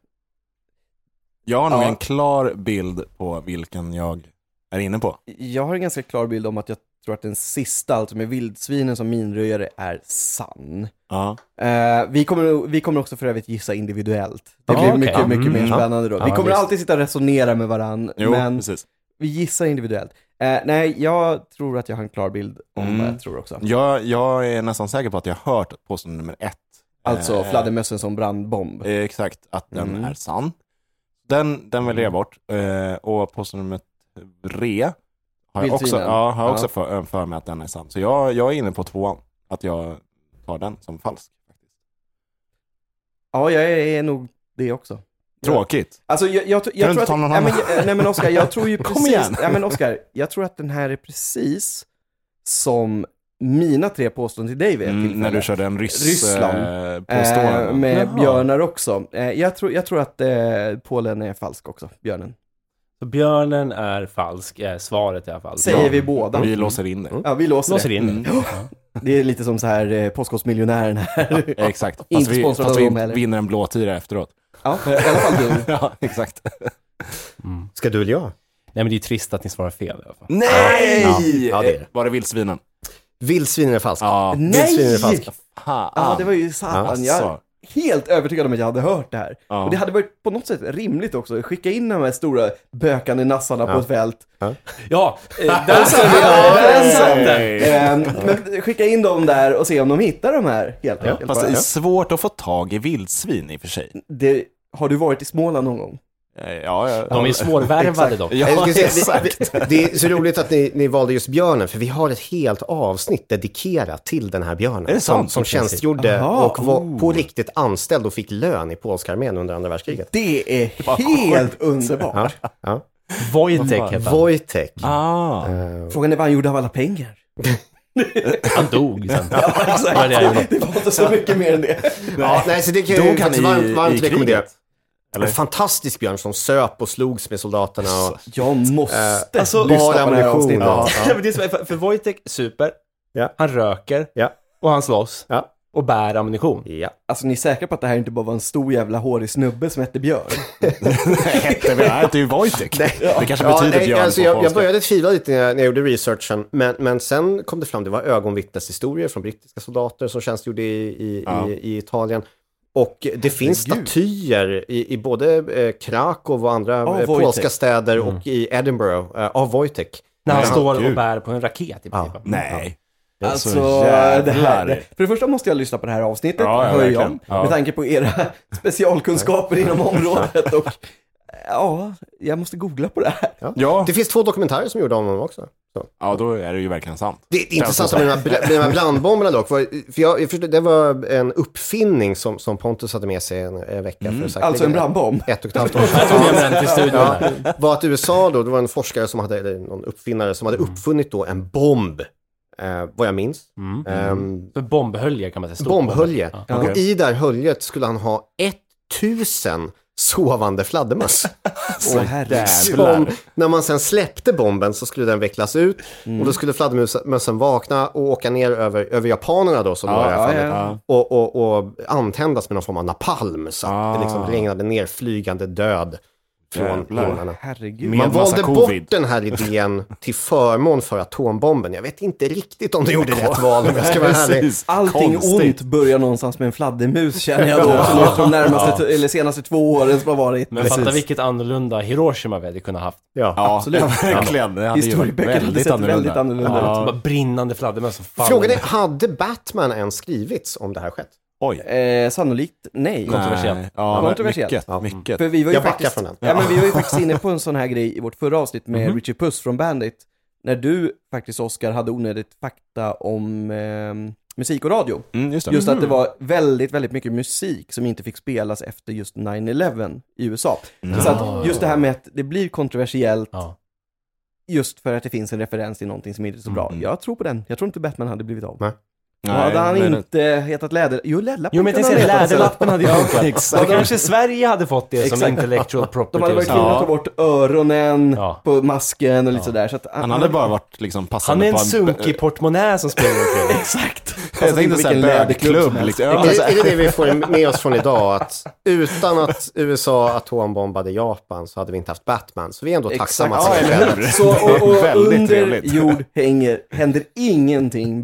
Speaker 1: Jag har nog
Speaker 2: Ja.
Speaker 1: en klar bild på vilken jag är inne på.
Speaker 2: Jag har en ganska klar bild om att jag tror att den sista, alltså med vildsvinen som minröjare, är sann.
Speaker 1: Ja.
Speaker 2: Eh, vi, kommer, vi kommer också för övrigt gissa individuellt. Det
Speaker 4: Ja,
Speaker 2: blir
Speaker 4: okej.
Speaker 2: mycket, mycket
Speaker 4: Mm.
Speaker 2: mer
Speaker 3: Ja.
Speaker 2: spännande då.
Speaker 4: Ja,
Speaker 2: vi kommer
Speaker 4: visst.
Speaker 2: alltid sitta och resonera med varann,
Speaker 1: Jo,
Speaker 2: men
Speaker 1: precis.
Speaker 2: vi gissar individuellt. Eh, nej, jag tror att jag har en klar bild om
Speaker 1: Mm.
Speaker 2: vad jag tror också.
Speaker 1: Jag, jag är nästan säker på att jag har hört påstående nummer ett.
Speaker 2: Alltså
Speaker 1: Eh,
Speaker 2: fladdermössen som brandbomb.
Speaker 1: eh, Exakt, att den
Speaker 2: Mm.
Speaker 1: är sann. Den, den väljer jag bort. Eh, och påstående nummer tre har jag också,
Speaker 2: Vildsvinen.
Speaker 1: ja, har jag också
Speaker 2: Ja.
Speaker 1: för, eh, för mig att den är sann. Så jag, jag är inne på tvåan, att jag tar den som falsk.
Speaker 2: Ja, jag är, är nog det också.
Speaker 1: Tråkigt.
Speaker 2: Alltså jag, jag, jag,
Speaker 1: du
Speaker 2: jag
Speaker 1: inte
Speaker 2: tror
Speaker 1: ta
Speaker 2: att,
Speaker 1: någon
Speaker 2: nej, men,
Speaker 1: annan?
Speaker 2: jag- nej men Oskar, jag tror ju
Speaker 1: Kom
Speaker 2: precis,
Speaker 1: igen.
Speaker 2: nej men Oskar, jag tror att den här är precis som mina tre påståenden till dig vid ett
Speaker 1: Mm,
Speaker 2: tillfälle.
Speaker 1: när du körde en ryss
Speaker 2: Ryssland.
Speaker 1: Eh, påstående.
Speaker 2: Eh, med
Speaker 4: Jaha.
Speaker 2: björnar också. Eh, jag, tror, jag tror att eh, Polen är falsk också, björnen.
Speaker 4: Så björnen är falsk, är svaret i alla fall.
Speaker 2: Säger
Speaker 4: Ja.
Speaker 2: vi båda.
Speaker 1: Vi låser in det.
Speaker 2: Ja, vi låser,
Speaker 4: Låser
Speaker 2: det.
Speaker 4: in
Speaker 1: Mm.
Speaker 4: det.
Speaker 2: Det är lite som så här eh, Postkodmiljonären här.
Speaker 1: Eh, Exakt.
Speaker 2: Inte
Speaker 1: Fast vi,
Speaker 2: sponsrad
Speaker 1: fast
Speaker 2: av dem
Speaker 1: vi
Speaker 2: heller.
Speaker 1: vinner en blåtira efteråt.
Speaker 2: ja, i alla fall du.
Speaker 1: ja, exakt.
Speaker 3: Ska du eller jag?
Speaker 4: Nej men det är ju trist att ni svarar fel i alla fall.
Speaker 1: Nej!
Speaker 3: Ja, ja, det är det.
Speaker 1: Var det vildsvinen?
Speaker 3: Vildsvinen är falskt.
Speaker 1: Ja.
Speaker 3: Vildsvinen är
Speaker 2: Nej!
Speaker 3: falskt.
Speaker 1: Fan.
Speaker 4: Ah.
Speaker 2: Ja, det var ju satan. Jag är
Speaker 1: Alltså.
Speaker 2: helt övertygad om att jag hade hört det här.
Speaker 1: Ja.
Speaker 2: Och det hade varit på något sätt rimligt också att skicka in de här stora bökande nassarna på ett fält.
Speaker 4: Ja, eh, där satt den! satt den.
Speaker 2: Ehm, Men skicka in dem där och se om de hittar de här helt enkelt.
Speaker 1: Fast det
Speaker 2: bara.
Speaker 1: är svårt att få tag i vildsvin i och för sig.
Speaker 2: det, har du varit i Småland någon gång?
Speaker 1: Ja, ja.
Speaker 4: De är ju svårvärvade dock.
Speaker 1: Ja,
Speaker 3: Jag ska säga,
Speaker 1: exakt.
Speaker 3: det, det är så roligt att ni, ni valde just björnen, för vi har ett helt avsnitt dedikerat till den här björnen.
Speaker 1: Är det
Speaker 3: som,
Speaker 1: sant? oh.
Speaker 3: som tjänstgjorde
Speaker 2: Aha,
Speaker 3: och var på riktigt anställd och fick lön i polska armén under andra världskriget.
Speaker 2: Det är helt underbart.
Speaker 3: Ja.
Speaker 4: Wojtek hette han.
Speaker 3: Wojtek.
Speaker 1: Ah.
Speaker 2: Frågan är vad han gjorde av alla pengar.
Speaker 4: Han dog sen. Det var det jag gjorde.
Speaker 2: Exakt. Det var inte så mycket mer än det.
Speaker 3: Ja, nej, så det kan
Speaker 1: Dog
Speaker 3: jag ju
Speaker 1: han
Speaker 3: faktiskt
Speaker 1: i-
Speaker 3: varmt,
Speaker 1: i
Speaker 3: varmt
Speaker 1: kriget?
Speaker 3: rekommendera.
Speaker 1: Eller? Alltså.
Speaker 3: En fantastisk björn som söp och slogs med soldaterna. Och,
Speaker 2: Jag måste
Speaker 4: alltså,
Speaker 2: lyssna
Speaker 3: bara
Speaker 2: på det här
Speaker 3: ammunition.
Speaker 2: avsnittet.
Speaker 3: Ja.
Speaker 4: Ja, men det är som, är- för, för Wojtek super,
Speaker 3: Ja.
Speaker 4: han röker
Speaker 3: ja,
Speaker 4: och han slåss
Speaker 3: ja,
Speaker 4: och bär ammunition.
Speaker 3: ja.
Speaker 2: Alltså ni är säkra på att det här inte bara var en stor jävla hårig snubbe som hette Björn?
Speaker 1: Hette vi? Nej, det är ju Wojtek. Det kanske betyder
Speaker 3: nej,
Speaker 1: björn
Speaker 3: alltså,
Speaker 1: på
Speaker 3: jag, jag
Speaker 1: polska.
Speaker 3: började tvivla lite när jag, när jag gjorde researchen, men, men sen kom det fram, det var ögonvittneshistorier från brittiska soldater som tjänstgjorde i, i,
Speaker 1: Ja.
Speaker 3: i, i Italien. Och det finns statyer i, i både eh, Krakow och andra
Speaker 2: Av
Speaker 3: eh,
Speaker 2: Wojtek.
Speaker 3: polska städer och i Edinburgh eh, av Wojtek.
Speaker 4: När han
Speaker 1: Ja,
Speaker 4: står och
Speaker 1: gud.
Speaker 4: bär på en raket i princip.
Speaker 1: Nej.
Speaker 2: Alltså,
Speaker 1: Så
Speaker 2: det
Speaker 1: jävlar.
Speaker 2: här, det, för det första måste jag lyssna på det här avsnittet,
Speaker 1: Ja, ja,
Speaker 2: hör jag,
Speaker 1: verkligen. Ja.
Speaker 2: med tanke på era specialkunskaper inom området och ja, jag måste googla på det här.
Speaker 1: Ja.
Speaker 3: Det finns två dokumentärer som gjorde om honom också. Så.
Speaker 1: ja, då är det ju verkligen sant.
Speaker 3: Det, det intressanta med de här, bl- med de här brandbomberna dock, var, för jag, jag förstod, det var en uppfinning som, som Pontus hade med sig en eh, vecka. För säkert
Speaker 2: Alltså en brandbomb.
Speaker 3: Ett och ett halvt år sedan.
Speaker 4: Jag tog med den till studion. här.
Speaker 3: var att USA då, det var en forskare som hade, eller någon uppfinnare som hade uppfunnit då en bomb, eh, vad jag minns. Ehm,
Speaker 4: För Bombhölje kan man säga. Stor
Speaker 3: bombhölje.
Speaker 4: bomb.
Speaker 3: Och i det här höljet skulle han ha 1000 sovande fladdermöss.
Speaker 2: Åh herregud.
Speaker 3: Som, när man sen släppte bomben så skulle den vecklas ut och då skulle fladdermössen vakna och åka ner över, över japanerna då som var i det här fallet.
Speaker 2: Eh,
Speaker 3: Och, och, och antändas med någon form av napalm så att det liksom regnade ner flygande död från
Speaker 1: Jävlar.
Speaker 3: månarna.
Speaker 2: Herregud.
Speaker 1: Med
Speaker 3: Man
Speaker 1: massa
Speaker 3: valde
Speaker 1: covid.
Speaker 3: bort den här idén till förmån för atombomben. Jag vet inte riktigt om de gjorde rätt val om jag ska vara ärlig.
Speaker 1: Precis.
Speaker 2: Allting ont
Speaker 1: Konstigt.
Speaker 2: börjar någonstans med en fladdermus känner jag då, så låter de närmaste, eller senaste två åren som har varit.
Speaker 4: Men fatta vilket annorlunda Hiroshima vi hade kunnat haft.
Speaker 1: Ja,
Speaker 3: Ja.
Speaker 1: absolut. verkligen. Det hade ju varit
Speaker 2: Historieböckerna hade
Speaker 1: väldigt
Speaker 2: sett väldigt
Speaker 1: annorlunda.
Speaker 2: annorlunda ut.
Speaker 4: Bara brinnande fladdermöss som faller.
Speaker 3: Frågan är, hade Batman ens skrivits om det här skett?
Speaker 1: Oj.
Speaker 2: Eh, sannolikt nej.
Speaker 1: Nej. Ja,
Speaker 2: Kontroversiellt.
Speaker 1: Mycket, mycket.
Speaker 2: För vi var ju
Speaker 3: Jag backar
Speaker 2: faktiskt,
Speaker 3: från den.
Speaker 2: Ja, men vi var ju faktiskt inne på en sån här grej i vårt förra avsnitt med Richie Puss från Bandit. När du faktiskt, Oscar, hade onödigt fakta om ehm, musik och radio.
Speaker 1: Mm, just det.
Speaker 2: Just att det var väldigt, väldigt mycket musik som inte fick spelas efter just 9-11 i USA.
Speaker 1: Mm.
Speaker 2: Så att just det här med att det blir kontroversiellt
Speaker 4: Ja.
Speaker 2: just för att det finns en referens till någonting som inte är så bra. Jag tror på den. Jag tror inte Batman hade blivit av.
Speaker 3: Nej.
Speaker 1: Nej,
Speaker 2: hade han
Speaker 1: men-
Speaker 2: inte hetat Läder... Jo, Läderlappen
Speaker 4: Jo men
Speaker 2: kunde
Speaker 4: tänk
Speaker 2: han
Speaker 4: sig
Speaker 2: heta.
Speaker 4: läderlappen hade ju funkat.
Speaker 1: exakt.
Speaker 4: Och kanske Sverige hade fått det som
Speaker 2: Exakt.
Speaker 4: intellectual property.
Speaker 2: De hade varit
Speaker 4: och
Speaker 2: tvungna
Speaker 4: sånt.
Speaker 2: att ta bort öronen
Speaker 4: Ja.
Speaker 2: på masken och lite sådär. Så att,
Speaker 1: Han hade bara varit liksom
Speaker 4: Han
Speaker 1: passande
Speaker 4: är en
Speaker 1: på
Speaker 4: sunkig portmonär som springer omkring.
Speaker 2: Exakt.
Speaker 1: Jag tänkte såhär bögklubb liksom. Ja,
Speaker 3: Är det, är det det vi får med oss från idag? Att utan att USA atombombade Japan så hade vi inte haft Batman. Så vi är ändå tacksamma
Speaker 2: Ja,
Speaker 3: att det
Speaker 1: eller
Speaker 3: skedde.
Speaker 1: hur?
Speaker 2: Så, och, och
Speaker 1: Väldigt
Speaker 2: under
Speaker 1: trevligt.
Speaker 2: jord hänger, händer ingenting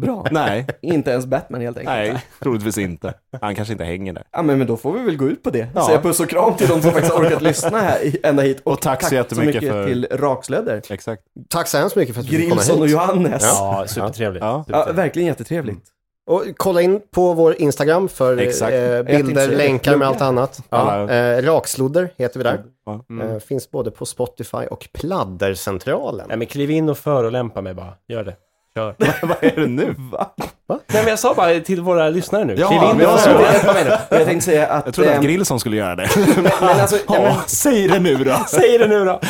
Speaker 2: bra.
Speaker 1: Nej,
Speaker 2: Inte ens Batman helt enkelt.
Speaker 1: nej, troligtvis inte. Han kanske inte hänger där.
Speaker 2: Ja men, men då får vi väl gå ut på det.
Speaker 1: Ja.
Speaker 2: Säga puss och kram till de som faktiskt har orkat lyssna här i- ända hit.
Speaker 1: Och tack så jättemycket för-
Speaker 2: till Rakslödder,
Speaker 1: Exakt.
Speaker 3: Tack så hemskt mycket för att vi fick komma
Speaker 2: Grilson och
Speaker 3: hit.
Speaker 2: Johannes. Ja.
Speaker 4: Ja, supertrevligt.
Speaker 1: Ja.
Speaker 4: supertrevligt.
Speaker 2: verkligen jättetrevligt.
Speaker 3: Och kolla in på vår Instagram för
Speaker 1: Exakt.
Speaker 3: eh,
Speaker 2: Jag tänkte
Speaker 3: bilder,
Speaker 2: säga det.
Speaker 3: länkar med allt annat.
Speaker 1: Ja.
Speaker 3: Ja. Eh, rakslodder heter vi där.
Speaker 1: Ja.
Speaker 3: Eh, finns både på Spotify och Pladdercentralen.
Speaker 4: Nej men kliv in och förolämpa mig bara. Gör det. Kör.
Speaker 1: Vad är det nu?
Speaker 4: Nej men jag sa bara till våra lyssnare nu.
Speaker 1: Ja,
Speaker 4: kliv in
Speaker 1: men jag
Speaker 4: och
Speaker 1: sa
Speaker 4: förolämpa.
Speaker 2: Hjälpa mig nu. Jag tänkte säga att...
Speaker 1: Jag trodde att
Speaker 2: ehm,
Speaker 1: Grillson skulle göra det.
Speaker 2: men alltså, ja, men,
Speaker 1: Ja, säg det nu då.
Speaker 4: Säg det nu då.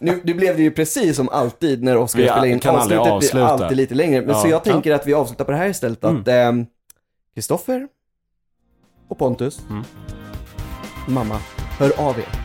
Speaker 2: Nu, nu blev det ju precis som alltid när Oskar
Speaker 1: Vi
Speaker 2: spelar in.
Speaker 1: kan aldrig
Speaker 2: Avsnittet
Speaker 1: avsluta.
Speaker 2: blir alltid lite längre. Men
Speaker 1: Ja. Mm.
Speaker 2: så jag tänker att vi avslutar på det här istället. Att ehm,
Speaker 1: Mm.
Speaker 2: Kristoffer och Pontus, mamma, hör av er.